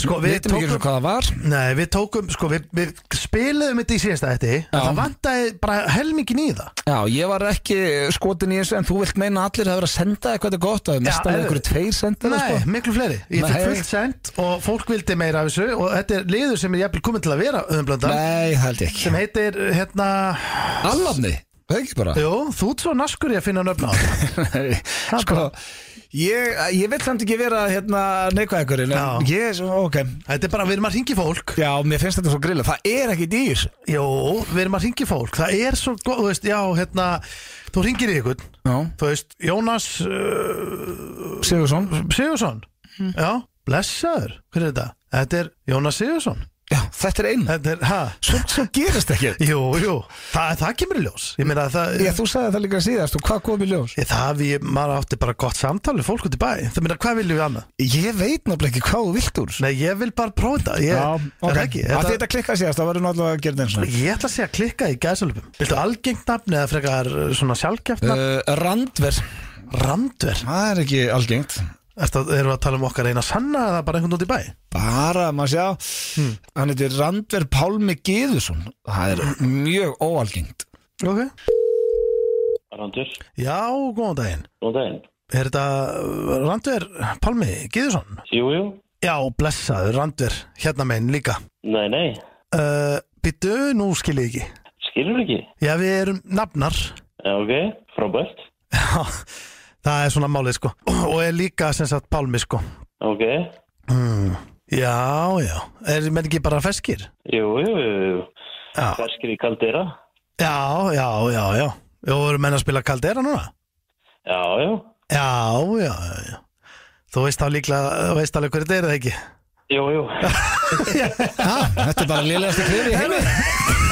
C: sko við
A: veitum ekki eins og hvað það var
C: Nei, við tókum, sko við, við spilum þetta í síðasta þetta
A: Já.
C: Það vantaði bara helmingin í það
A: Já, ég var ekki eh, skotin í þessu en þú vilt meina að allir hafa verið að senda eitthvað þetta gott að mesta með
C: heyrðu.
A: ykkur tveir senda
C: Nei,
A: sko.
C: miklu fleiri Ég
A: Nei.
C: fikk fullt send og fólk vildi meira af þessu og þetta er liður sem er jafnvel komin til að vera öðumblöndan
A: Nei, það held ég ekki
C: sem heitir, hérna,
A: Allavni, það er ekki bara
C: jú, þú ert svo naskur í að finna nöfn á það
A: Nei,
C: er
A: sko,
C: bara-
A: ég, ég vil samt ekki vera hérna, neikvæðakurinn
C: Já.
A: en ég, ok
C: Þetta er bara, við erum að ringi fólk
A: Já, mér finnst þetta svo grilla, það er ekki dýr
C: Jú, við erum að ringi fólk Það er svo góð, þú veist, já, hérna Þú ringir í ykkur,
A: Já,
C: þú veist, Jónas uh,
A: Sigursson Mm.
C: Sigursson Já, blessaður, hver er þetta? Þetta er Jónas Sigursson
A: Já, þetta er einu
C: Þetta er, ha?
A: Svo, svo gerist ekki
C: Jú, jú, það, það kemur í ljós Ég meina það
A: Já, þú sagði það líka síðast og hvað kom í ljós?
C: Ég, það við, maður átti bara gott samtal við fólk út í bæ Það meina, hvað viljum við annað?
A: Ég veit náttúrulega ekki hvað þú vilt úr þessu.
C: Nei, ég vil bara prófa þetta Ég,
A: ok.
C: er það ekki,
A: Af því þetta klikkaði síðast, það verður náttúrulega að gera þetta eins og
C: ég ætla að segja klikka í gæðsalöpum Viltu algengt nafn eða frekar uh, svona sjálfgeft nafn?
A: Uh, randver, Eh.
C: Randver
A: það er ekki algengt
C: Ertu, að- Erum við að tala um okkar eina sanna eða bara einhvern út í bæ?
A: Bara, maður sjá, hann heitir Randver Pálmi Gíðusson. Það er mjög óalgengt.
C: Ok
E: Randur,
C: Já, góðan daginn
E: góðan daginn.
C: Er þetta uh, Randver Pálmi Gíðursson?
E: Jú, jú,
C: Já, blessaður Randver, hérna megin líka
E: nei, nei,
C: uh, Býttu, nú skil ég ekki
E: skilur ekki.
C: Já, við erum nafnar
E: Já, ok, frábært,
C: Já, það er svona málið sko Og er líka sem sagt Pálmi sko Mm.
E: ok,
C: Já, já, er menn ekki bara feskir?
E: jú, jú, jú, jú.
C: Já,
E: ferskir í kaldera.
C: já, já, já, já Jó, eru menn að spila kaldera núna?
E: Já, já,
C: Já, já, já, já Þú veist þá líklega, þú veist alveg hverju þetta er það ekki
E: jú, jú,
A: Þetta er bara liðlegasti klifri í heimi.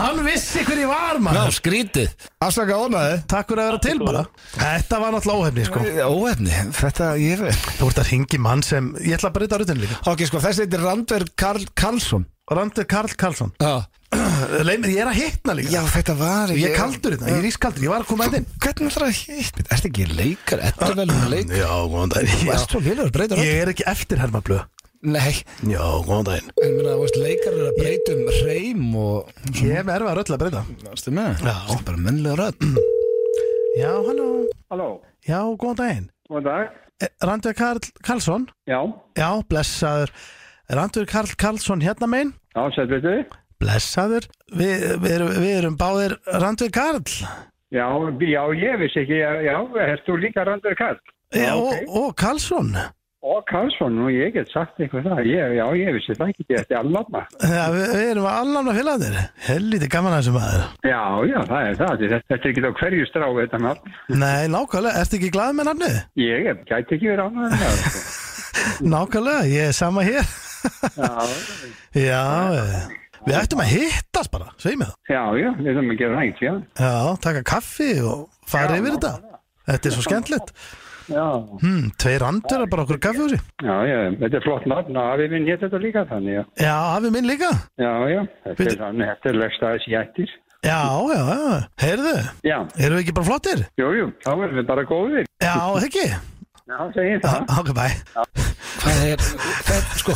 C: Hann vissi hverju var
A: Ná,
C: maður
A: skrítið. Afslaka ónaði.
C: Takk fyrir að vera til bara Þetta var náttúrulega óhefni sko
A: Óefni, þetta ég veit.
C: Þú ert að ringi mann sem, ég ætla að breyta rutinu líka
A: Ok, sko, þessi heitir Randver Karl Karlsson.
C: Randur Karl Karlsson
A: Já.
C: Leif mér, ég er að hitna líka
A: Já, þetta var
C: Ég er kaldur þetta, ég er ískaldur, ég var að koma að inn
A: Hvernig ætlar að hitt? Er þetta ekki leikar? Þetta er vel leikar?
C: Já, góðan daginn
A: Þú ert
C: Já.
A: svo viljaður breytar
C: Ég er ekki eftir hermablöð
A: Nei,
C: Já, góðan daginn
A: en minna, þú veist, leikar er að breyta um reym og
C: Ég er með erfa röll að breyta
A: Varstu með?
C: Já.
A: Þetta er bara mennlega rödd
C: Já, halló
F: Halló,
C: Já, góðan daginn
F: góðan dag.
C: Eh, Randver Karl Karlsson
F: Já,
C: Já, blessaður Randver Karl Karlsson hérna megin
F: já, sætt veitu.
C: Blessaður Við vi erum, vi erum báðir Randver Karl
F: Já, já, ég vissi ekki, já, já erst þú líka Randur Karl?
C: Já,
F: ok.
C: og, og Karlsson
F: Og Karlsson, nú ég get sagt eitthvað það, ég, já, ég vissi það ekki, þetta er allanna.
C: Já, við, við erum allan að félagarnir Helviti gaman að þessu maður
F: Já, já, það er það, þetta, þetta er ekki þá hverju strá þetta nafn.
C: Nei, nákvæmlega, ertu ekki glaðið með nafnið?
F: Ég er- gæti ekki verið annað en það. sko.
C: Nákvæmlega, ég er sama hér
F: Já,
C: Já, eh, við ættum að hittast bara Sveið mig það
F: já, já, við þurfum að gera hægt, já.
C: Já, taka kaffi og fara
F: Já,
C: yfir þetta Þetta er svo skemmtilegt
F: Já,
C: hmm, Tveir andur bara okkur kaffihúsi
F: já, já, þetta er flott nafn og afi minn hétt þetta líka þannig, já.
C: Já, afi minn líka
F: Já, já, þetta er
C: Veitu-
F: þannig, þetta er legst aðeins jættir.
C: Já, já, já, heyrðu
F: Já,
C: Erum við ekki bara flottir?
F: jú, jú, þá erum við bara góðir.
C: Já, ekki
F: Já, segir það.
C: Ok, bæ
A: Hvað er, það, sko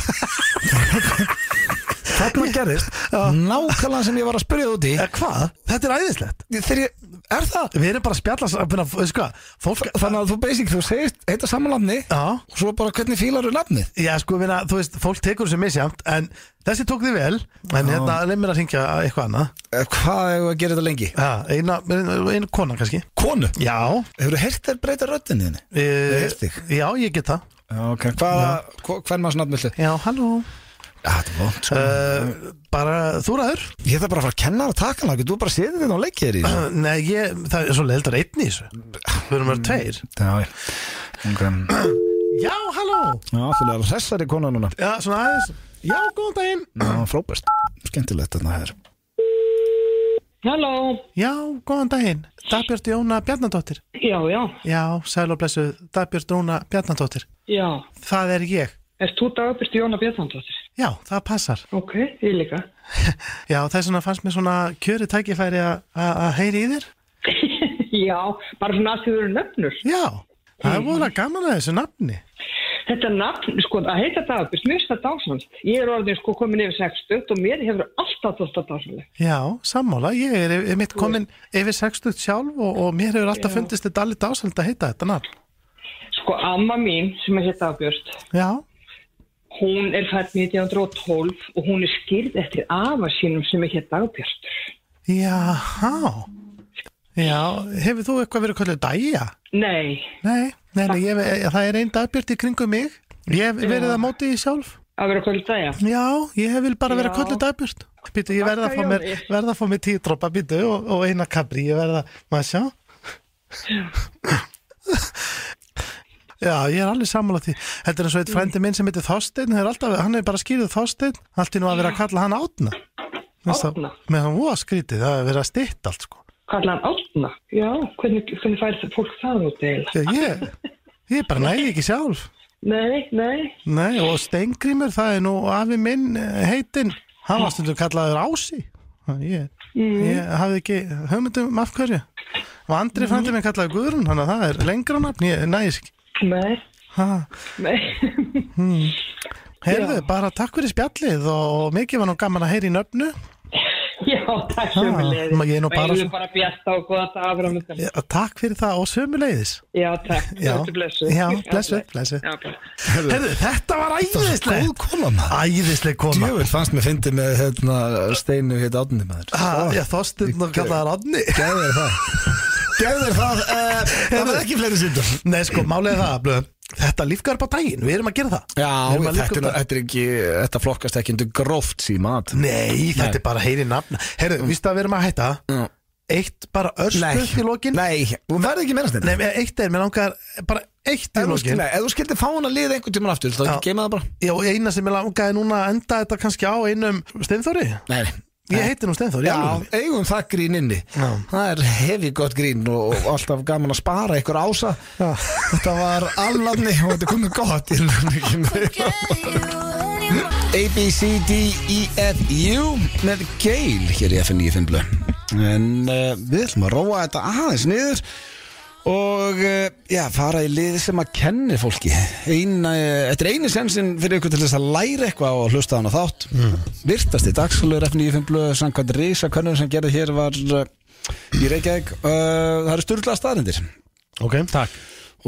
A: Þarna gerist Nákvæmlega sem ég var að spyrja þú út í
C: Eh, Hvað? Þetta er æðislegt
A: Þegar ég, er það?
C: Við erum bara að spjalla s- að finna- Veistu hvað? Fólk
A: Þannig að þú basic, þú segist, heita samanlafni
C: Já
A: og svo bara hvernig fílar þú nafnið?
C: Já, sko, minna, þú veist, fólk tekur þessu misjamt En þessi tók þið vel En hérna, leið mér að hringja eitthvað annað
A: Eh, Hvað hefur að gera þetta lengi?
C: Já, eina, eina kona kannski
A: Konu?
C: Já
A: Hefur þú heyrt þér breyta röddinni þinni?
C: e,
A: heyrst þig.
C: Já, ég get það
A: Já, ok Hvaða, hva- hvern maður snabbt viltu?
C: Já, halló
A: Já, þetta er vond sko.
C: Uh, bara þú ræður
A: Ég þarf bara að fara að kenna og taka hann Þú bara setið þetta og leggja þér í þessu.
C: Nei, ég, það er svo leildar einn í þessu Við erum að vera tveir
A: Já, já. ok
C: Mm. Já, halló
A: Já, þú er hressari kona núna
C: Já, svona aðeins Já, góðan daginn
A: Já, frábært Skemmtilegt þarna hér
G: Halló,
C: Já, góðan daginn Dagbjörn Jóna Bjarnadóttir
G: já, já,
C: Já, sæl og blessu Dagbjörn Jóna Bjarnadóttir
G: já.
C: Það er ég
G: Erst þú dagbyrti Jóna Bjarnandóttir?
C: Já, það passar
G: Ok, ég líka.
C: Já, þess vegna fannst mér svona kjöri tækifæri að- að að heyri í þér
G: já, bara svona að þið eru nöfnur.
C: Já, það er vorulega gaman að þessu nafni
G: Þetta nafn, sko, að heita dagbyrt, mér finnst það dásanst. Ég er orðin sko komin yfir 60 og mér hefur alltaf þótt að dásanlega.
C: Já, sammála, ég er, er mitt komin yfir 60 sjálf og, og mér hefur alltaf fundist þetta alveg dásald að heita þetta nafn.
G: Sko, amma mín sem er heita dagbyrst,
C: Já,
G: hún er fætt 1912 og hún er skýrð eftir afa sínum sem er heita dagbyrst.
C: jáhá, já, hefur þú eitthvað verið kallið dæja?
G: Nei,
C: Nei, nei, nei ég, hef- það er einn dagbjörn í kringum mig, ég hef verið að móti því sjálf.
G: að vera kvöld dagja.
C: Já, ég vil bara vera
G: Já.
C: kallið dagbjörn. Býtu, ég verða að fá
G: Þakka,
C: mér,
G: Jóni.
C: verða að fá mér tíu droppa býtu og, og eina kabri, ég verða, maður sjá. Já, ég er alveg sammála því. Þetta er eins og eitt frændi minn sem heitir Þorsteinn, þeir eru alltaf, hann er bara skýrið Þorsteinn, allt í nú að vera að kalla hann átna.
G: Árna?
C: Með hann voða skrítið, það er verið að stytta allt sko.
G: Kallar hann átna? Já, hvernig, hvernig fær það fólk það út eiginlega?
C: Ég, ég, ég bara næði ekki sjálf.
G: Nei, nei,
C: Nei, og Steingrímur, það er nú afi minn eh, heitinn, hann var stundum kallaður Ási. Ég, ég hafði ekki höfmyndum af hverju. Og Andri frændi minn kallaði Guðrún, þannig að það er lengra nafn, ég næði ekki.
G: nei,
C: Ha.
G: nei.
C: Heyrðu, bara takk fyrir spjallið og mikið var nú gaman að heyra í nöfnu.
G: Já, takk sem við leiðum.
C: ma- Ah, ég er nú bara
G: Og ég
C: svo-
G: vil bara bjasta og goða það afram ykkur.
C: Já, Takk fyrir það og sömuleiðis.
G: Já, takk.
C: Já.
G: Þetta er blessuð.
C: Já, blessuð, blessuð.
G: Já, blessuð.
C: Heyrðu, þetta var
A: Góð
C: æðislegt.
A: koma maður
C: Æðisleg koma.
A: Djöfull fannst mér fyndið með hérna, steinu hérna átnið maður
C: Ha, Já, Þorsteinn og kallaði hann Onni.
A: Gæðu þér það Gæðu þér það uh, Það var ekki fleiri síndum
C: Nei, sko, málið er það, blöðum. Þetta lífgar upp á daginn, við erum að gera það.
A: Já,
C: Við erum að lífga
A: þetta,
C: upp
A: er,
C: á-
A: þetta, er ekki, þetta flokkast ekki undir gróft síma
C: Nei, þetta er bara að heyri nafna. Heyrðu, víst að við erum að hætta.
A: Já.
C: Eitt bara örstuð í lokin.
A: Nei, þú verður ekki meðast
C: Nei, eitt er, mér langar bara eitt í
A: Ef þú skil-
C: lokin.
A: nei, ef þú skildir fá hann að liða einhvern tímann aftur þá
C: Já.
A: geima það bara
C: Já, og eina sem ég langaði núna að enda þetta kannski á einum Steinþóri.
A: Nei, nei
C: Ég heiti nú Steinþór,
A: Já,
C: í alvöru.
A: eigum það grín inni
C: Já.
A: Það er hefi gott grín og og alltaf gaman að spara ykkur ása
C: Já.
A: Þetta var allanni og þetta er komið gott í lögum. A, B, C, D, E, F, U með Geil hér í FN 95 blö En uh, við ætlum að róa þetta aðeins niður og eh, já, fara í lið sem að kenni fólki Eina, eh, Þetta er eini sensin fyrir ykkur til þess að læra eitthvað og hlusta á hana þátt Virtast í dagsfólur F95 blöð samkvæmt Risa könnum sem gerði hér var eh, í Reykjavík uh, Það eru styrla staðrindir
C: Ok,
B: Takk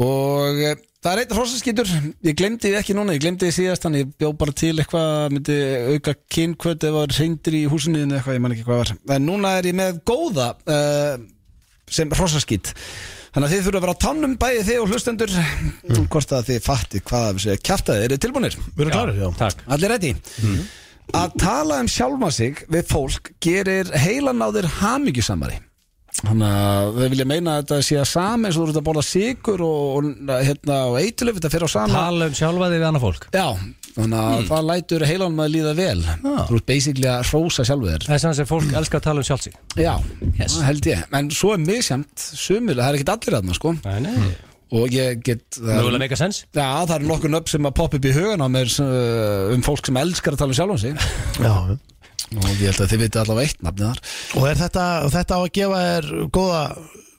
A: og eh, það er eitthvað hrossaskytur ég glemdi því ekki núna, ég glemdi því síðast þannig ég bjó bara til eitthvað myndi auka kynkvöt eða var reyndir í húsinu þínu eða eitthvað, ég man ekki hvað var en núna er ég með góða uh, sem hrossaskýt þannig að þið þurfa að vera á tannum bæði þið og hlustendur hvort að þið fattið hvað að segja kjaftaði, eru tilbúinir?
C: við erum klárir, já.
B: Takk
A: Allir ready? Að tala um sjálfa sig við fólk gerir heilan á þér hamingjusamari Þannig að þau vilja meina að þetta sé að sami eins og þú ert að borða sigur og, og, hérna, og eitilöf þetta fyrir á sama
B: Tala um sjálfa þig við annað fólk
A: Já, þannig að það lætur heilanum að líða vel Þú ert basically að hrósa sjálfu þér
B: Þess að sem fólk elskar að tala um sjálfsík
A: Já, það held ég En svo er misjamt sumil, það er ekkert allir aðna sko
B: Nei, nei
A: Og ég get það er-
B: Mögulega meika sens
A: Já, það eru nokkur nöfn sem að poppa upp í hugan á mér uh, um fólk sem elskar að tala um sjálfan sig
C: já.
A: og ég held að þið viti allavega eitt nafnið þar
C: Og er þetta, og þetta á að gefa þér góða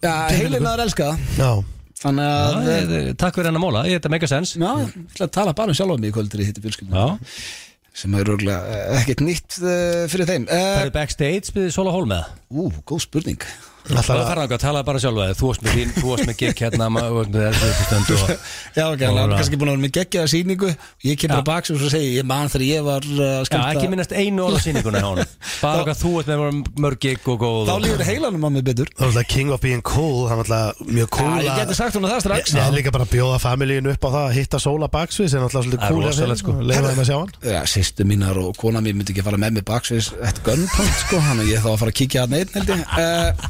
A: Já, heilinar elska það
C: Já,
A: Þannig að
B: Já,
A: Já,
B: ég- Eh, Takk fyrir hennar móla, ég þetta meika sens
A: ég ætla að tala bara um sjálfum mig í kvöldur í hittu fjölskyldum
B: Já
A: sem er örgulega ekkert nýtt uh, fyrir þeim
B: Það
A: uh,
B: eru backstage við Sola Holmeða
A: Ú, góð spurning
B: Það
C: alltaf
B: er það að tala bara sjálfa þig Þú varst með þín, þú varst með gig hérna ma- og- og- og- og- og-
A: Já, ok, hann er kannski búin að vera með geggjaða sýningu ég kemur
B: Já.
A: á baks og svo segi ég man þegar ég var uh,
B: Já,
A: skemmta
B: ekki minnast einu orð á sýninguna hjá honum Bara hvað þú ert með mörg gig og góð
A: Þá
B: og-
A: líður heilanum að mig betur
C: Það var alltaf king of being cool, það var alltaf mjög cool
A: Já, ég
C: að-
A: geti sagt hún það strax
C: Ég er líka bara að bjóða familíinu upp á það að hitta sóla baksvið sem er alltaf svolítið
B: Það er
C: cool
B: rosalegt, sko.
C: Leifa þeim að sjá hann
A: Já, sýstu mínar og kona mín myndi ekki fara með mig baksvís eitt gunpoint sko, hann að ég þá að fara að kíkja hann einn held ég uh,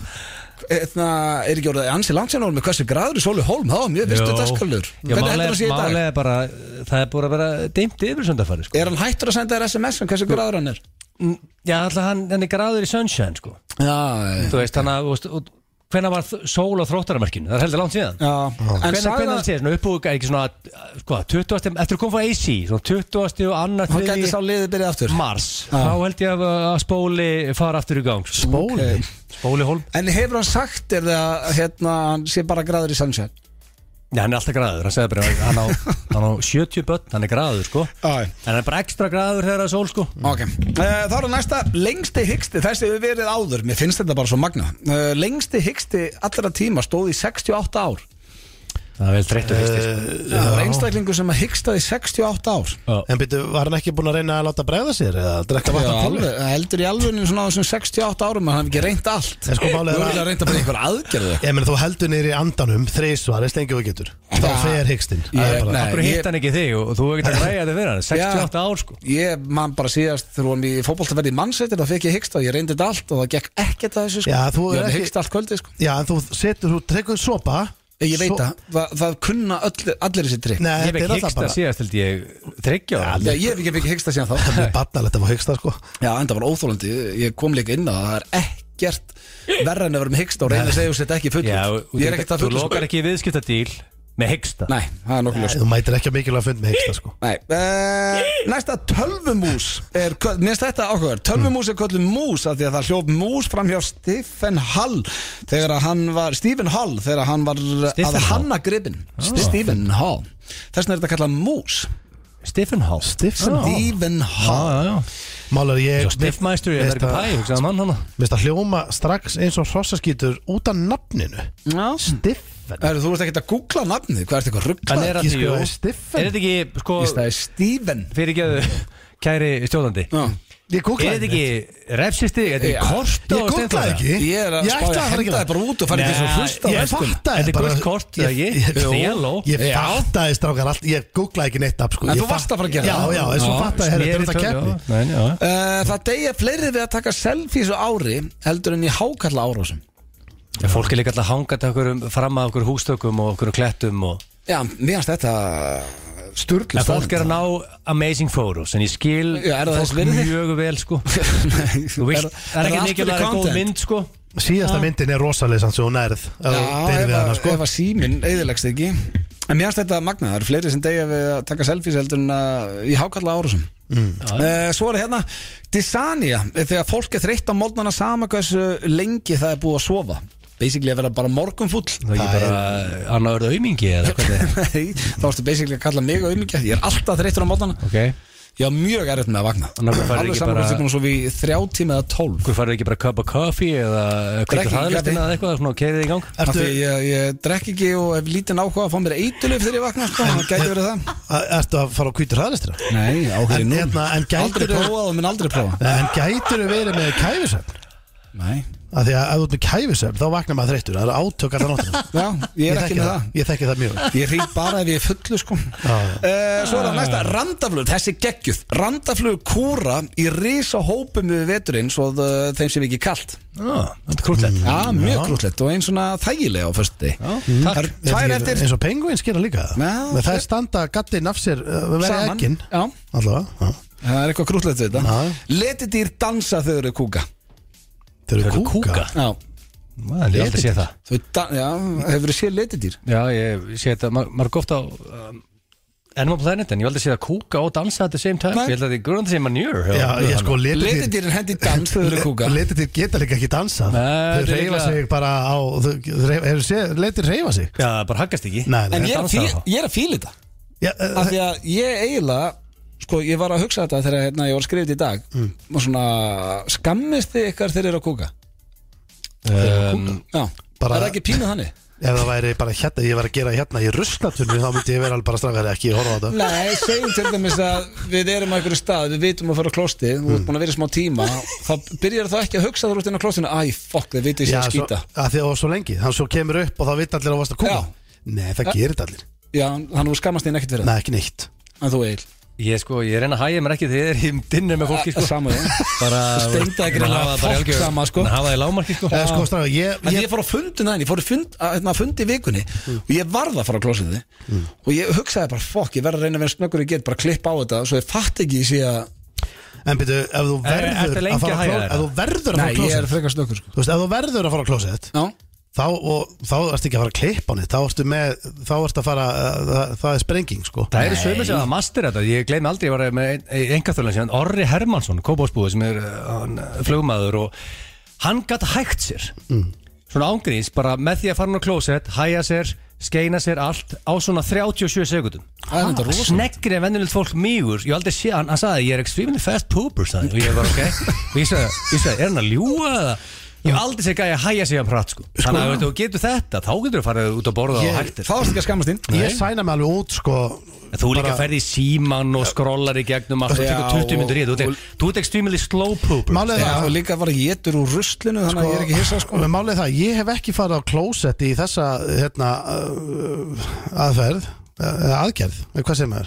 A: eðna, er ekki orðið ansi langt sér náður með hversu graður í sólu hólm, þá er mjög vistu dagskalur
B: Já,
A: hvernig heldur
B: málega,
A: það sé í dag?
B: málega bara Það er búin að vera dimmt yfir sundafari sko.
A: Er hann hættur að senda þér SMS um hversu graður hann er?
B: Mm, Já, alltaf hann, hann er gráður í sunshine sko.
A: Já,
B: Þú veist, hann að þú veist, og- Hvenær var þ- sól á þróttaramerkinu? Það er heldur langt síðan
A: já. en
B: Hvenær, hvenær
A: sagði
B: hann sé, svona uppbúið ekki svona hvað, 20. eftir að koma frá AC svona 20. og annað
A: hann gæti sá
B: þriðji
A: liðið byrjað aftur
B: mars Þá held ég að, að spóli fara aftur í gang sko.
C: Bóli
A: Ok.
B: Spóli hólm
A: En hefur hann sagt er það að hérna, hann sé bara graður í sunshine?
B: Já, hann er alltaf græður, hann segði bara hann á, hann á 70 börn, hann er græður sko
A: Já, já.
B: En hann er bara ekstra græður þegar það er sól sko
A: Ok, uh, þá er næsta lengsti hyggsti, þessi hefur verið áður, mér finnst þetta bara svo magna uh, Lengsti hyggsti allra tíma stóð í 68 ár
B: Það er vel þreyttur fyrst
A: Það var einstaklingu sem að hyggstaði 68 ár
C: En byrju, var hann ekki búin að reyna að láta bregða sér eða drekka
A: Það
C: vatn af kólu?
A: alveg, heldur í alveginu svona á þessum 68 árum að hann hafi ekki reynt allt
C: En sko, málið er
A: Þú
C: að-
A: að reynda bara einhver aðgerðu
C: Ég meni, þú heldur niður í andanum þreysvar, eins lengi og þú getur Þá
A: Ja.
C: fer hyggstinn Það
A: Ég-
C: er bara-
A: nei.
B: Akkur
A: ég-
B: hitt hann ekki þig og þú hefur ekki að græja þetta fyrir hann 68 ár sko
A: Ég man bara síðast þegar hann í fótboltaferði í mannsettir það fekk ég hyggst á, ég reyndi þetta allt og það gekk ekkert að þessu sko
C: Já, þú er
A: Ég
C: ekki-
A: hyggst allt kvöldi sko
C: Já, en þú setur, þú trekur sopa
A: Ég veit
C: Svo-
A: það, það, það kunna öll, allir þessi trikk
C: Nei,
B: Ég hef
C: Eh, þetta er
B: ekki
C: alltaf
B: hyggst að
C: bara
B: síðast held ég þryggja ára
A: Já, ég hef ekki ekki hegsta síðan þá
C: Það er barnalegt að fá hyggsta sko
A: Já, enda var óþólandi, ég kom líka inn á það Það er ekkert verra en að vera með hegsta og reyna að segja þessi ekki full
B: Já,
A: Ég er ekkert að
B: Þú
A: full
B: lokar ekki viðskipta díl með hyggsta
A: Nei, það er nokkuð ljóst
C: Þú mætir ekki að mikilvæg fund með hyggsta sko
A: Nei, uh, næsta tölvumús er, köll- mér finnst þetta áhugaður tölvumús er köllum mús af því að það hljóf mús framhjá Stephen Hall þegar að hann var, Stephen Hall þegar hann var
B: Stephen
A: að
B: Hall. Ah.
A: hanna gripin Stephen Hall þess vegna er þetta kallað mús
B: Stephen Hall Ah.
C: Stifsan dýr
A: Stephen Hall
B: Já, já, já
C: Málar ég
B: Svo Stiffmeister í
C: Veist
B: Amerika
C: að-
B: Pie, hugsaði mann hana
C: Mér finnst að hljóma strax eins og hrossaskýtur út af nafninu
B: Ah.
A: Já.
C: Stiffen
A: Heru, þú veist ekki að googla nafnið, hvað ertu eitthvað
B: Hann
A: ruggla?
B: er að
C: Ég
B: því
C: sko,
B: og-
C: Stephen.
B: Er þetta ekki, sko,
A: Það er Stephen
B: fyrirgeðu kæri stjóðandi
A: Já.
C: Ég
B: Er
C: googlaði
B: þetta ekki refsisti, er þetta
A: Já.
B: ekki kort
C: Ég googlaði ekki
A: Ég er að spája að
C: ætlaði
A: henda
C: gera
A: þið bara út og fara
B: Nei,
A: ekki svo hlusta á sko.
C: ég
A: restina.
C: fattaði
B: Þetta er
C: bara-
B: gult kort, eða
C: ég-
B: ekki?
C: ég-
B: Þetta er
C: Jú.
B: yellow.
C: Ég
A: Já.
C: fattaði strákar allt Ég googlaði ekki neitt af sko
A: En
C: Ég
A: þú varst að fara að gera
C: Já,
A: það.
C: já, en svo
A: Já,
C: fattaði Herra, þetta er þetta keppni
B: Nei, já
A: Uh, það degja fleiri við að taka selfies á ári heldur en í hákalla árásum
B: Já, Fólk er líka alltaf hangat okkur um, fram að okkur hústökum og okkur klettum og
A: Já, mér finnst þetta sturglu
B: En fólk er að ná amazing photos en ég skil
A: Já, er það þess
B: fólk
A: virði?
B: mjög vel sko Þú
A: Þú
B: veist, það er ekki mikilvæg að góð mynd sko
C: Síðasta myndin er rosalega sann svo nærð
A: Já,
C: að þú deyrir
A: ef
C: við hana,
A: að-
C: sko.
A: ef að síminn eðilegst ekki En mér finnst þetta magnað, það eru fleiri sem degja við að taka selfies heldur en að í hákalla árásum
B: Mm.
A: Uh, svo er hérna Disania, þegar fólk er þreytt á mótnana sama hversu lengi það er búið að sofa Basically að vera bara morgunfull
B: Það er ekki bara hann að verða aumingi eða hvernig
A: Nei, Þá varstu basically að kalla mig auðmyggja Ég er alltaf þreyttur á mótnana
B: Ok,
A: Ég á mjög erfitt með að vakna
B: Þannig að þú færð
A: Alveg
B: ekki
A: saman
B: bara-
A: hvort ég búin að sofa í þrjá tíma eða tólf
B: hver farið ekki bara cup of coffee eða
A: Drekki
B: kveiktur hraðlistina
A: kaffi.
B: eða eitthvað svona og keirið í gang
A: Af
C: Ertu-
A: því ég, ég drekk ekki og hef lítinn áhuga að fá mér eitulöf þegar ég vakna sko, það gæti verið það
C: A- Ertu að fara á kvítur hraðlistra?
A: Nei, áhuga
C: En
A: nú
C: hérna, en
A: Aldrei
C: gætirðu-
A: prófað og minn aldrei prófa
C: En gætur við verið með kæfisöfn?
A: Nei,
C: Af því að ef þú ert með kæfisöfn þá vaknar maður þreyttur Það eru átök alltaf nóttina
A: já, ég er
C: þekki
A: ekki með það
C: Ég þekki það mjög vel.
A: Ég hrýt bara ef ég er fullu sko
C: Já.
A: Eh, Svo er það næsta, randaflug, þessi geggjuð Randaflug kúra í risa hópum við veturinn svo það- þeim sem ekki kalt
C: Ah,
B: Þetta er krúllett
A: Já, mjög grútlegt og einn svona þægilega á föstu Það er tvær
C: Ég-
A: eftir
C: Eins og penguins gera líka það
A: Já,
C: Men Það er standa gattinn af sér uh, Við verið
A: saman
C: ekkin
A: Já,
C: Allavega, já.
A: það er eitthvað grútlegt við þetta
C: Já.
A: Letidýr dansa þau eru kúka
C: þau eru
B: eru
C: kúka,
B: kúka.
A: Já,
B: Það er aldrei séð það
A: þau dan já hefur þau séð letidýr
B: Já, ég sé þetta, ma- maður er góft á um, Animal Planet en ég veldi að sé það kúka og dansa at the same time
A: Nei.
B: Ég held að það er grunn að sé manjur
C: Já, ég sko letidýr
A: Letidýrin hendi í dans þau eru kúka
C: Letidýr geta líka ekki dansa
B: Nei,
C: Þau
B: þetta er
C: reyfa
B: líklega-
C: sig bara á þau- þau reyfa- Hefur séð letidýr reyfa sig?
B: Já, það bara haggast ekki
C: Nei,
A: En
C: nei
A: ég er að
B: dansa
A: fí-
B: þá.
A: ég er að fíla þetta
C: Já, uh,
A: Af því að ég eiginlega Sko, ég var að hugsa þetta þegar hérna, ég var að skrifa þetta í dag
C: Mm.
A: Og svona, skammist þið ykkar þeir eru að kúka
B: um,
A: Já,
C: Bara-
A: það er ekki pínu þannig
C: Ef það væri bara hérna, ég var að gera hérna í ruslatunni þá myndi ég vera alveg bara strafgar ekki horfa á þetta
A: Nei, segjum til dæmis að við erum á einhverju stað, við vitum að fara á klostið Þú
C: Mm.
A: ert búin að vera í smá tíma Þá byrjar það ekki að hugsa þar út inn á klostinu Æ, fokk, þið vitið sér að
C: svo,
A: skýta
C: að því að það var svo lengi Þannig svo kemur upp og þá vita allir að varst að koma
A: Já. Eh.
C: Nei, það gerir þetta allir
A: Já, þannig þú skammast þín ekkert fyrir
C: Nei, ekki neitt
A: það En þú eigil
B: Ég sko, ég reyna að hægja mér ekki þegar ég er í dinner með fólki sko
A: Samu, já
B: bara
A: Steinda ekki reyna að fokk sama, sko
B: Hann hafa það í lámarki sko
C: Eða sko, strafgar, ég,
A: En
C: ég,
A: ég fór á fundin aðeins, ég fór á fund, að, hérna, fundi í vikunni og ég varð að fara á klósið og ég hugsaði bara, fokk, ég verð að reyna að vera snöggur ég get, bara klippa á þetta, svo ég fatt ekki ég sé að,
C: en byrju, ef þú
A: Eh,
B: ertu
C: verður
B: lengi
C: að fara
B: að
C: á
B: hægja
C: kló-
B: þér?
C: ef þú verður að
A: nei,
C: fara á
A: ég er
C: klósett
A: frekar snöggur sko.
C: Þú veist, ef þú verður að fara á klósett
A: Já,
C: þá, og, þá ertu ekki að fara að klippa hann þá ertu með, þá ertu að fara uh, það, það er sprenging, sko
B: Það eru sömur sem að master þetta, ég gleymi aldrei ég var með einhverþjóðlega síðan, Orri Hermansson kópásbúið sem er uh, hann, uh, flugmaður og hann gætt hægt sér svona ángríns, bara með því að fara hann á klósett, hæja sér, skeina sér allt á svona 37 sekundum
A: það er þetta rosa
B: Sneggri en venjulegt fólk mýgur Ég hef aldrei sé, hann, hann sagði ég er extremely fast pooper sagði, og ég var ok, og ég sagði, ég sagði er hann að ljúga eða Ég hef aldrei sé gæði að hæja sig að pratt sko. Þannig að ef þú getur þetta, þá getur þú farið út að borða
C: Ég-
B: og hægt
A: Þá ertu ekki að skammast þín
C: Ég sæna mig alveg út, sko
B: En Þú líka
C: bara-
B: ferði í síman og skrollar í gegnum allt og
A: Já,
B: tekur 20 myndur í þetta. Þú ert- Þú ert extremely slow pooper
C: Málið er
A: Já,
C: það
A: og líka var ég getur úr ruslinu þannig að ég er ekki hissa sko
C: Men málið er það, ég hef ekki farið á klósett í þessa hérna, uh, aðferð eða aðgerð, eða hvað segir maður?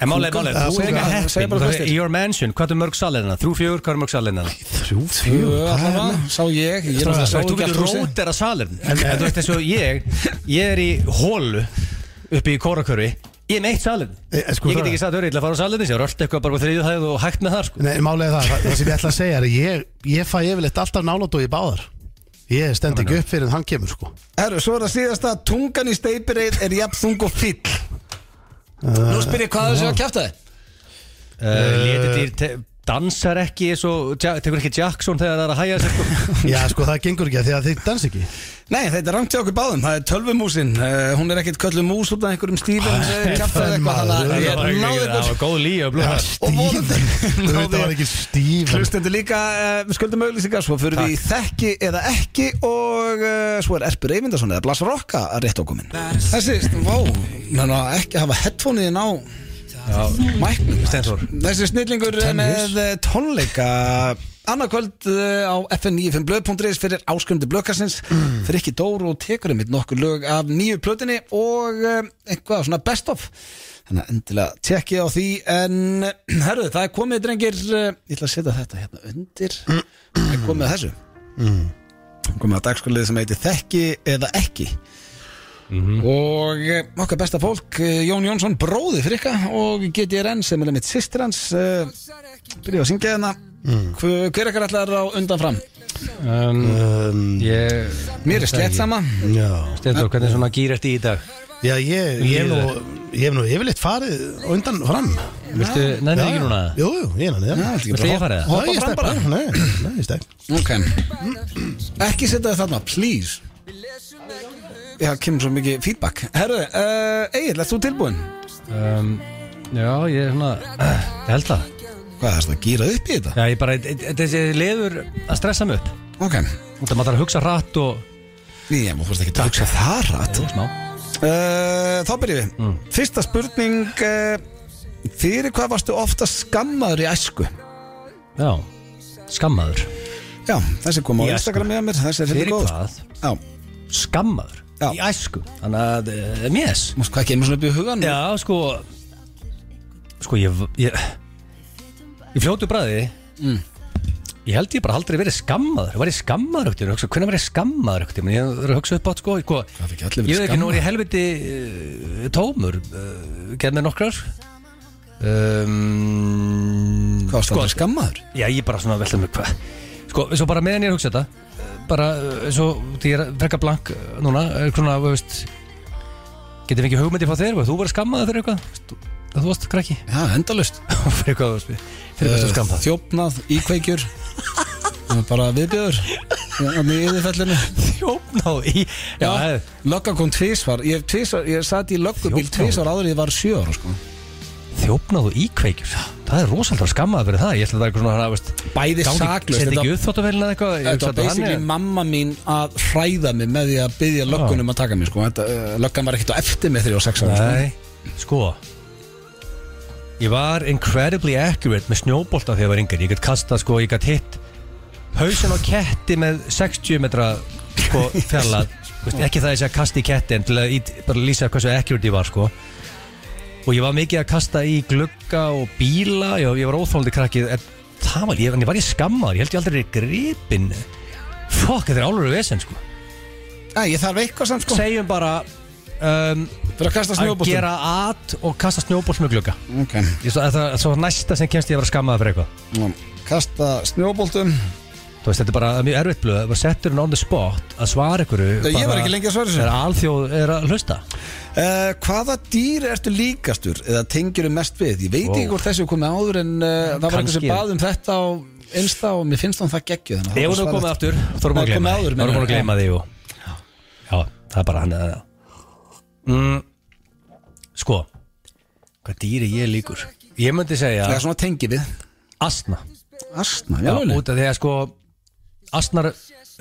B: En málega, málega,
C: eða
B: þú er
C: segja-
B: líka
A: segja
B: heppin
A: bara
B: Þú-
A: flestir.
B: Í your mansion, hvað er mörg salina? Þrjú, fjögur, hvað er mörg salina?
C: Þrjú,
A: Jú,
C: fjögur, það er
A: allavega, sá ég Ég er náttúrulega sá ekki
B: Þú
A: allt
B: getur
A: húsið. eh,
B: rótera salin En en þú veist eins og ég Ég er í hólu uppi í kórakörfi Ég er meitt salin
A: Eh,
C: E,
B: Ég
C: sko,
B: get
C: það-
B: ekki sagt öryll að fara á salinu Ég er öll eitthvað bara þriðið hæð og hægt með það sko.
C: Nei, málega það, það, það sem ég ætla að segja er að ég, ég fæ yfirleitt alltaf nálat og ég báðar Ég stend ekki upp fyrir en hann kemur sko
A: Herru, svo er það síðasta Tungan í steipireið er jafn þung og fyll Nú spyr ég hvað þessi var að kjæfta þið Eh.
B: uh, Létidýr te- dansar ekki svo, ja, Tekur ekki Jackson þegar það er að hæja sér sko.
C: Já, sko, það gengur ekki að því að þið dans ekki
A: Nei, þetta er rangt hjá okkur báðum, það er tölvumúsin uh, Hún er ekkert kölluð mús út af einhverjum stífum Kjæfta eða eitthvað Þannig að
B: Það var
A: ég náði
B: ekki- það
A: ykkur
B: var góð líf og blóð
A: Og vonandi
C: Þú veit, það var ekki stíf en-
A: Hlustendur líka, uh, við skuldum auðlýsingar Svo fyrir við í þekki eða ekki Og uh, svo er Erpur Eyvindarsson eða Blas Rokka að rétt okkur minn Þessi, vá, menna ekki hafa headphone-in á mæknum
B: Steinþór.
A: Þessi snillingur er með eh, tónleika Annarkvöld eh, á fn95blöð.is fyrir áskrumdi blökkarsins fyrir ekki Dóru og tekur einmitt nokkur lög af nýju plötinni og eh, eitthvað svona best of þannig að endilega tekja á því en eh, herru það er komið drengir eh, ég ætla að setja þetta hérna undir það er komið að þessu komið að dagskolið sem heitir Þekki eða ekki og eh, okkar besta fólk eh, Jón Jónsson bróði fyrir ykkar og GTRN sem er mitt sýstir hans uh, byrjaði að syngja hérna
B: Mm.
A: hver, hver ykkar ætlar á undan fram
B: um,
C: Um,
B: Eh, Ég
A: mér er slett sama
C: Já,
B: Stendur, hvernig svona gýr eftir í dag?
C: já ég, ég, hef nú, ég hef nú yfirleitt farið á undan fram
B: Viltu, nefnir ekki núna?
C: Jú, jú, ég er hann,
A: Já,
C: já
A: ætla
B: Viltu
A: ekki
B: ég
A: bara
B: fara
A: að
B: það?
A: hoppa
C: Nei, ég
A: fram
C: stekk
A: bara
C: bara Nei, nei, ég stekk
A: ok ekki setja það þarna, please já, kemur svo mikið feedback herru, uh, Egil, ert þú tilbúin?
B: Um, já, ég er svona Ég held það
A: hvað er þetta að gýra upp í þetta?
B: Já, ég bara, e- þessi leður að stressa mig upp
A: ok,
B: Þetta maður þarf að hugsa hratt og
A: ég má fórst ekki að hugsa það rætt
B: smá
A: Uh, þá byrjum
B: Mm.
A: við Fyrsta spurning uh, Fyrir hvað varstu ofta skammaður í æsku?
B: Já, skammaður
A: Já, þessi kom á
B: Í æsku.
A: Instagram með mér Þessi er fyrir
B: Fyrir
A: góð
B: hvað?
A: Já,
B: Skammaður
A: Já.
B: Í æsku Þannig að, e, mjess
A: mást hvað kemur svona upp í hugan
B: Já, sko Sko, ég Ég, ég fljótu bræði Ég held ég bara aldrei verið skammaður Var ég skammaður ekkert hugsa, Hvernig var ég skammaður ekkert Ég er að hugsa upp átt, sko, sko
A: Það fikk allir verið
B: Ég veit ekki, nú
A: skammaður.
B: er ég helviti uh, tómur uh, Gerð með nokkrar um,
A: Hvað varstu ofta skammaður?
B: Já, ég bara svona velta mér hvað Sko, eins og bara meðan ég er að hugsa þetta eh, Bara eh, eins og því ég er frekka blank eh, núna eh, Svona, þú veist Getum við ekki hugmyndi frá þér? Þú verður skammaði fyrir eitthvað Veist þú- að Þú varst krakki
A: Já, endalust
B: Fyrir eitthvað, þú veist, fyrir hvað þú skammaði
A: Eh, Þjófnað, íkveikjur Það er Bara viðbjöður Þannig í yfirfellinu
B: Þjófná í Já, eh,
A: Löggan kom tvísvar Ég, tvisvar, ég sat í löggubíl
B: Þjófnaður.
A: tvísvar áður en Ég var sjö ára sko
B: þjófnað og íkveikjur Það er rosalega skammaði fyrir það Ég ætla að það er eitthvað svona, þú veist
A: Bæði
B: gangi-
A: saklaust,
B: Sendi
A: þetta-
B: ekki uppþóttavélina eitthvað ég
A: Þetta var
B: hugsa að hann
A: basically
B: er-
A: mamma mín að hræða mig með því að byggja löggunum að taka mig sko. Þetta, uh, löggan var ekkert á eftir mig þegar ég var 6 ára sko.
B: Ah. Nei, sko Ég var incredibly accurate með snjóbolta þegar ég var yngri Ég gætt kastað, sko, ég gætt hitt Hausin á ketti með 60 metra sko, fjarlað Vist, Ekki það ég sé að kasta í ketti En til að ít, bara lýsa hversu accurate ég var, sko Og ég var mikið að kasta í glugga og bíla Ég, ég var óþólandi krakkið En það var, ég, en ég var ég skammaður Ég held ég aldrei verið gripinn Fuck, þetta er álur vesen, sko
A: Æ, ég þarf eitthvað samt sko
B: Segjum bara um,
A: Fyrir að kasta
B: að
A: snjóbóttum
B: gera at og kasta snjóbolt með glugga
A: Ok,
B: Ég svo, það er svo næsta sem kemst ég að vera skammaða fyrir eitthvað
A: nú, kasta snjóbóttum
B: Þú veist, þetta er bara mjög erfitt blöð Það var settur hún on the spot að svara ykkur
A: Ég var ekki lengi að svara þessu.
B: Er alþjóð er að hlusta
A: uh, Hvaða dýr ertu líkastur eða tengiru mest við? Ég veit
B: Wow.
A: ekki hvort þessi er komið áður en uh, það var einhver sem
B: Kannski.
A: bað um þetta á Insta og mér finnst hann það geggju þannig að
B: Ef
A: það
B: hún er
A: var
B: komið
A: svarið.
B: aftur Þá erum
A: Nei, komið
B: við
A: áður,
B: búin að gleyma því Þá erum við búin
A: meinaru.
B: að gleyma því jú. Já, það er bara hann eða mm, Sko Hvað dýri ég líkur? Ég myndi segja
A: Það er svona tengi við
B: Asna
A: Astna,
B: Já,
A: já, já,
B: út af því að sko Asnar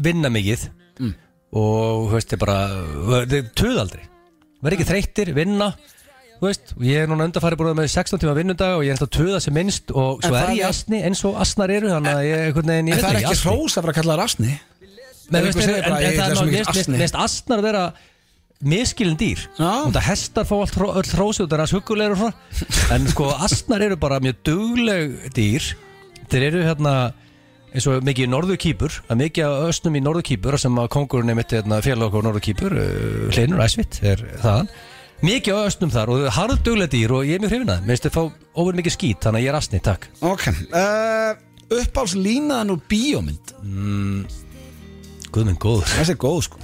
B: vinna mikið
A: Mm.
B: og þú veist, þeir bara þeir töðaldri, verð ekki þreyttir vinna, þú veist og ég er núna undarfæri búin að vera með 16 tíma vinnudag og ég er ennþá töða sem minnst og
A: En
B: svo
A: það
B: er ég
A: er-
B: asni eins og asnar eru þannig að ég, einhvern veginn,
A: En það
B: ég
A: er
B: veit
A: ekki
B: asni.
A: hrós að vera að kalla það astni
B: Menn,
A: Ef
B: veist,
A: einhver
B: en,
A: segir
B: en,
A: bara,
B: en
A: ég
B: það
A: ætla
B: er
A: svo
B: ná-
A: mikill
B: mér- mér-
A: asni.
B: mér finnst asnar vera miskilin dýr
A: Já.
B: og það hestar fá allt hró- öll hrósi og það er að huggulegur og svona en sko asnar eru bara mjög dugleg dýr þeir eru hérna eins og mikið í norðu kýpur það er mikið af ösnum í norðu kýpur sem að kongurinn er mitt hérna, félag okkur norðu kýpur uh, hlinur æsvitt er þaðan mikið af ösnum þar og þau eru harðdugleg dýr og ég er mjög hrifin að það minnst þau fá ofur mikið skít þannig að ég er asni, takk
A: Ok uh, Uppáls línaðan úr bíómynd
B: Guð minn góður
A: Þessi er góð sko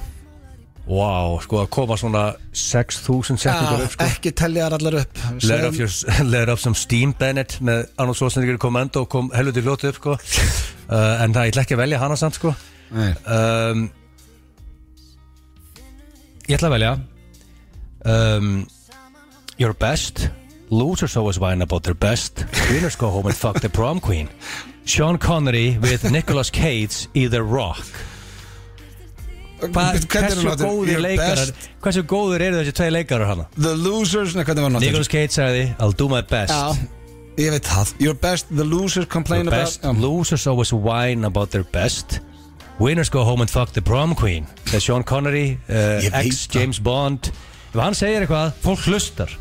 B: Vá, sko að koma svona 6.000 setningar upp sko
A: Ah, Ekki tellja þar allar upp
B: Let
A: Segðu-
B: off, your, let off some steam Bennett með Arnold Schwarzenegger í kommando og kom helviti fljótu upp sko uh, en það ég ætla ekki að velja hana samt sko
A: Nei.
B: um, Ég ætla að velja um, Your best Losers always whine about their best Winners go home and fuck the prom queen Sean Connery with Nicolas Cage í The Rock Hva,
A: Hvernig er
B: Hversu
A: hún látin?
B: góðir
A: Your
B: leikarar
A: best,
B: Hversu góðir eru þessi tvei leikarar hana?
A: The losers Nei, hvernig var hún
B: Nicolas Cage sagði I'll do my best
A: Já Ég veit það Your best, the losers complain
B: The best
A: about
B: losers always whine about their best Winners go home and fuck the prom queen Það er Sean Connery,
A: Ég
B: uh,
A: veit
B: ex
A: það.
B: James Bond Ef hann segir eitthvað, fólk hlustar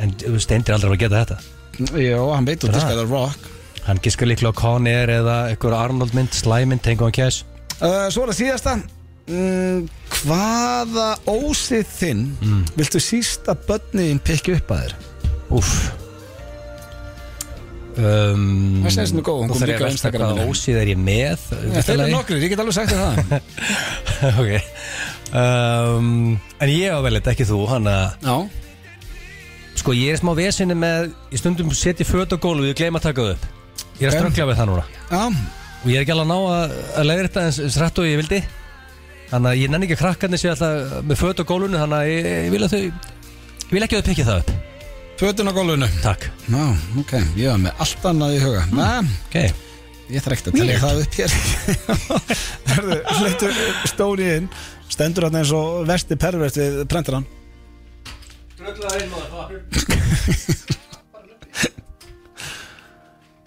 B: En þú steindir aldrei að geta þetta
A: Jó, hann veit út
B: Það.
A: Það er rock
B: Hann giskar líklega á Conner eða einhver Arnold mynd, slæmynd, tengu hann kæs
A: uh, Svo er það síðasta mm, Hvaða ósið þinn Viltu síst að börniðin pikki upp að þér?
B: Úff um,
A: Það segist mér góð, hún
B: nú
A: kom
B: þarf ég
A: líka á
B: að velta
A: Instagram
B: Hvaða
A: minni.
B: ósið er ég með?
A: Þeir eru nokkrir, ég get alveg sagt þér það
B: ok um, En ég á vel þetta, ekki þú Hanna
A: Já
B: Sko ég er smá vesinni með Ég stundum setja föt á gólfið og gleyma að taka það upp Ég er að
A: Ok.
B: ströggla við það núna
A: Já,
B: Og ég er ekki alveg að ná að, að leiðir þetta eins, eins rætt og ég vildi Þannig að ég nenni ekki að krakkarnir sé alltaf með föt á gólfinu Þannig að ég, ég vil að þau Ég vil ekki að þau pikki það upp
A: fötun á gólfinu
B: Takk
A: Já, ok, ég var með allt annað í huga mm.
B: Ok
A: Ég þarf ekkert að telja það upp hér Hörðu, hlutu stóri inn Stendur hann eins og vesti pervert við prentar hann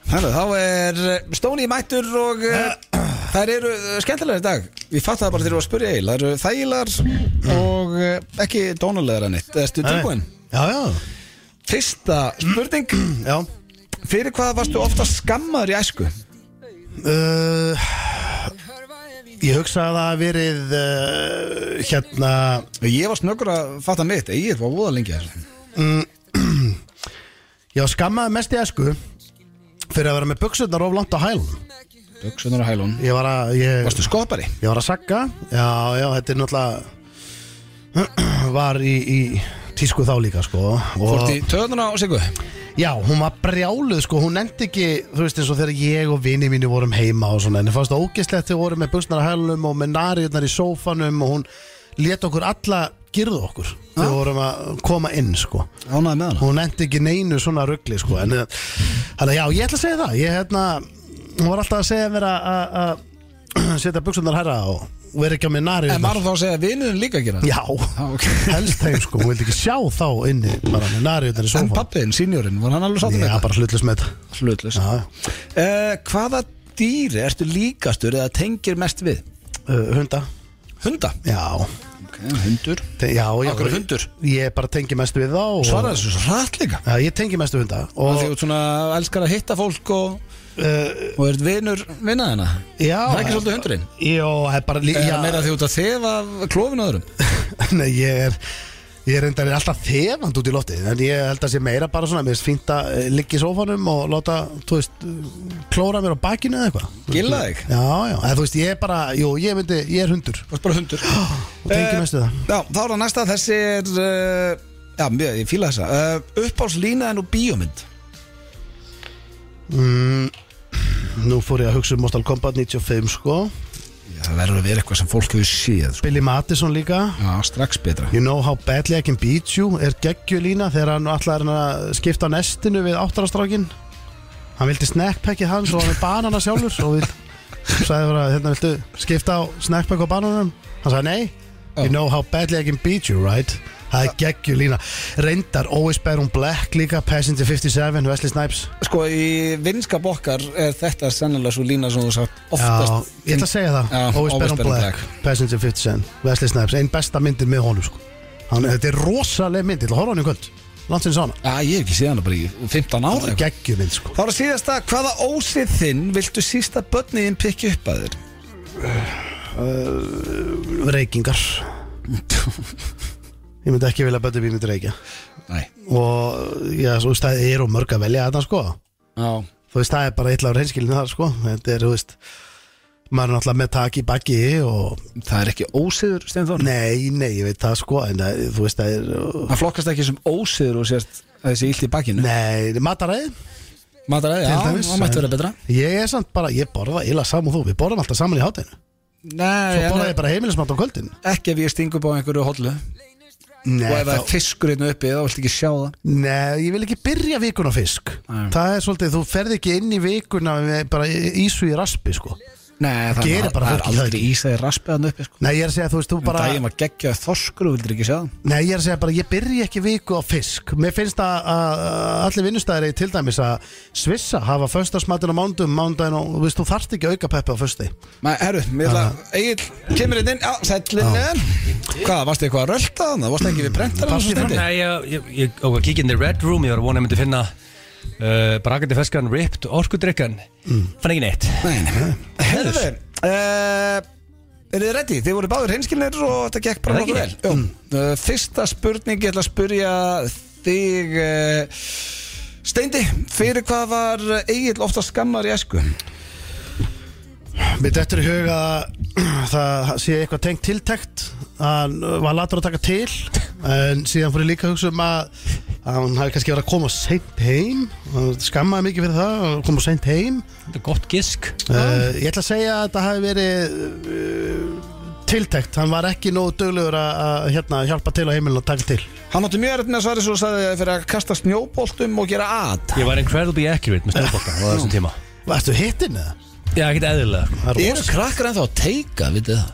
A: Hörðu, þá er Stóni mættur og eh, þær eru eh, skemmtilegar í dag Ég fatt það bara þegar ég var að spurja eil Þær eru þægilegar og eh, ekki dónulegar en eitt Erstu tilbúin?
C: Já, já,
A: Fyrsta spurning
C: já
A: Fyrir hvað varstu ofta skammaður í æsku?
C: uh, Ég hugsa að það hafi verið uh, hérna
A: Ég var snöggur að fatta mitt, ég var voða lengi þess
C: Ég var skammaði mest í esku fyrir að vera með buksutnar of langt á hælum
A: Böksunar og hælun
C: Ég var að ég,
A: Varstu skopari?
C: ég var að sagga Já, já, þetta er náttúrulega var í, í tísku þá líka sko
A: Fórst
C: og,
A: í töðuna og sigu?
C: Já, hún var brjáluð sko, hún nefndi ekki þú veist eins og þegar ég og vini mínu vorum heima og svona, en það fannst það ógeðslegt þegar vorum með buksnar á hælum og með nariðnar í sófanum og hún let okkur alla girða okkur þegar vorum að koma inn sko
A: Ánaði með hana
C: hún endi ekki neinu svona ruggli sko. en eh, þannig að já, ég ætla að segja það ég hérna, hún var alltaf að segja mér að- að að setja buksunar herra og og vera ekki á mér nari
A: En var hún þá að segja vinnunum líka að gera?
C: já,
A: ok.
C: helst þeim sko hún vildi ekki sjá þá inni bara með nari í
A: En
C: sofa
A: pappiðin, sínjórinn, var hann alveg sátt með
C: já,
A: þetta?
C: bara hlutlust með þetta
A: Hlutlust
C: Já,
A: uh, Hvaða dýri ertu líkastur eða tengir mest við?
C: uh, hunda
A: Hunda
C: já,
A: okay, Hundur
C: te- já, já
A: Akkur er hundur?
C: ég bara tengi mest við þá og,
A: Svaraði þessu svo hratt líka
C: já, ég tengi mest við hunda
A: Og
C: og
A: því þú svona elskar að hitta fólk og,
C: uh,
A: og ert vinur vinnaðina
C: já,
A: Það er ekki svolítið hundurinn?
C: já, það er bara lí-
A: Já,
C: já,
A: meira því út að þefa klófinu öðrum
C: Nei, ég er Ég er reyndar alltaf þefand út í loftið En ég held að sé meira bara svona Mér finnst fínt að eh, liggja í sófanum og láta, þú veist, klóra mér á bakinu eða eitthvað
A: Gilla þig?
C: Já, já, eða þú veist, ég er bara, jú, ég myndi, ég er hundur
A: Þú ert bara hundur
C: Og tengi mestu það
A: Já, þá er það næsta Þessi er uh, Já, mjög, ég fíla þessa uh, Uppáðslínaðin og bíómynd
C: Nú fór ég að hugsa um Mortal Kombat 95, sko
A: Já, það verður að vera eitthvað sem fólk hefur séð sko.
C: Billy Madison líka
A: Já, strax betra
C: You know how badly I can beat you Er geggjulína þegar hann allar hann að skipta á nestinu við áttarastrákin Hann vildi snackpackið hans og hann er banana sjálfur og við sagði bara, hérna viltu skipta á snackpack og bananum Hann sagði nei You know how badly I can beat you, right? Það er geggjur lína Reyndar, Always Baron Black líka Passenger 57, Wesley Snipes
A: Sko, í vinskap okkar er þetta sennilega svo lína sem þú sagt
C: Já,
A: oftast
C: ég ætla að segja það
A: Já,
C: Always Baron Black, Passenger 57 Wesley Snipes, einn besta myndin með honum sko. Hann, Þetta er rosaleg mynd, ég ætla að horfa á hann í kvöld Landsinn sána,
A: Já, ég hef ekki séð hana bara í 15 ára eitthvað.
C: geggjur mynd sko.
A: Þá er að síðast að hvaða ósið þinn viltu sísta börniðin pikki upp að þér?
C: Reykingar Ég myndi ekki vilja bæta upp, ég myndi reykja
A: Nei
C: Og já, svo veist, það eru mörg að velja þetta sko
A: Já
C: þú veist, það er bara eitthvað reynskilinu þar sko, þetta er, þú veist maður er náttúrulega með tak í bakki og
A: Það er ekki ósiður, Steinþór?
C: nei, nei, ég veit það sko en það, þú veist, það er
A: Það flokkast ekki sem ósiður og sérst að þessi illt í bakkinu
C: nei, mataræði,
A: Mataræði, já,
C: Til dæmis.
A: það mætti vera betra
C: ég er samt bara ég borða illa saman og þú, við borðum alltaf saman í hátinu
A: Nei,
C: svo
A: en-
C: borða ég bara heimilismat á kvöldin
A: ekki ef ég sting upp á einhverju hollu
C: nei,
A: og ef það
C: þá,
A: er fiskur hérna uppi þá viltu ekki sjá það
C: nei, ég vil ekki byrja vikuna á fisk
A: Nei.
C: það er svolítið, þú ferð ekki inn í vikuna með bara ísu í raspi sko
A: Nei, það,
C: gerir
A: er-
C: bara
A: það er
C: fólk, það er
A: aldrei
C: ekki.
A: ísaði raspi hann uppi sko.
C: nei, ég er að segja, þú veist, þú bara
A: bara... Dægin var geggjaði þorskur og vildur ekki sjá það
C: Nei, ég er að segja bara, ég byrja ekki viku á fisk Mér finnst að, að að allir vinnustæðari til dæmis að svissa hafa föstarsmatinn á mándum, mándaginn og þú veist, þú þarft ekki auka peppi á fösti
A: Nei, herru, mér ætla Egil, kemur hérna inn, já, sællin er Hvað, varstu eitthvað að rölda þannig? Varstu ekki við prentar
C: Passa
A: hann?
B: Nei, ég, ég, ég á að kíkja inn í Red Room Ég var að vona að ég myndi finna uh, Brakandi feskan, ripped, orkudrykkan Fann ekki neitt
A: Nei, nei Herru, uh, er þið ready? Þið voru báður hinskilnir og þetta gekk bara
B: Er það
A: nokkuð
B: ekki?
A: vel mm. uh, Fyrsta spurning, ég ætla að spurja þig uh, Steindi, fyrir hvað var Egil ofta skammar í esku?
C: Mér dættur í huga að það sé eitthvað tengt tiltækt að hann var latur að taka til en síðan fór ég líka að hugsa um að að hann hafi kannski verið að koma seint heim og skammaði mikið fyrir það að koma seint heim
B: Þetta er gott gisk
C: Uh, ég ætla að segja að þetta hafi verið uh, tiltækt, hann var ekki nógu döglegur að, að hérna, hjálpa til á heimilinu að taka til
A: Hann átti mjög erfitt með að svara svo sagði fyrir að kasta snjóboltum og gera að
B: Ég var incredibly accurate með snjóbolta á þessum tíma
C: Varstu hittin eða?
B: Já, ekkert eðlilega sko.
C: Það er
A: Eru
C: rosa.
A: krakkar ennþá að teika, vitið það?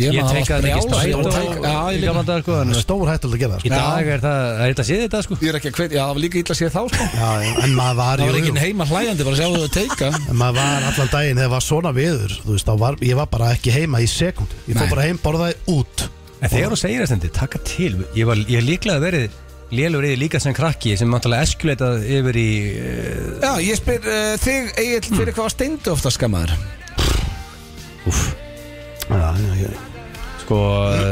B: Ég teikaði mikið
A: Ég var
B: strætó
A: teika- Já,
B: í
A: ég líka
B: gamla dagar, sko,
C: Það
B: en
C: er stór hættulega að gera
B: Í
C: það, sko?
B: dag er það, það er eitthvað að séð þetta sko
A: Ég er ekki að hvetja, já, það var líka illa að sé þá sko
C: sko. Já, en maður
A: Það
C: var,
A: var
C: jú,
A: ekki
C: jú,
A: heima hlæjandi bara að sjá þau að teika
C: en maður var allan daginn þegar var svona viður þú veist, þá var, ég var bara ekki heima í sekund ég fór
A: Nei.
C: bara heim, borðaði út
B: En þegar þú segir það stendi, taka til Ég var ég hef líklega verið lélur yfir líka sem krakki sem náttúrulega eskuleitað yfir í uh,
A: Já, ég spyr uh, þig, Egil, fyrir hvað var steindu ofta skammaður?
C: já, já, já.
B: sko,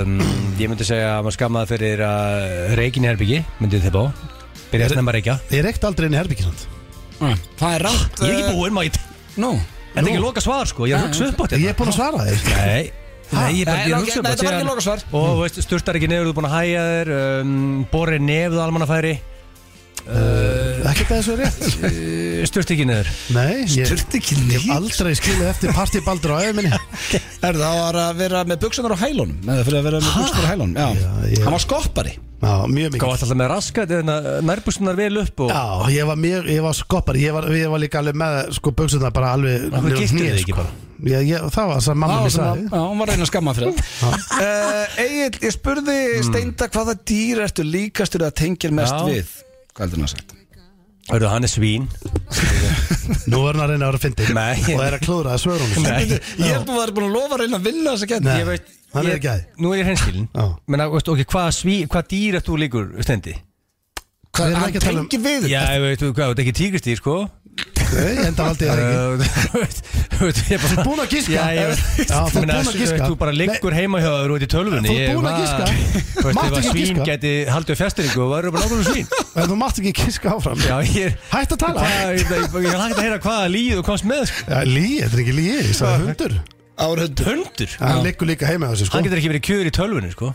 B: um, ég myndi segja að maður skammaði fyrir að reikin í herbyggi myndi þið bá, byrja að snemma að reikja
C: ég reykti aldrei inn í herbyggisand
A: Það er rátt
B: Ég er
C: eh,
B: ekki búinn, maður
A: búin Eh, Nú Eh,
B: Þetta er ekki loka svar sko, ég er að hugsa upp á þetta
C: ég er búin að svara þér
B: Nei, nei, ég er bara
A: Nei,
B: ég er
A: Eh, ok,
B: að hugsa
A: nei, þetta
B: upp á
A: var
B: síðan-
A: ekki lokasvar.
B: Og þú veist, sturtar ekki nefur, þú er búin að hæja þér um, Borri nefð á almannafæri
C: ekki það er svo rétt
B: uh, Sturt ekki nefur
C: nei, ég ég
A: Turti ekki
C: hef aldrei skilið eftir partíbaldur á æðminni
A: Er það var að vera með buksunar á hælunum Nei, fyrir að vera með buksunar á hælunum Já,
C: Já, ég-
A: Hann var skoppari
C: já, mjög mikið
B: Gátt alltaf með raskat, nærbústunar vel upp og
C: Já, ég var mjög, ég var skoppar ég var, ég var líka alveg með, sko, buksuna bara alveg
B: Akkur
C: niður á
B: giftu
C: hné,
B: þið ekki
C: sko.
B: bara?
C: ég, ég, Það var það sem mamma
A: Já,
C: mér
A: sem
C: sagði
A: að- já, hún var að reyna að skamma fyrir það uh, Egil, ég spurði
C: Hmm.
A: Steinda hvaða dýr ertu líkastur að tengja mest
B: Já.
A: við Hvað heldur hann að sagt?
B: Hörðu, hann er svín
C: Nú er hann að reyna að vera fyndið
B: Nei.
C: Og er að klúðra að svörunum
B: Nei.
C: Já,
A: Ég held að þú væri búin að lofa að reyna að vinna þess að kenna
C: Nei.
B: Ég veit
C: Hann er
B: ég-
C: ekki að því.
B: Nú er ég hreinskilin
C: Já.
B: Menna, veist, ok, hvað, sví, hvað dýr ert þú líkur, stendi?
C: Við
A: Hvað,
C: erum
A: hann
C: ekki að tala um-
A: tengir við
B: Já, ég veit, þú, hvað, þetta er ekki tígristýr, sko
C: Nei, enda valdi ég það ekki
B: Uh, Þú veist, þú veist, ég bara
C: Þú ert búin að giska.
B: Já, ég veit
C: Já, þú ert
B: Ég meina,
C: búin að
B: þú-
C: giska.
B: Þú bara liggur heima hjá þér út í tölvunni
C: Þú ert
B: Ég
C: búin að
B: var-
C: giska.
B: Þú veist,
C: Máttu
B: ef að
C: ekki
B: svín
C: giska.
B: geti haldið fjastringu og varum bara nákvæmlega svín
C: En þú mátt ekki kiska áfram
B: Já, ég
C: Hætt að tala
B: Hvað- Ég ég- ég er hægt að heyra hvaða líð þú komst með sko.
C: Já, Líi, þetta er ekki líi, ég sagði hundur
A: Ára hundur
B: Hundur
C: Hann liggur líka heima á þessu, sko
B: Hann getur ekki verið kjöður í tölvunni, sko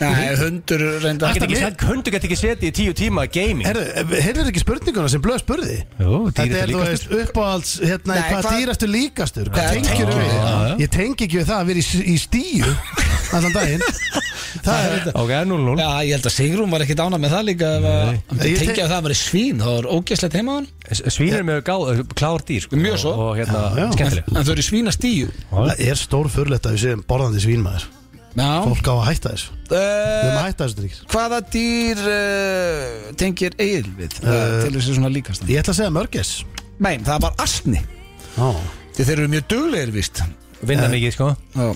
A: Nei, hundur reynda
B: Hann getur ekki, hann- hundur getur ekki setið í tíu tíma að gaming
C: Heyrðu, heyrðu ekki spurninguna sem blöð spurði?
B: Jú, dýr
C: Þetta
B: ertu
C: er, þú veist,
B: líkastur.
C: uppáhalds, hérna,
A: Nei,
C: hvað
A: hvað-
C: dýrastu líkastur?
A: Hvað
C: Hvað tengjur
A: tengirðu
C: við?
B: við? Já, já.
C: Ég tengi ekki við það að vera í, í stíu allan daginn. Það er,
B: Ok, 0-0
A: Já, ég held að Sigrún var ekkit ána með það líka ef að- Hann
C: Ég
A: myndi
C: te-
A: tengja að það var svín þá er ógeðslegt heima á hann
B: Svínur með gá- klár dýr sko,
A: Mjög svo.
B: Og og hérna,
C: Já, já.
B: skemmtileg
A: En þau eru svínastíu
C: Það er stór förletta að við séum borðandi svínmaður
A: Já.
C: Fólk á að hætta þessu Við erum
A: Uh,
C: að hætta þessu drikir
A: hvaða dýr uh, tengir eigil við uh,
C: Eh,
A: til þess að svona líkast
C: Ég ætla að segja mörgis
A: Nei, það var asni
C: Já,
A: Þeir þeir eru mjög duglegir víst
B: vinna mikið sko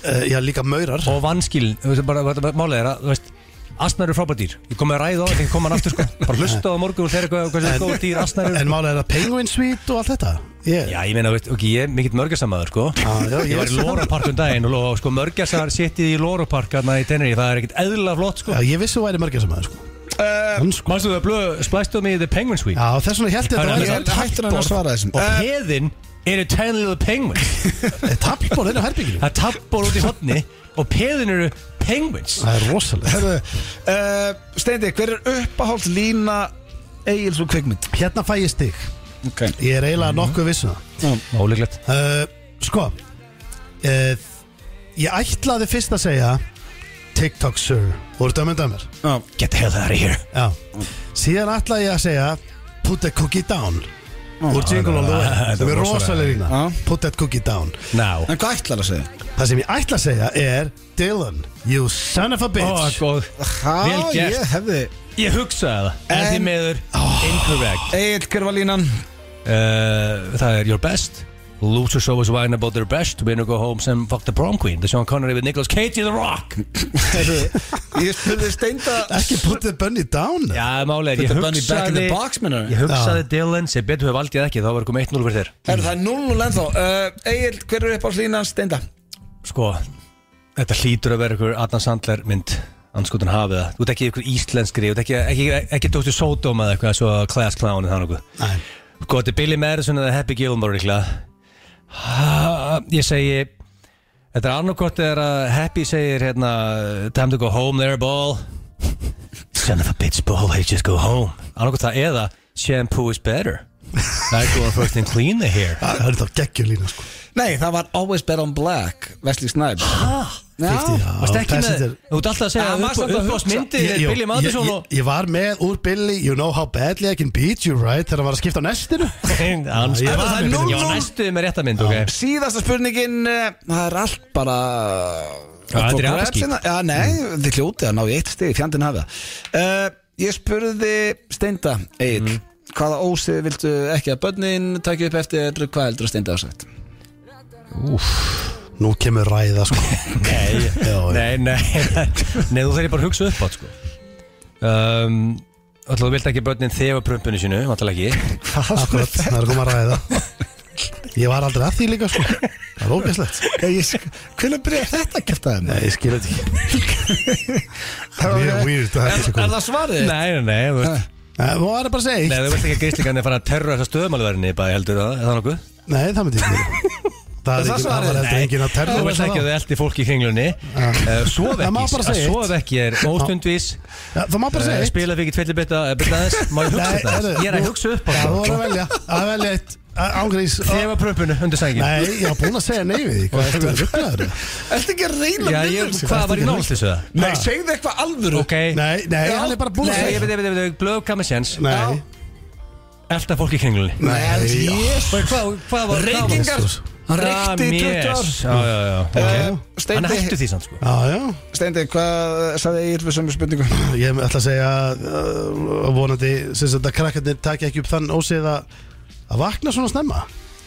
C: Eh, já líka maurar
B: og vanskil, þú veist bara, bara málið er að þú veist, asnar eru frábært dýr ég kom með að ræða á, ekki koma hann aftur sko bara hlusta á morgun og þeirra hvað hvað þessi góð dýr asnar
C: En
B: eru
C: málega er það penguin sweet og allt þetta Ég, Ah,
B: Já, ég meina, veist, ok, ég er mikill mörgjarsamaður, sko
C: Já, já, ég
B: Ég var í
C: vissi það.
B: Lórapark um daginn og lo- og sko, mörgjarsar sittið í Lórapark hérna í Teneri, það er ekkert eðla flott, sko
C: já, ég vissi þú væri mörgis að maður sko.
B: Eh,
C: Hann sko
B: Manstu þau að blöð, splæstu mig í The Penguins Week
C: Já, þess vegna held ég
B: Hann
C: að
B: er með
C: þetta væri
A: Hættur hann að svara þessum
B: Og
A: uh,
B: peðin eru Tiny Little Penguins
C: Eh, Taflból inn á herbygginu
B: Það er tappor út í hotni og peðin eru Penguins
C: Það er rosalega
A: herðu, uh, Steindi, hver er uppáhalds lína eigils og kvikmynd?
C: Hérna fæ ég stig
A: Okay.
C: Ég er
B: Mhm.
C: eiginlega nokkuð viss um það
B: Óleglegt
C: Eh, Sko eh, Ég ætlaði fyrst að segja TikTok sir Þú eru dömur dömur
B: Get the hell out of here
C: Já Síðan ætlaði ég að segja Put that cookie down Úr Jingle All The Way
B: Ah. þetta
C: Sem
B: var Ah.
C: er
B: rosalega.
C: rosalega lína
A: Já.
C: Put that cookie down
B: Now
A: En hvað ætlar að segja?
C: Það sem ég ætla að segja er Dylan, you son of a
B: Ó,
C: bitch
B: góð Vel
A: Há, ég
B: gert.
A: hefði
B: Ég hugsaði það En
A: En-
B: því meður Incorrect
A: Egil, hver var línan?
B: uh, Það er your best Losers always whine about their best Winner go home and fuck the prom queen The Sean Connery with Nicolas Cage in The Rock
A: Heyrðu, ég spurði Steinda
C: Ekki put that bunny down
B: Já, málega
A: Put
B: Ég
A: the bunny back in the
B: hugsaði
A: box, meinar
B: Ég hugsaði Dylan sem betur við valdið ekki þá var komið 1-0 fyrir þér
A: Herru, það er 0-0 ennþá uh, Egil, hver er uppáhalds línan? Steinda
B: Sko, þetta hlýtur að vera ykkur Adam Sandler mynd anskotin hafið það, þú ert ekki ykkur íslenskri þú ert ekki, ekki, ekki Dr. Sodom eða eitthvað svo Class Clown eða þannig
C: Nei.
B: Sko, þetta er Billy Madison eða Happy Gilmore líklega Ha, Ég segi Þetta er annarkot er að Happy segir hérna Time to go home there ball Son of a bitch ball, I just go home Annarkot það eða Shampoo is better I go first and clean the hair
C: Það er þá geggjur lína sko
A: Nei, það var Always Bet on Black Wesley Snipes Já,
C: 50, já.
B: Varst ekki með,
C: Passenger.
B: þú ert alltaf að segja
A: Já,
B: að
A: maður samt
B: upp-
A: að
B: uppáhalds
A: hugsa.
B: myndið er
C: Jú,
B: Billy Madison
C: ég,
B: og
C: ég, ég var með úr Billy You know how badly I can beat you right Þegar hann var að skipta á nestinu
B: Hans-
C: Já, ég
B: Ég
C: var
A: með Billy.
B: var næstuði með rétta mynd, ok
A: Síðasta spurningin eh, Það er allt bara
B: Já, þetta er
A: Grabs
B: apaskít.
A: hérna. Já, nei, þið hljótið að ná í eitt stig Fjandinn hafa uh, Ég spurði Steinda Egil
B: Mhm.
A: Hvaða ósið viltu ekki að börnin Takja upp eftir hvað heldur að Steinda á sagt
C: Nú kemur ræða sko
B: Nei,
C: Já, já.
B: nei, nei Nei, þú þarf ég bara að hugsa upp á sko. um, Alltaf þú vilt ekki börnin þefa prumpinu sinu, alltaf ekki
C: Akkurat, það er komið að ræða Ég var aldrei að því líka sko Það er ógæslegt
A: Hvernig byrja þetta að kæfta
B: hérna?
A: þeim?
C: Nei, ég skil þetta ekki Það er weird að
A: Er,
C: þetta sé
A: er
C: komið.
A: það svarið?
B: Nei, nei, nei, þú veist
C: Nei, Þú var bara að segja
B: Nei,
C: eitt
B: þú veist ekki að gríslingarnir fara að terra þessa stöðumálverðinni bara heldur það, er það nokkuð?
C: Nei, það myndi ég ekki Það er
A: það
C: ekki, það
A: svarið?
C: var heldur
B: Nei.
C: engin að
B: Þú
C: terra
B: veist ekki að
C: það.
B: þið eldi fólk í kringlunni uh, Sof
C: Það má
B: ekki,
C: bara
B: að
C: segja
B: sof ekki er óstundvís
C: Já, Það má bara
B: uh,
C: segja eitt
B: Spila fyrir tveitli betta, betta aðeins Má ég hugsa
C: Nei,
B: þetta?
C: heyrðu,
B: Ég er að
C: nú-
B: hugsa upp á
C: Já, þú
B: það
C: voru að velja Að velja eitt Ángriðs
B: Þefa prumpinu, undir sængin
C: Nei, ég var búin að segja nei við því Hvað ertu að rugglaður?
A: Ertu ekki að reyna
B: Já,
A: við
B: ég,
A: þessu?
B: hvað var í nált þessu það?
A: Nei, segðu eitthvað alvöru
B: Ok,
C: Nei, nei,
A: Já.
C: hann er bara búin að
B: Nei, ég
C: segja
B: veit, ég veit, ég veit, blöð kamið séns
C: Nei,
B: Elda fólk í kringlunni
C: nei, já.
A: Jésu
B: Hvað, hvað, hvað var
A: Reykingar
C: Jesus.
A: Hann reykti í 20 ár
B: Já, já,
A: Eh,
B: já ok. Hann
A: Steindi,
B: hættu því samt sko
C: Já, já,
A: Steindi, hvað sagði Egil við sömu spurningu?
C: ég ætla að segja uh, vonandi, sem sagt að krakkarnir taki ekki upp þann ósið að að vakna svona snemma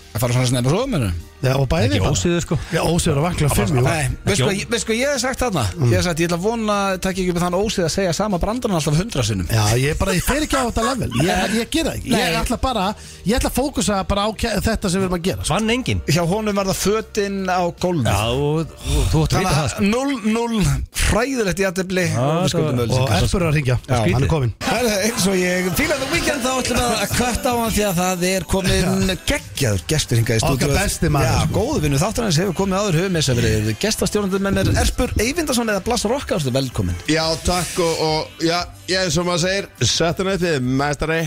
A: Að fara svona snemma svo með hennu?
C: Já, og bæði
B: Ekki
C: bara.
B: ósýðu sko
C: Já, ósið er að vakna fimm, jú
A: Nei, veist hvað, veist hvað ég hef sagt þarna?
B: Mm.
A: Ég hef sagt, ég ætla að vona, takk ekki upp þann ósið að segja sama brandarann alltaf hundra sinnum
C: Já, ég bara, ég fer ekki á þetta level Ég, ég gera ekki, ég
A: Nei.
C: ætla bara Ég ætla að fókusa bara á ke- þetta sem við erum að gera sko.
B: Vann engin
A: Hjá honum var það fötinn á gólfi
B: Já, og- og þú ætti að vita það sko
A: 0-0 fræðilegt jættefli
B: það
A: og skuldum
B: var-
A: öll
C: Og Erfur er að ringja,
A: skrítið.
C: hann er komin
A: Herðu, eins og ég fílaði það weekend þá ætlum við að kvætt á hann því að það er komin geggjaður gestur hingað í stúdíu
C: Okkar besti maður.
A: Já, góðu vinnu þáttur hans hefur komið áður höfum þess að verið gestastjórnandi með mér Erpur Eyvindarsson eða Blass Rokka ástu velkomin
F: Já, takk og, og já, ég er sem maður segir Saturday þið, mestari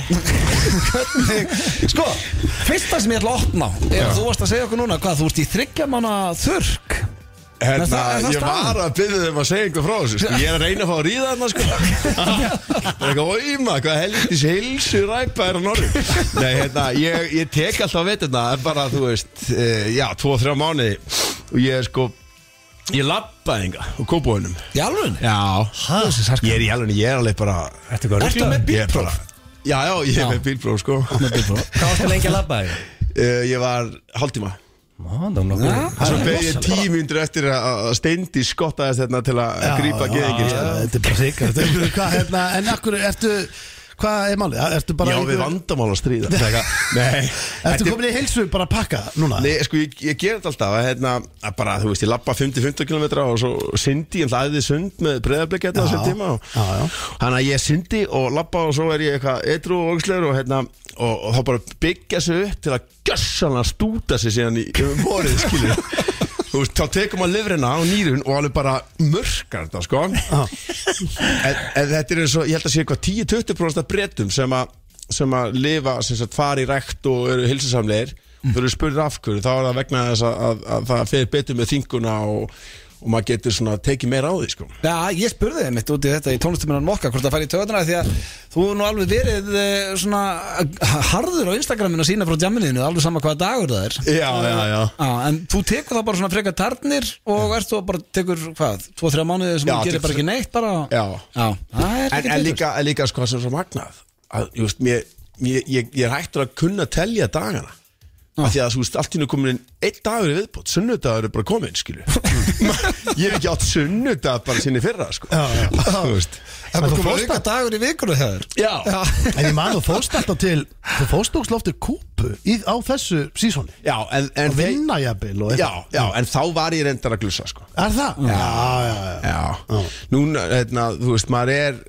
A: Sko, fyrsta sem ég ætla að opna á er að þú varst að segja okkur núna hvað þú ert í þryggja manna þurrk Er
F: Hérna,
A: það- er það
F: ég var
A: staðan?
F: að byrja þeim að segja einhver frá þessu sko. Ég er að reyna að fá að ríða þarna sko. Það er eitthvað óíma, hvað helvitis heilsu ræpa er á norri Nei, hérna, ég, ég tek eh, alltaf veitirna En bara, þú veist, e, já, tvo, þrjá mánuði Og ég er sko
H: Ég labbaði enga á kópóinum
A: Í alveg?
H: Já Ég er í alveg, ég er alveg bara
B: Ertu hvað
A: Ertu
B: ruglaður?
A: með
H: Ég er bara Já, já, ég er með bílpróf sko
B: Hvað varstu lengi að labba þig?
H: Eh, Ég var hálftíma
B: Má, það var nokkuð
H: Svo beðið ég tíu myndur eftir að að Steindi skottaðist hérna til að grípa geðingin sko.
I: Þetta er bara sikkert Þetta er- hvað, hérna, En akkur, ertu Hvað er málið? Ertu bara
H: Já, við
I: einhver-
H: vandamál að stríða Nei, eitthvað. Nei
I: Ertu
H: þetta-
I: komin í heilsu bara að pakka núna?
H: Nei, sko, ég, ég ger þetta alltaf að, hérna, að bara, þú veist, ég labba 50-50 km og svo syndi, ég um hlæði sund með breyðarblik hérna á þessum tíma og
I: já, já.
H: þannig að ég syndi og labba og svo er ég eitthvað eitru og ógislegur og hérna og, og þá bara byggja sig upp til að gjössanlega stúta sig síðan í um vorið, skilur Þú veist, þá tekum að lifrina og nýrun og alveg bara mörkar þetta, sko en, en þetta er eins og, ég held að sé eitthvað 10-20% af breytum sem að sem að lifa, sem sagt, fara í rekt og eru hilsusamleir, mm. þau eru spurðið af hverju þá er það vegna þess að, að, að það fer betur með þinguna og, og maður getur svona tekið meira á því, sko
A: Já, ég spurði þeim mitt út í þetta í tónlistumennan Mokka hvort það fær í töðuna því að þú er nú alveg verið eh, svona harður á Instagraminu að sína frá djamminu alveg sama hvaða dagur það er
H: Já, já, já
A: Já, en þú tekur það bara svona frekar tarnir og ert þú að bara tekur, hvað, 2-3 mánuði sem
H: Já,
A: þú gerir
H: tekur
A: bara ekki
H: þrjá-
A: neitt bara
H: Já.
A: það er ekki
H: en, en
A: betur.
H: líka, en líka sko sem svo magnað að, þú veist, mér, mér, ég, ég er hættur að kunna að telja dagana af því að þú veist, allt í hennu komin inn einn dagur í viðbót, sunnudagur er bara komin, skilju ég hef ekki átt sunnudag bara sinni fyrra, sko já, þú veist
A: En
I: þú
A: þú
I: fórst
A: fórst að dagur í vikunni þér
H: já, já,
I: En ég man þú fórst alltaf til Þú fórst ógst loftir kúpu í, á þessu sísóni
H: en, en
I: Að
H: þeir-
I: vinna jafnvel og
H: já,
I: eitthvað
H: já, en þá var ég reyndar að glussa, sko
I: Er það? Já, já, já, já.
H: Já, núna, hérna, þú veist, maður er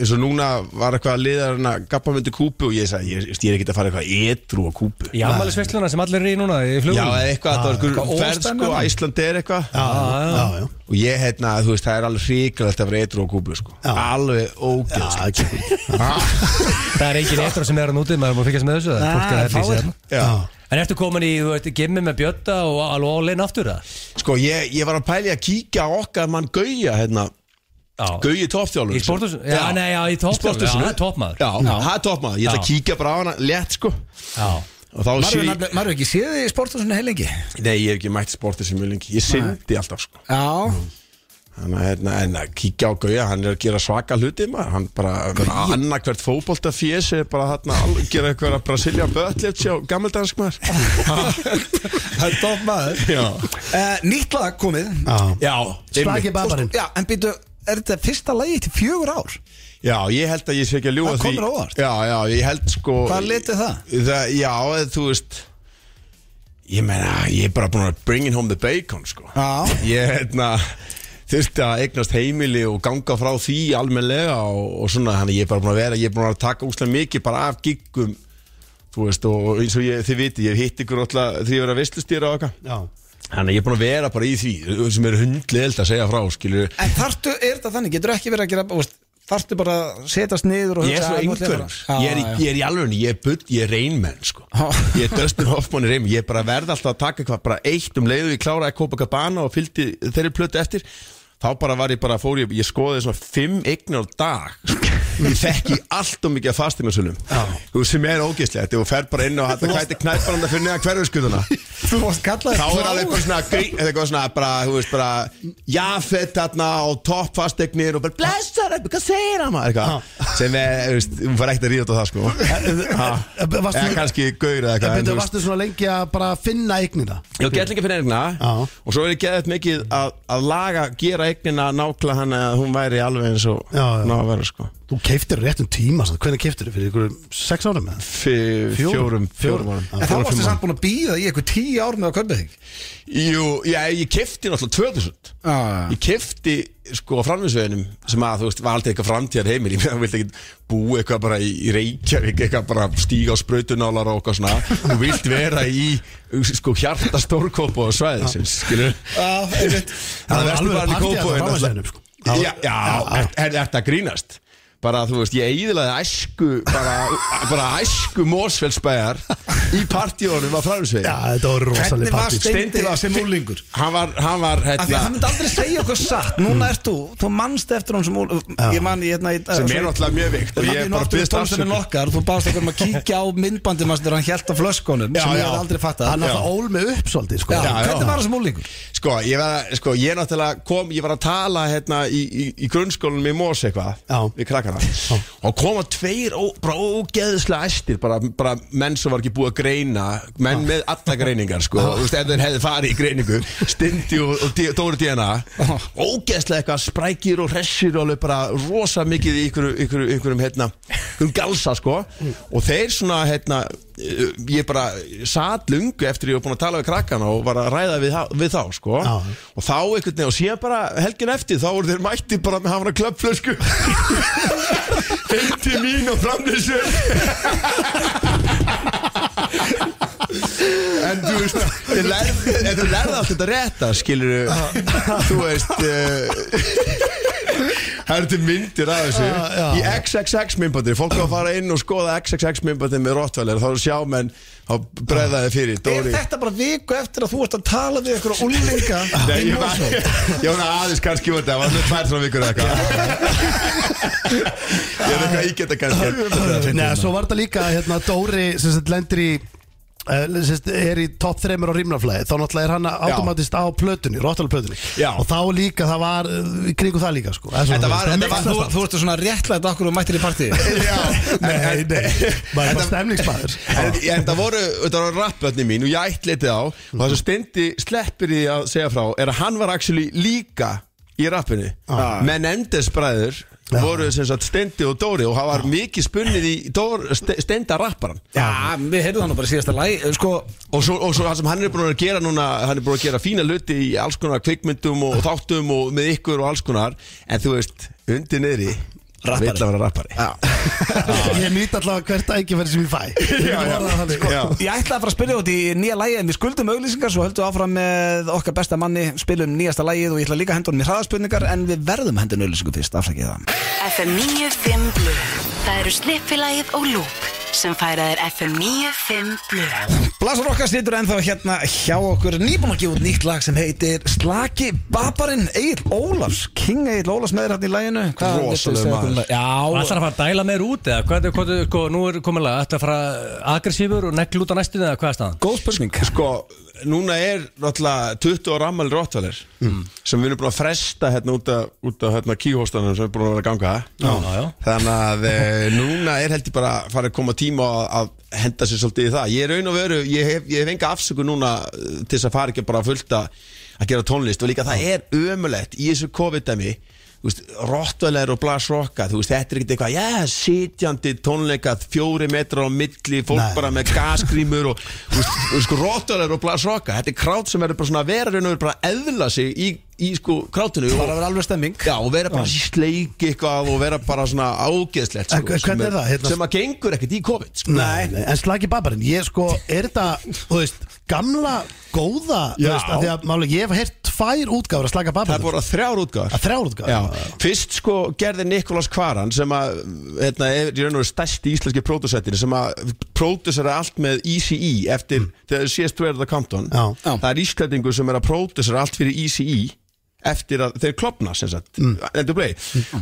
H: eins og núna var eitthvað að liða hérna, gappa myndi kúpu og ég sagði, ég, ég er ekkert að fara eitthvað edru á kúpu
B: Í afmælisveisluna sem allir er í núna í flugum
H: Já, eða eitthvað, það var einhver
A: eitthvað
H: ferð sko,
A: óstæðan.
H: Æsland er eitthvað
I: Ah, já, já, já.
H: Og ég, hérna, þú veist, það er alveg hrikalegt að vera eitrú á kúpu, sko Alveg ógjöld
I: Já, ekki.
B: Það er engin eitthvað sem er að nútið maður má fylgjast með þessu það er fólk að hella í sig
A: fáir.
B: hérna.
H: Já
B: En ertu komin í, þú veit, gimmi með bjötta og alveg álein aftur það?
H: Sko, ég, ég var að pæli að kíkja á okkar mann Gauja, hérna
B: Já,
H: Gauji sko. toppþjálfur
B: Í sporthúsinu? Já, nei, já, í toppþjálfur, já, hann er toppmaður.
H: Já,
B: Já.
H: hann er toppmaður, ég ætla
B: Já.
H: að kíkja bara á hana létt, sko
B: já
H: Og þá
A: Maður
H: sé
A: hefur
H: ég,
A: nefnilega- maður hefur ekki séð þig í sporthúsinu heilengi
H: nei, ég hef ekki mætt sportið sem mjög lengi Ég syndi alltaf, sko
A: Já,
H: Þannig að hérna, en að kíkja á Gauja, hann er að gera svaka hluti maður, hann bara, bara annarkvært fótbolta fjés er bara þarna að gera eitthvað að Brasilia Bötlefts á gammeldansk maður.
A: það er topp maður
H: Já.
A: Eh, Nýtt lag komið
H: Já,
I: Spaki
H: einmitt.
I: babarinn
A: Já, en býtu, er þetta fyrsta lagi til fjögur ár?
H: Já, ég held að ég sé ekki að ljúga
A: Það
H: því.
A: kom mér á óvart.
H: Já, já, ég held sko.
A: Hvað letið það?
H: það? Já, eða þú veist, ég meina, ég er bara búin að bringing home the bacon sko.
A: Já.
H: Ég, hérna, þurfti að eignast heimili og ganga frá því almenlega og, og svona, þannig ég er bara búin að vera, ég er búin að taka úslega mikið bara af giggum þú veist, og eins og ég, þið viti, ég hef hitt ykkur alltaf því að vera veistlustýra og eitthvað
I: Já
H: Þannig að ég er búin að vera bara í því sem er hundlega að segja frá, skilur
A: En þartu, er þetta þannig, getur ekki verið að gera úst, Þartu bara að setjast niður og
H: Ég er
A: hugsa,
H: svo
A: "Ah, nú ætla ég
H: einhverjum
A: bara-
H: Ég er,
A: Já,
H: í- ég er í alveg, ég er, bull, ég er reynmenn sko. Ég er Dustin Hoffman í reym Ég er bara verð alltaf að taka eitthvað bara eitt um leiðu Ég kláraði Copacabana og fylgdi þeirri plötu eftir Þá bara var ég bara fór Ég, ég skoði svona fimm eignar á dag sko. Ég þekki allt og mikið að fasti með svolum sem er ógeðslegt og fer bara inn og hætti kæti knæparanda fyrir neðan hverfurskutuna
A: Þú varst kallaði
H: þá er alveg eitthvað svona, grí- eitthvað svona bara, þú veist, bara jafett þarna og toppfastegnir og bara blessar, hvað segir hann maður eitthvað sem er, þú veist, hún fær ekkert að ríða út á það sko Ha.
I: varstu-
H: eða kannski gaur eða
I: En
H: eitthvað en
I: byrju,
H: þú veist-
I: varstu svona lengi að bara finna eignina?
H: Já, gerlinga fyrir eignina
I: Já.
H: og svo er ég geðið mikið að, að laga, gera eignina nákla hann að hún væri alveg eins og
I: Já, já.
H: ná að vera sko
I: Þú keiftir rétt um tíma, sann. hvernig keiftir þið? Fyrir ykkur sex ára með það?
H: Fjórum, fjórum, fjórum árum.
A: En þá
H: Fjórum,
A: varstu
H: fimm
A: samt
H: árum.
A: búin að býða í eitthvað tíu ár með að kaupa þig
H: Jú, já, ég kefti náttúrulega 2000
A: Já,
H: Ég kefti sko á framvinsveginum sem að þú veist var aldrei eitthvað framtíðar heimil ég meina þú vilt ekki búa eitthvað bara í í Reykjavík eitthvað bara stíga á sprautunálar og eitthvað svona þú vilt vera í sko hjarta stórkópa og svæðisins skilur
I: Það
H: Það
I: var alveg
H: verður bara í
I: partí að það
H: kópa
I: framvæsleginum sko. Það
H: Já,
I: var-
H: já, er- er þetta að grínast? Bara, þú veist, ég eðilaði æsku bara, bara æsku Mósfellsbæjar í partíunum að fræðsvegi
I: Já, þetta var
A: Hvernig
I: rosalega
A: var
I: partí
A: Steindi var sem úlingur?
H: Hann var, hann var
A: Af því að hann
H: hérna,
A: myndi aldrei segja okkur satt
H: Mm.
A: Núna ert þú, þú manst eftir hann sem úl Ég man, ég hérna í dag
H: sem er náttúrulega mjög vikt og ég er bara byrst
A: afsökun
H: afsökun
A: okkar, Þú báðst okkur um að kíkja á myndbandi mann sem hann hjælt á flöskunum
H: Já,
A: sem ég
H: já.
A: hef aldrei fattað
I: Hann
A: Já.
I: að það ól með upp svolítið sko.
A: Já,
H: já.
A: Hvernig var það sem úlingur?
H: Sko, ég var, sko, ég náttúrulega kom, ég var að tala hérna í, í, í grunnskólanum í Mós eitthvað
I: Já.
H: Við krakkana Og koma tveir ó, bara ógeðslega æstir bara, bara menn sem var ekki búið að greina Menn með alla greiningar, sko Þú veist, ef þeir hefði farið í greiningu Stindi og, og Dí- Dóri Díana Ógeðslega eitthvað sprækir og hressir Og alveg bara rosa mikið í ykkur, ykkur, ykkurum, hérna Ykkurum galsa, sko
I: Mm.
H: Og þeir svona, hérna eh, Ég bara sat lungu eftir ég var búin að tala við krakkana Og var að ræða við, þá- við þá, sko
I: Já.
H: og þá einhvern veginn og síðan bara helgin eftir þá voru þeir mætti bara með hafna klöppflösku heim til mín og framlýsu en þú veist þeir lærðu, en þeir lærðu allt þetta rétta skilur þú veist eh, það eru til myndir af þessu
I: já.
H: í XXX myndbandi fólk á að fara inn og skoða XXX myndbandi með Rottweiler þá sjá menn þá bregða þeir fyrir
A: Er
H: Dóri
A: þetta bara viku eftir að þú ert að tala við ykkur úlinga
H: Nei, ég var, ég var aðeins kannski út Það var með tvær svona vikur eða eitthvað Ég er eitthvað ígeta kannski
I: Nei, svo var þetta líka hérna, Dóri sem sagt lendir í eh, sem sagt, er í topp þreymur á rýmnaflæði þá náttúrulega er hann automatist á plötunni rottalplötunni
H: Já.
I: og þá líka það var eh, í kringu það líka sko.
A: Þetta
I: það
A: var, þetta var, þú, þú ertu svona réttlægt okkur og mættir í partí
H: Já,
I: Nei, nei, maður er bara
H: Þetta-
I: stemningsmaður
H: En, en það voru, þetta voru rappötni mín og ég ætli þetta á og það sem Steindi sleppir því að segja frá er að hann var actually líka í rappinu
I: Ah.
H: menn endesbræður voru sem sagt Steindi og Dóri og það var mikið spunnið í Dór, Ste- Steinda rapparan
A: Já, við heyrðum það nú bara í síðasta læg Sko,
H: Og svo, og svo það sem hann er búin að gera núna hann er búin að gera fína luti í alls konar kvikmyndum og þáttum og með ykkur og alls konar en þú veist, undir niðri
A: Rappari.
H: vill að vera rappari
I: ég nýtt allavega hvert ægifæri sem ég fæ Ég
H: já.
I: get orðað það þannig.
H: Já.
A: Ég ætlaði að fara að spyrja út í nýja lægi en við skuldum auglýsingar svo höldum við áfram með okkar besta manni spilum nýjasta lægið og ég ætla líka að henda honum í hraðaspurningar en við verðum að henda hendur auglýsingu fyrst, afsakið það
D: FM 95 Blu Það eru Slippilagið og Lúp sem færa þér FM 95 Blu
A: Blasar okkar situr ennþá hérna hjá okkur nýbúin að gefa út nýtt lag sem heitir Slaki Babarinn Egil Ólafs King Egil Ólafs með þér hérna í læginu Hvað
H: Rosalegur
A: viltu segja okkur um
H: maður.
A: lagið? Já,
B: Ætlar að fara að dæla meir út eða hvað, hvað, sko, nú er kominlega, ætlar að fara aggressífur og negl út á næstinu eða hvað er staðan?
A: góð spurning
H: Sko, núna er náttúrulega 20 ára ammali rottvalir
B: Mm.
H: sem við erum búin að fresta hérna út af, út af hérna, kíhóstanum sem er búin að vera að ganga
B: já, já.
H: Þannig að e, núna er heldur bara að fara að koma tíma að, að henda sér svolítið í það Ég er raun og veru, ég hef, ég hef enga afsöku núna eh, til þess að fara ekki bara fullt að, að gera tónlist og líka það er ömulegt í þessu COVID-dæmi Rottvæleir og blasrokka þú veist, þetta er ekkert eitthvað, já, sitjandi tónleika, fjóri metra á milli fólk
I: Nei.
H: bara með gasgrímur og þú veist, þú veist, sko, rottvæleir og blasrokka þetta er krát sem verður bara svona að vera raun og veru bara að eðla sig í, í sko krátinu
A: Bara að vera alveg stemming
H: Já, og vera bara í sleik eitthvað og vera bara svona ágeðslegt
I: En hvernig
H: sem
I: er það, hérna?
H: Sem að gengur ekkert í COVID sko.
I: Nei, nei, en slagi babarinn, ég sko, er þetta, þú veist, gamla, góða, þú
H: Já.
I: veist, að því að málega ég hef heyrt tvær útgáfur að slaga
H: Það er
I: babarinn,
H: bara þrjár
I: að
H: útgáður
I: Ah, þrjár
H: Já,
I: útgáfur,
H: fyrst sko gerði Nikolas Kvaran sem að, hérna, er í raun og veru stærsti íslenski pródúsættin sem að pródúsera allt með ECE eftir, þegar þú sést þú er það Compton
I: Mm. Já.
A: Já.
H: það er íslendingur sem er að pródúsera allt fyrir ECE eftir að þeir klopna sem sagt,
I: Mm.
H: endur play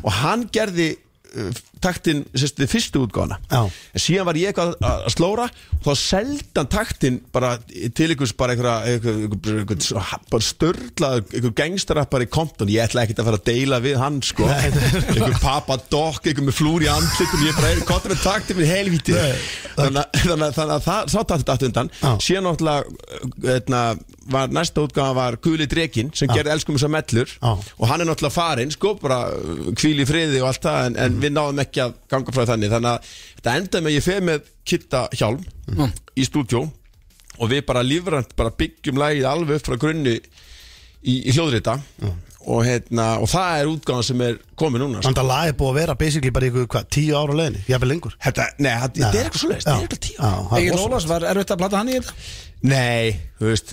H: og hann gerði uh, taktinn, sem sagt, þið fyrstu útgáðana
I: Já.
H: en síðan var ég eitthvað að að slóra og þá seldan taktin bara til einhvers bara einhverja einhver, einhver, einhver, svo ha- bara störlaður einhver gangstarappar í Compton, ég ætla ekkert að fara að deila við hann sko, einhver papadokk einhver með flúr í andlitum, ég bara kottur með taktin minn helvíti þannig að- þannig að- þannig að það sá taktin dætt undan
I: Já.
H: síðan náttúrulega eitna, var, næsta útgáða var Guli Drekin sem gerði elskum þessar mellur
I: Já.
H: og hann er náttúrulega farinn sko bara kvíl í friði og allt það en, en við náðum ekki að ganga frá þannig þannig að þetta endaði með að ég feð með kitta hjálm í stúdjó og við bara lífrænt bara byggjum lagið alveg upp frá grunni í, í hljóðrita og, hérna, og það er útgáðan sem er komið núna sko.
I: Þannig að lag er búið að vera basically bara í ykkur, hvað, tíu ára leginni, jafnvel lengur.
H: þetta, nei, þetta þetta er eitthvað svo leiðist, þetta er eitthvað tíu ára.
I: Já, það er
A: Egil
I: rosa.
A: Ólafs, var erfitt að blata hann í þetta?
H: Nei, þú veist,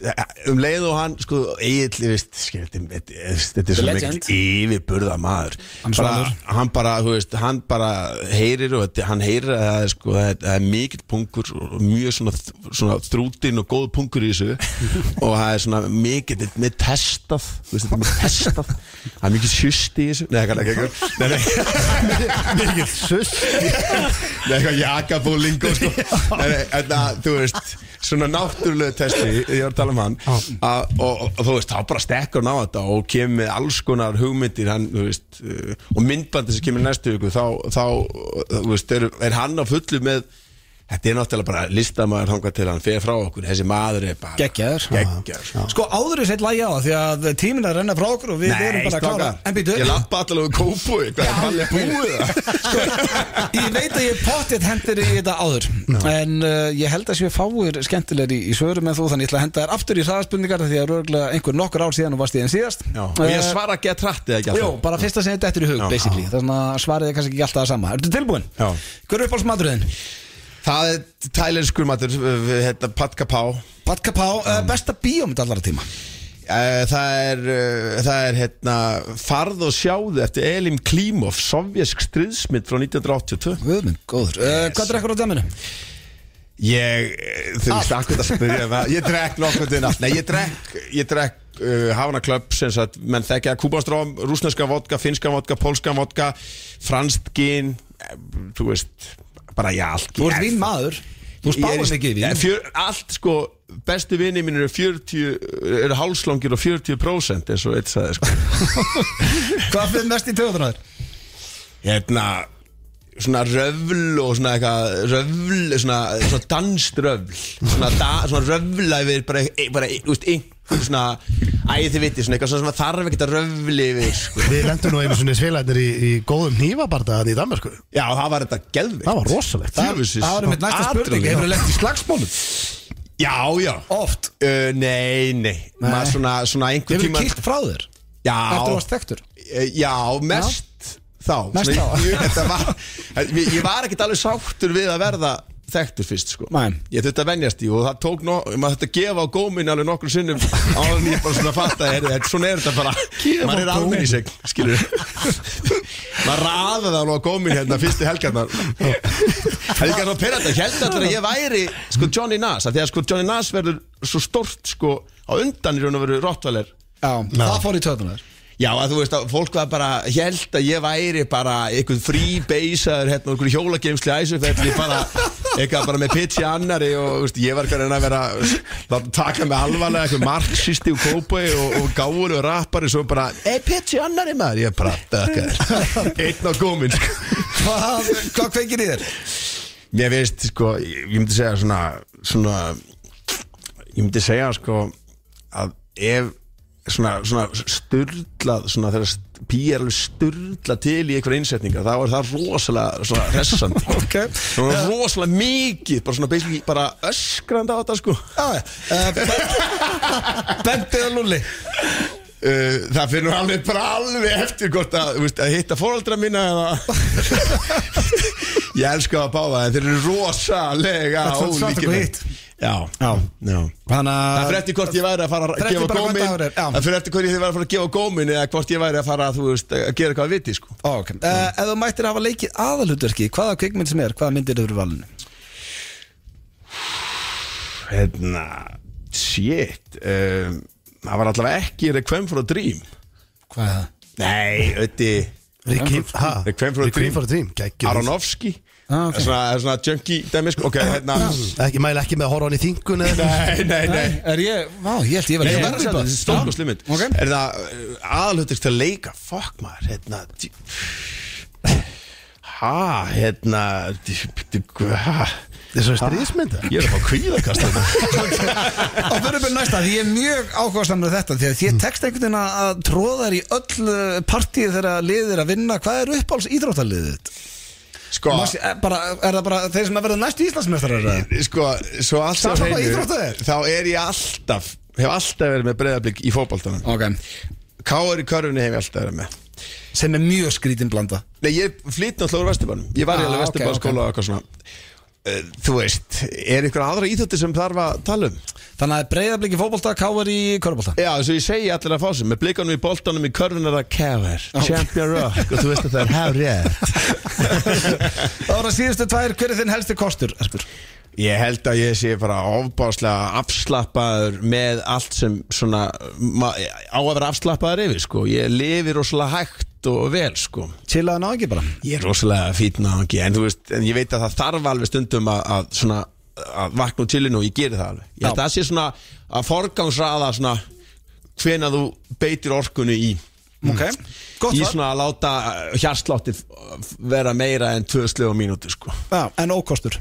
H: um leið og hann sko, Egil, þú veist, skil, þetta er- þetta er- þetta er
A: The
H: svo
A: legend.
H: mikill yfirburða maður bara,
A: Svanur.
H: hann bara, þú veist, hann bara heyrir og þetta, hann heyrir að það er, sko, það er, það er mikill punkur og mjög svona, svona þrútin og góð punkur í þessu og það er svona mikill með testað, þú veist, þetta er með testað það er mikill sjust í þessu Nei, það er ekki, ekki, nei, nei mikill Nei, eitthvað jakabúling og sko Nei, nei, Þetta, þú veist Svona náttúrulega testi, ég var að tala um hann að, og, og þú veist, þá bara stekkur hann á þetta og kemur með alls konar hugmyndir hann, þú veist, uh, og myndbandi sem kemur næstu ykkur, þá, þá uh, þú veist, er, er hann á fullu með þetta er náttúrulega bara listamæður þangað til hann fer frá okkur, þessi maður er bara
A: Geggjaður.
H: Geggjaður.
A: Sko áður er sett lægi á það því að tíminn er að renna frá okkur og við erum bara að klára
H: strákar,
A: En býtu,
H: Ég lappa allavega um kópu Hvað er ballið búið það?
A: Sko, ég veit að ég pottet hendir í þetta áður En uh, ég held að séu fáir skemmtilegri í, í svörum en þú Þannig ég ætla að henda þér aftur í hraðaspurningar Því að röglega einhver nokkur ár síðan og varst í enn síðast
H: Já, Og
A: Eh,
H: ég svara ekki að trætti eða ekki alltaf
A: Jó, bara fyrsta sem þetta er í hug,
H: Já.
A: basically Það er svona svarið er kannski ekki alltaf það sama Ertu tilbúin?
H: Já.
A: Hver er uppáhaldsmaturinn?
H: Það er tælenskur matur, hérna Patka Pá
A: Batka Pá, uh, besta bíómynd allara tíma
H: Eh, Það er, eh, það er hérna Farð og sjáðu eftir Elim Klímov, sovjesk striðsmynd frá 1982
A: Guðmund, góður uh, Hvað er ekkur á dæminu?
H: Ég, eh, þú veist, akkur að spyrja um það Ég drekk nokkuð til nátt Nei, ég drekk, ég drekk uh, Havana Club, sem sagt, menn þekkja Kúbastróm, rúsneska vodka, finska vodka, polska vodka Franst gin, eh, þú veist, bara ég allt
A: Þú ert
H: Ég-
A: vín maður Þú spáðum ekki í vín
H: Ég er í- fjör, Allt sko Bestu vinni mín eru 40 eru hálslangir og 40% eins og eitt sagði sko
A: Hvað fyrir mest í töðunar?
H: Hérna svona röfl og svona eitthvað röfl, svona, svona danströfl svona, da, svona röfla yfir bara, e- bara e- þú veist, einhver svona æði þið viti, svona eitthvað svona sem þarf ekkert að röfli yfir, sko.
I: Við lendum nú einu svona svilaðnir í, í góðum hnífabardaðan í Danmarku
H: Já, það var þetta geðveikt
I: Það var rosalegt
H: Djöfusins.
A: Það var mitt næsta spurning Hefur þú lett í slagsmálum?
H: Já, já
A: Oft
H: Uh, nei, nei,
A: Nei.
H: Maður svona, svona einhver
A: Hefur þú
H: tíma
A: kýrt frá þér? Eftir þú varst
H: Já,
A: þekktur?
H: Eh, Já, mest þá
A: Mest
H: Svona,
A: þá.
H: ég, þetta var, ég, ég var ekkert alveg sáttur við að verða þekktur fyrst sko.
A: Nei.
H: ég þurfti að venjast í og það tók no, maður þetta gefa á gómin alveg nokkur sinnum áður en ég bara svona fatt að heyrðu, þetta- svona er þetta bara maður er almenn í sig skilur maður raða það alveg á gómin hérna fyrstu helgarnar helgarnar og pyrrata held alltaf að ég væri sko Johnny Nass af því að sko Johnny Nass verður svo stort sko á undan í raun og veru Rottweiler
A: Já, það fór í töðunar
H: Já, að þú veist að fólk var bara held að ég væri bara einhvern fríbeisaður hérna, einhvern hjólageimsli æsufelli bara, eitthvað bara með pitch í annari og þú veist, ég var hvernig að vera láta taka mig alvarlega einhver marxisti og kópai og, og gáur og rappari svo bara, ei pitch í annari maður ég bara, dökka þér." einn á gómin sko.
A: Hvað hvað kveikir í þér?
H: Mér veist, sko, ég ég myndi segja svona, svona ég myndi segja sko að ef svona, svona styrlað svona þegar st- pí er alveg styrlað til í einhverja innsetningar þá er það rosalega svona hressandi
A: Ok.
H: svona rosalega mikið bara svona basically bara öskrandi á þetta sko
A: Já, Bendið Eh, og Lulli
H: Uh, það fyrir nú alveg bara alveg eftir hvort að, þú veist, að hitta fóraldra mína eða ég elska að báða en þeir eru rosalega
A: Þetta er svart og
H: ólíkir menn.
A: hvítt.
H: já,
A: Já.
H: já.
A: Þannig
H: það fyrir
A: að
H: eftir hvort ég væri að fara
A: Fer
H: að
A: eftir bara hvað
H: gefa gómin
A: dagur er, já.
H: það fyrir eftir hvort ég væri að fara að gefa gómin eða hvort ég væri að fara þú veist, að gera eitthvað að viti sko.
A: Ok, uh, ef þú mættir hafa leikið aðalutverki Hvaða kveikmynd sem er, hvaða myndir eru valinu?
H: hérna, shit um, það var allavega ekki Requiem for a Dream
A: Hvað er það?
H: nei, ötti
I: Requiem
H: Requiem for a Dream.
I: for a Dream geggjum.
H: Aronofsky
A: Ah, ok. Ah.
H: svona, svona junkie dæmi sko. ok, hérna
I: Ekki mæla ekki með að horfa hann í þingun eða
H: Nei, nei, nei
A: Er ég, vá, ég held ég var
H: Nei,
A: ekki
H: það
A: verið
H: er
A: bara.
H: stórkoslu mynd
A: Ok.
H: Er það aðalhutur til að leika Fuck maður, hérna djú- Ha, hérna djú- djú- djú- ha.
I: Þessu stríðsmynda
H: Ég er að fá kvíðakast hérna.
A: Og fyrir byrjum næsta, því ég er mjög ákvæðast með þetta Því að
H: Mm.
A: því tekst einhvern veginn að- að tróða þær í öll uh, partíð þegar liðir að vinna Hvað er uppáhalds íþróttaliðið þitt?
H: Sko,
A: Mas, er, bara, er það bara þeir sem að verða næst í Íslandsmestrar
H: sko Svo alltaf
A: Sama hvað íþrótt það er.
H: Þá er ég alltaf Hef alltaf verið með breyðablík í fótboltanum
A: Ok
H: Káur í körfunni hef ég alltaf verið með
A: Sem er mjög skrítin blanda
H: Nei, ég flytt náttúrulega úr Vesturbanum Ég var í
A: Ah,
H: alveg
A: ok,
H: Vesturbanskóla og eitthvað svona eh, þú veist, er einhver aðra íþjótti sem þarf að tala um?
A: Þannig að breyðabliki fótbolta, káar í körbolta
H: Já, eins og ég segi allir að fá sem með blikanum í boltanum í körfun er það kever, champion rock og þú veist að það er hefrið
A: Ára síðustu tvær, hver er þinn helsti kostur? Erpur?
H: Ég held að ég sé bara ofbáslega afslappaður með allt sem svona ma, á að vera afslappaður yfir sko. Ég lifi rosalega hægt og vel sko.
A: Chillaðu ná ekki bara
H: Ég er rosalega fítna ekki en, þú veist, en ég veit að það þarf alveg stundum að, að, svona, að vakna úr tilinu og ég geri það alveg. Ég held að það sé svona að forgangsraða svona hvena þú beitir orkunni í
A: Ok, gott
H: í
A: var
H: svona að láta hjarslátti vera meira en tvö slögu mínúti sko.
A: Já, en ókostur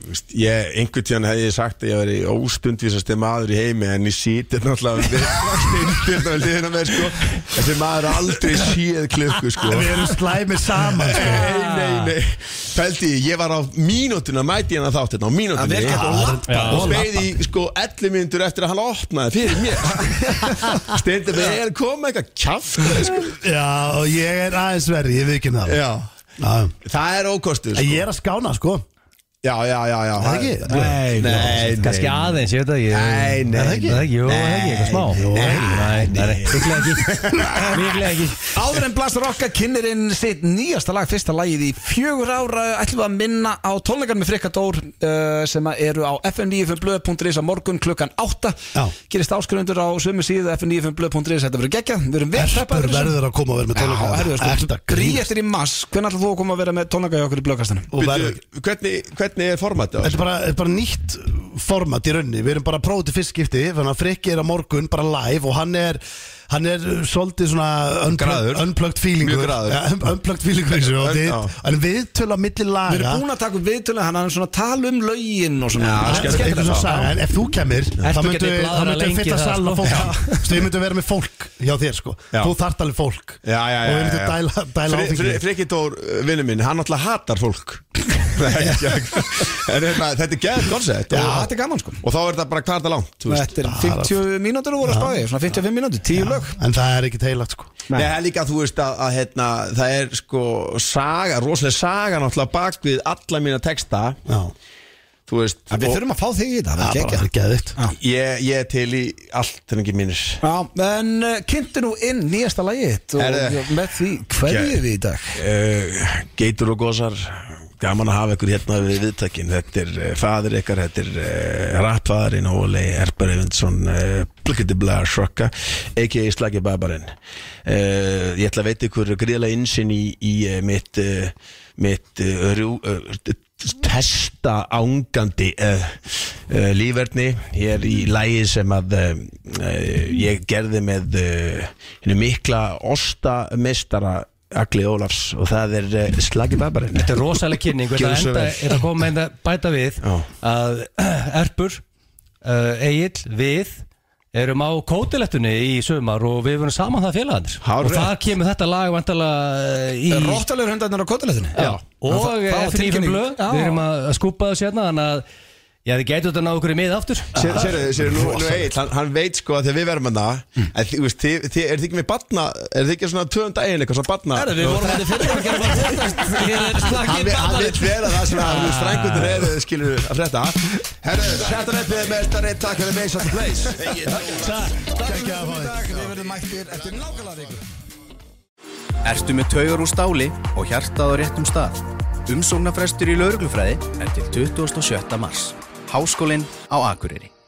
H: Þú veist, ég, einhvern tíðan hefði ég sagt að ég veri óstundvísasti maður í heimi en ég sýtir náttúrulega við stundir þá liðina með sko þessi maður er aldrei séð klukku sko
I: Við
H: nei,
I: erum slæmið saman sko.
H: nei, nei fældi ég, ég var á mínútuna mæti ég hann að þátt hérna á
A: Að
H: mínútuna
A: vel gæti og
B: Já.
H: og beði í sko 11 minntur eftir að hann opnaði fyrir mér stundir með ég er komið eitthvað kjaft sko.
I: Já, og ég er aðeins verri, ég viðkynna það
H: já,
I: Já.
H: það er
I: En
H: ókostur sko.
I: Ég er að skána sko
H: já, já, já, já
I: það ekki?
H: nei, nei,
B: Kanski
H: nei.
B: aðeins, ég veit það ekki
H: Nei, nei.
B: Er það ekki? Er það ekki, jú, er það ekki, eitthvað smá
H: Nei, jú,
B: Nei, nei,
H: nei.
B: nei, líklega ekki Líklega ekki
A: Áður en Blast Rocka kynir inn sitt nýjasta lag, fyrsta lagið í fjögur ára ætlum við að minna á tónleikar með Frikka Dór uh, sem að eru á fm95blöð.is á morgun klukkan 8
I: Já.
A: gerist áskrundur á sömu síðu fm95blöð.is þetta verður geggjað, við erum vel
I: Erpur
A: peppaðir í þessu.
I: verður að koma og vera með
A: Já, herðu,
I: tónleika
A: sko,
I: Ertu að
A: grí
I: grínast?
A: eftir í mass hvernig ætlum þú að koma að vera með tónleika í okkur í blöðkastinu?
I: Og verður-
H: Bíddu, hvernig, hvernig er formatið á
I: Þetta er bara, þetta er bara nýtt format í rauninni Við erum bara að prófa til fyrst skipti Þannig að Frikki er á morgun bara live Og hann er, hann er svolítið svona unplugged,
H: Graður.
I: unplugged feelingur
H: Mjög graður.
I: ja, un- Unplugged feelingur eins og
H: Un-
I: við,
H: já.
I: En við tölum á milli laga
A: Við erum búin að taka upp viðtölu hann hann er svona að tala um lögin og svona
H: Já,
A: Það er
H: skemmtilegt.
I: Einhver
A: skemmtilegt
I: svona
A: að
I: saga, en ef þú kemur þá
B: Ertu
I: myndu
B: getið
I: við- þá
B: blaðra
I: myndu við
B: lengi
I: fylla
B: það,
I: sal af
B: sko.
I: fólk Þú myndu vera með fólk hjá þér sko
H: Já.
I: Þú þart alveg fólk
H: Já, já, já,
I: Og við myndum
H: já, já.
I: dæla, dæla á
H: Fri- Fri-
I: þig
H: Frikki Dór, vinnu minn, hann alltaf hatar fólk En hérna, Þetta er geðið koncept
A: Já,
H: og,
A: þetta er gaman sko
H: og þá er þetta bara hvað er það langt þú veist.
A: Þetta er 50 mínútur að voru að spáði, svona 55 mínútur, 10 lög
I: En það er ekki teilagt sko
H: Nei, það er líka, þú veist að, að hérna, það er sko saga, rosalega saga náttúrulega bak við alla mína texta
I: Já,
H: þú veist,
A: En Við
H: og
A: þurfum að fá þig í þetta,
I: það
A: það
I: er
A: er geggjað
I: bara geðvitt
H: ég, ég er til í allt en ekki mínir
A: Já, en uh, kynntu nú inn nýjasta lagið þitt og
H: Herðu.
A: með því hverju
H: Ge-
A: við í dag
H: uh, Geitur og gósar gaman að hafa ykkur hérna við viðtækin þetta er uh, fadir ykkar, þetta er uh, rappfaðurinn Óli Erpar Evinsson uh, Blikkitibla Shrokka a.k.a. Slagi Babarinn uh, ég ætla að veita ykkur gríðlega insinn í, í uh, mitt uh, mitt uh, rjú, uh, testa ángandi uh, uh, lífverðni ég er í lægi sem að uh, uh, ég gerði með uh, hinu mikla ostamestara Agli Ólafs og það er uh, Slagi Babarinn
B: Þetta er rosalega kynning Þetta
H: Gjörðu svo
B: enda,
H: vel.
B: þetta kom með að bæta við
H: Já.
B: að Erpur, uh, Egil, við erum á kótilettunni í sumar og við verum saman það félagarnir
H: Hárrétt.
B: og það kemur þetta lag vantala í
A: Róttalegur hundarnir á kotulegðinu
B: Já, og FNÍFM blöð við erum
A: að
B: að að skúpa þessu hérna þannig að já, þið gætu þetta að ná okkur í mið aftur
H: Sér, sér, sér, nú, nú Egil, hann, hann veit sko að þegar við verðum hann
B: Mm.
H: að þið, þú veist, þið, þið, er þið ekki með batna er þið ekki svona tvöðum daginn eitthvað svona batna
A: Herra, við vorum þetta hérna fyrir að gera bara podcast Hér er
H: hann,
A: slagið
H: vi- hann
A: babarinn
H: vil vera það sem að strængundir
B: Ah.
H: eru skilur að frétta Herru, þetta er með mestari, takk fyrir mig, satt place
A: Við verðum mættir eftir nákvæmlega viku
J: Ertu með taugar úr stáli og hjartað á réttum stað? Umsóknarfrestur í lauruglufræði er til 27. mars. Háskólinn á Akureyri.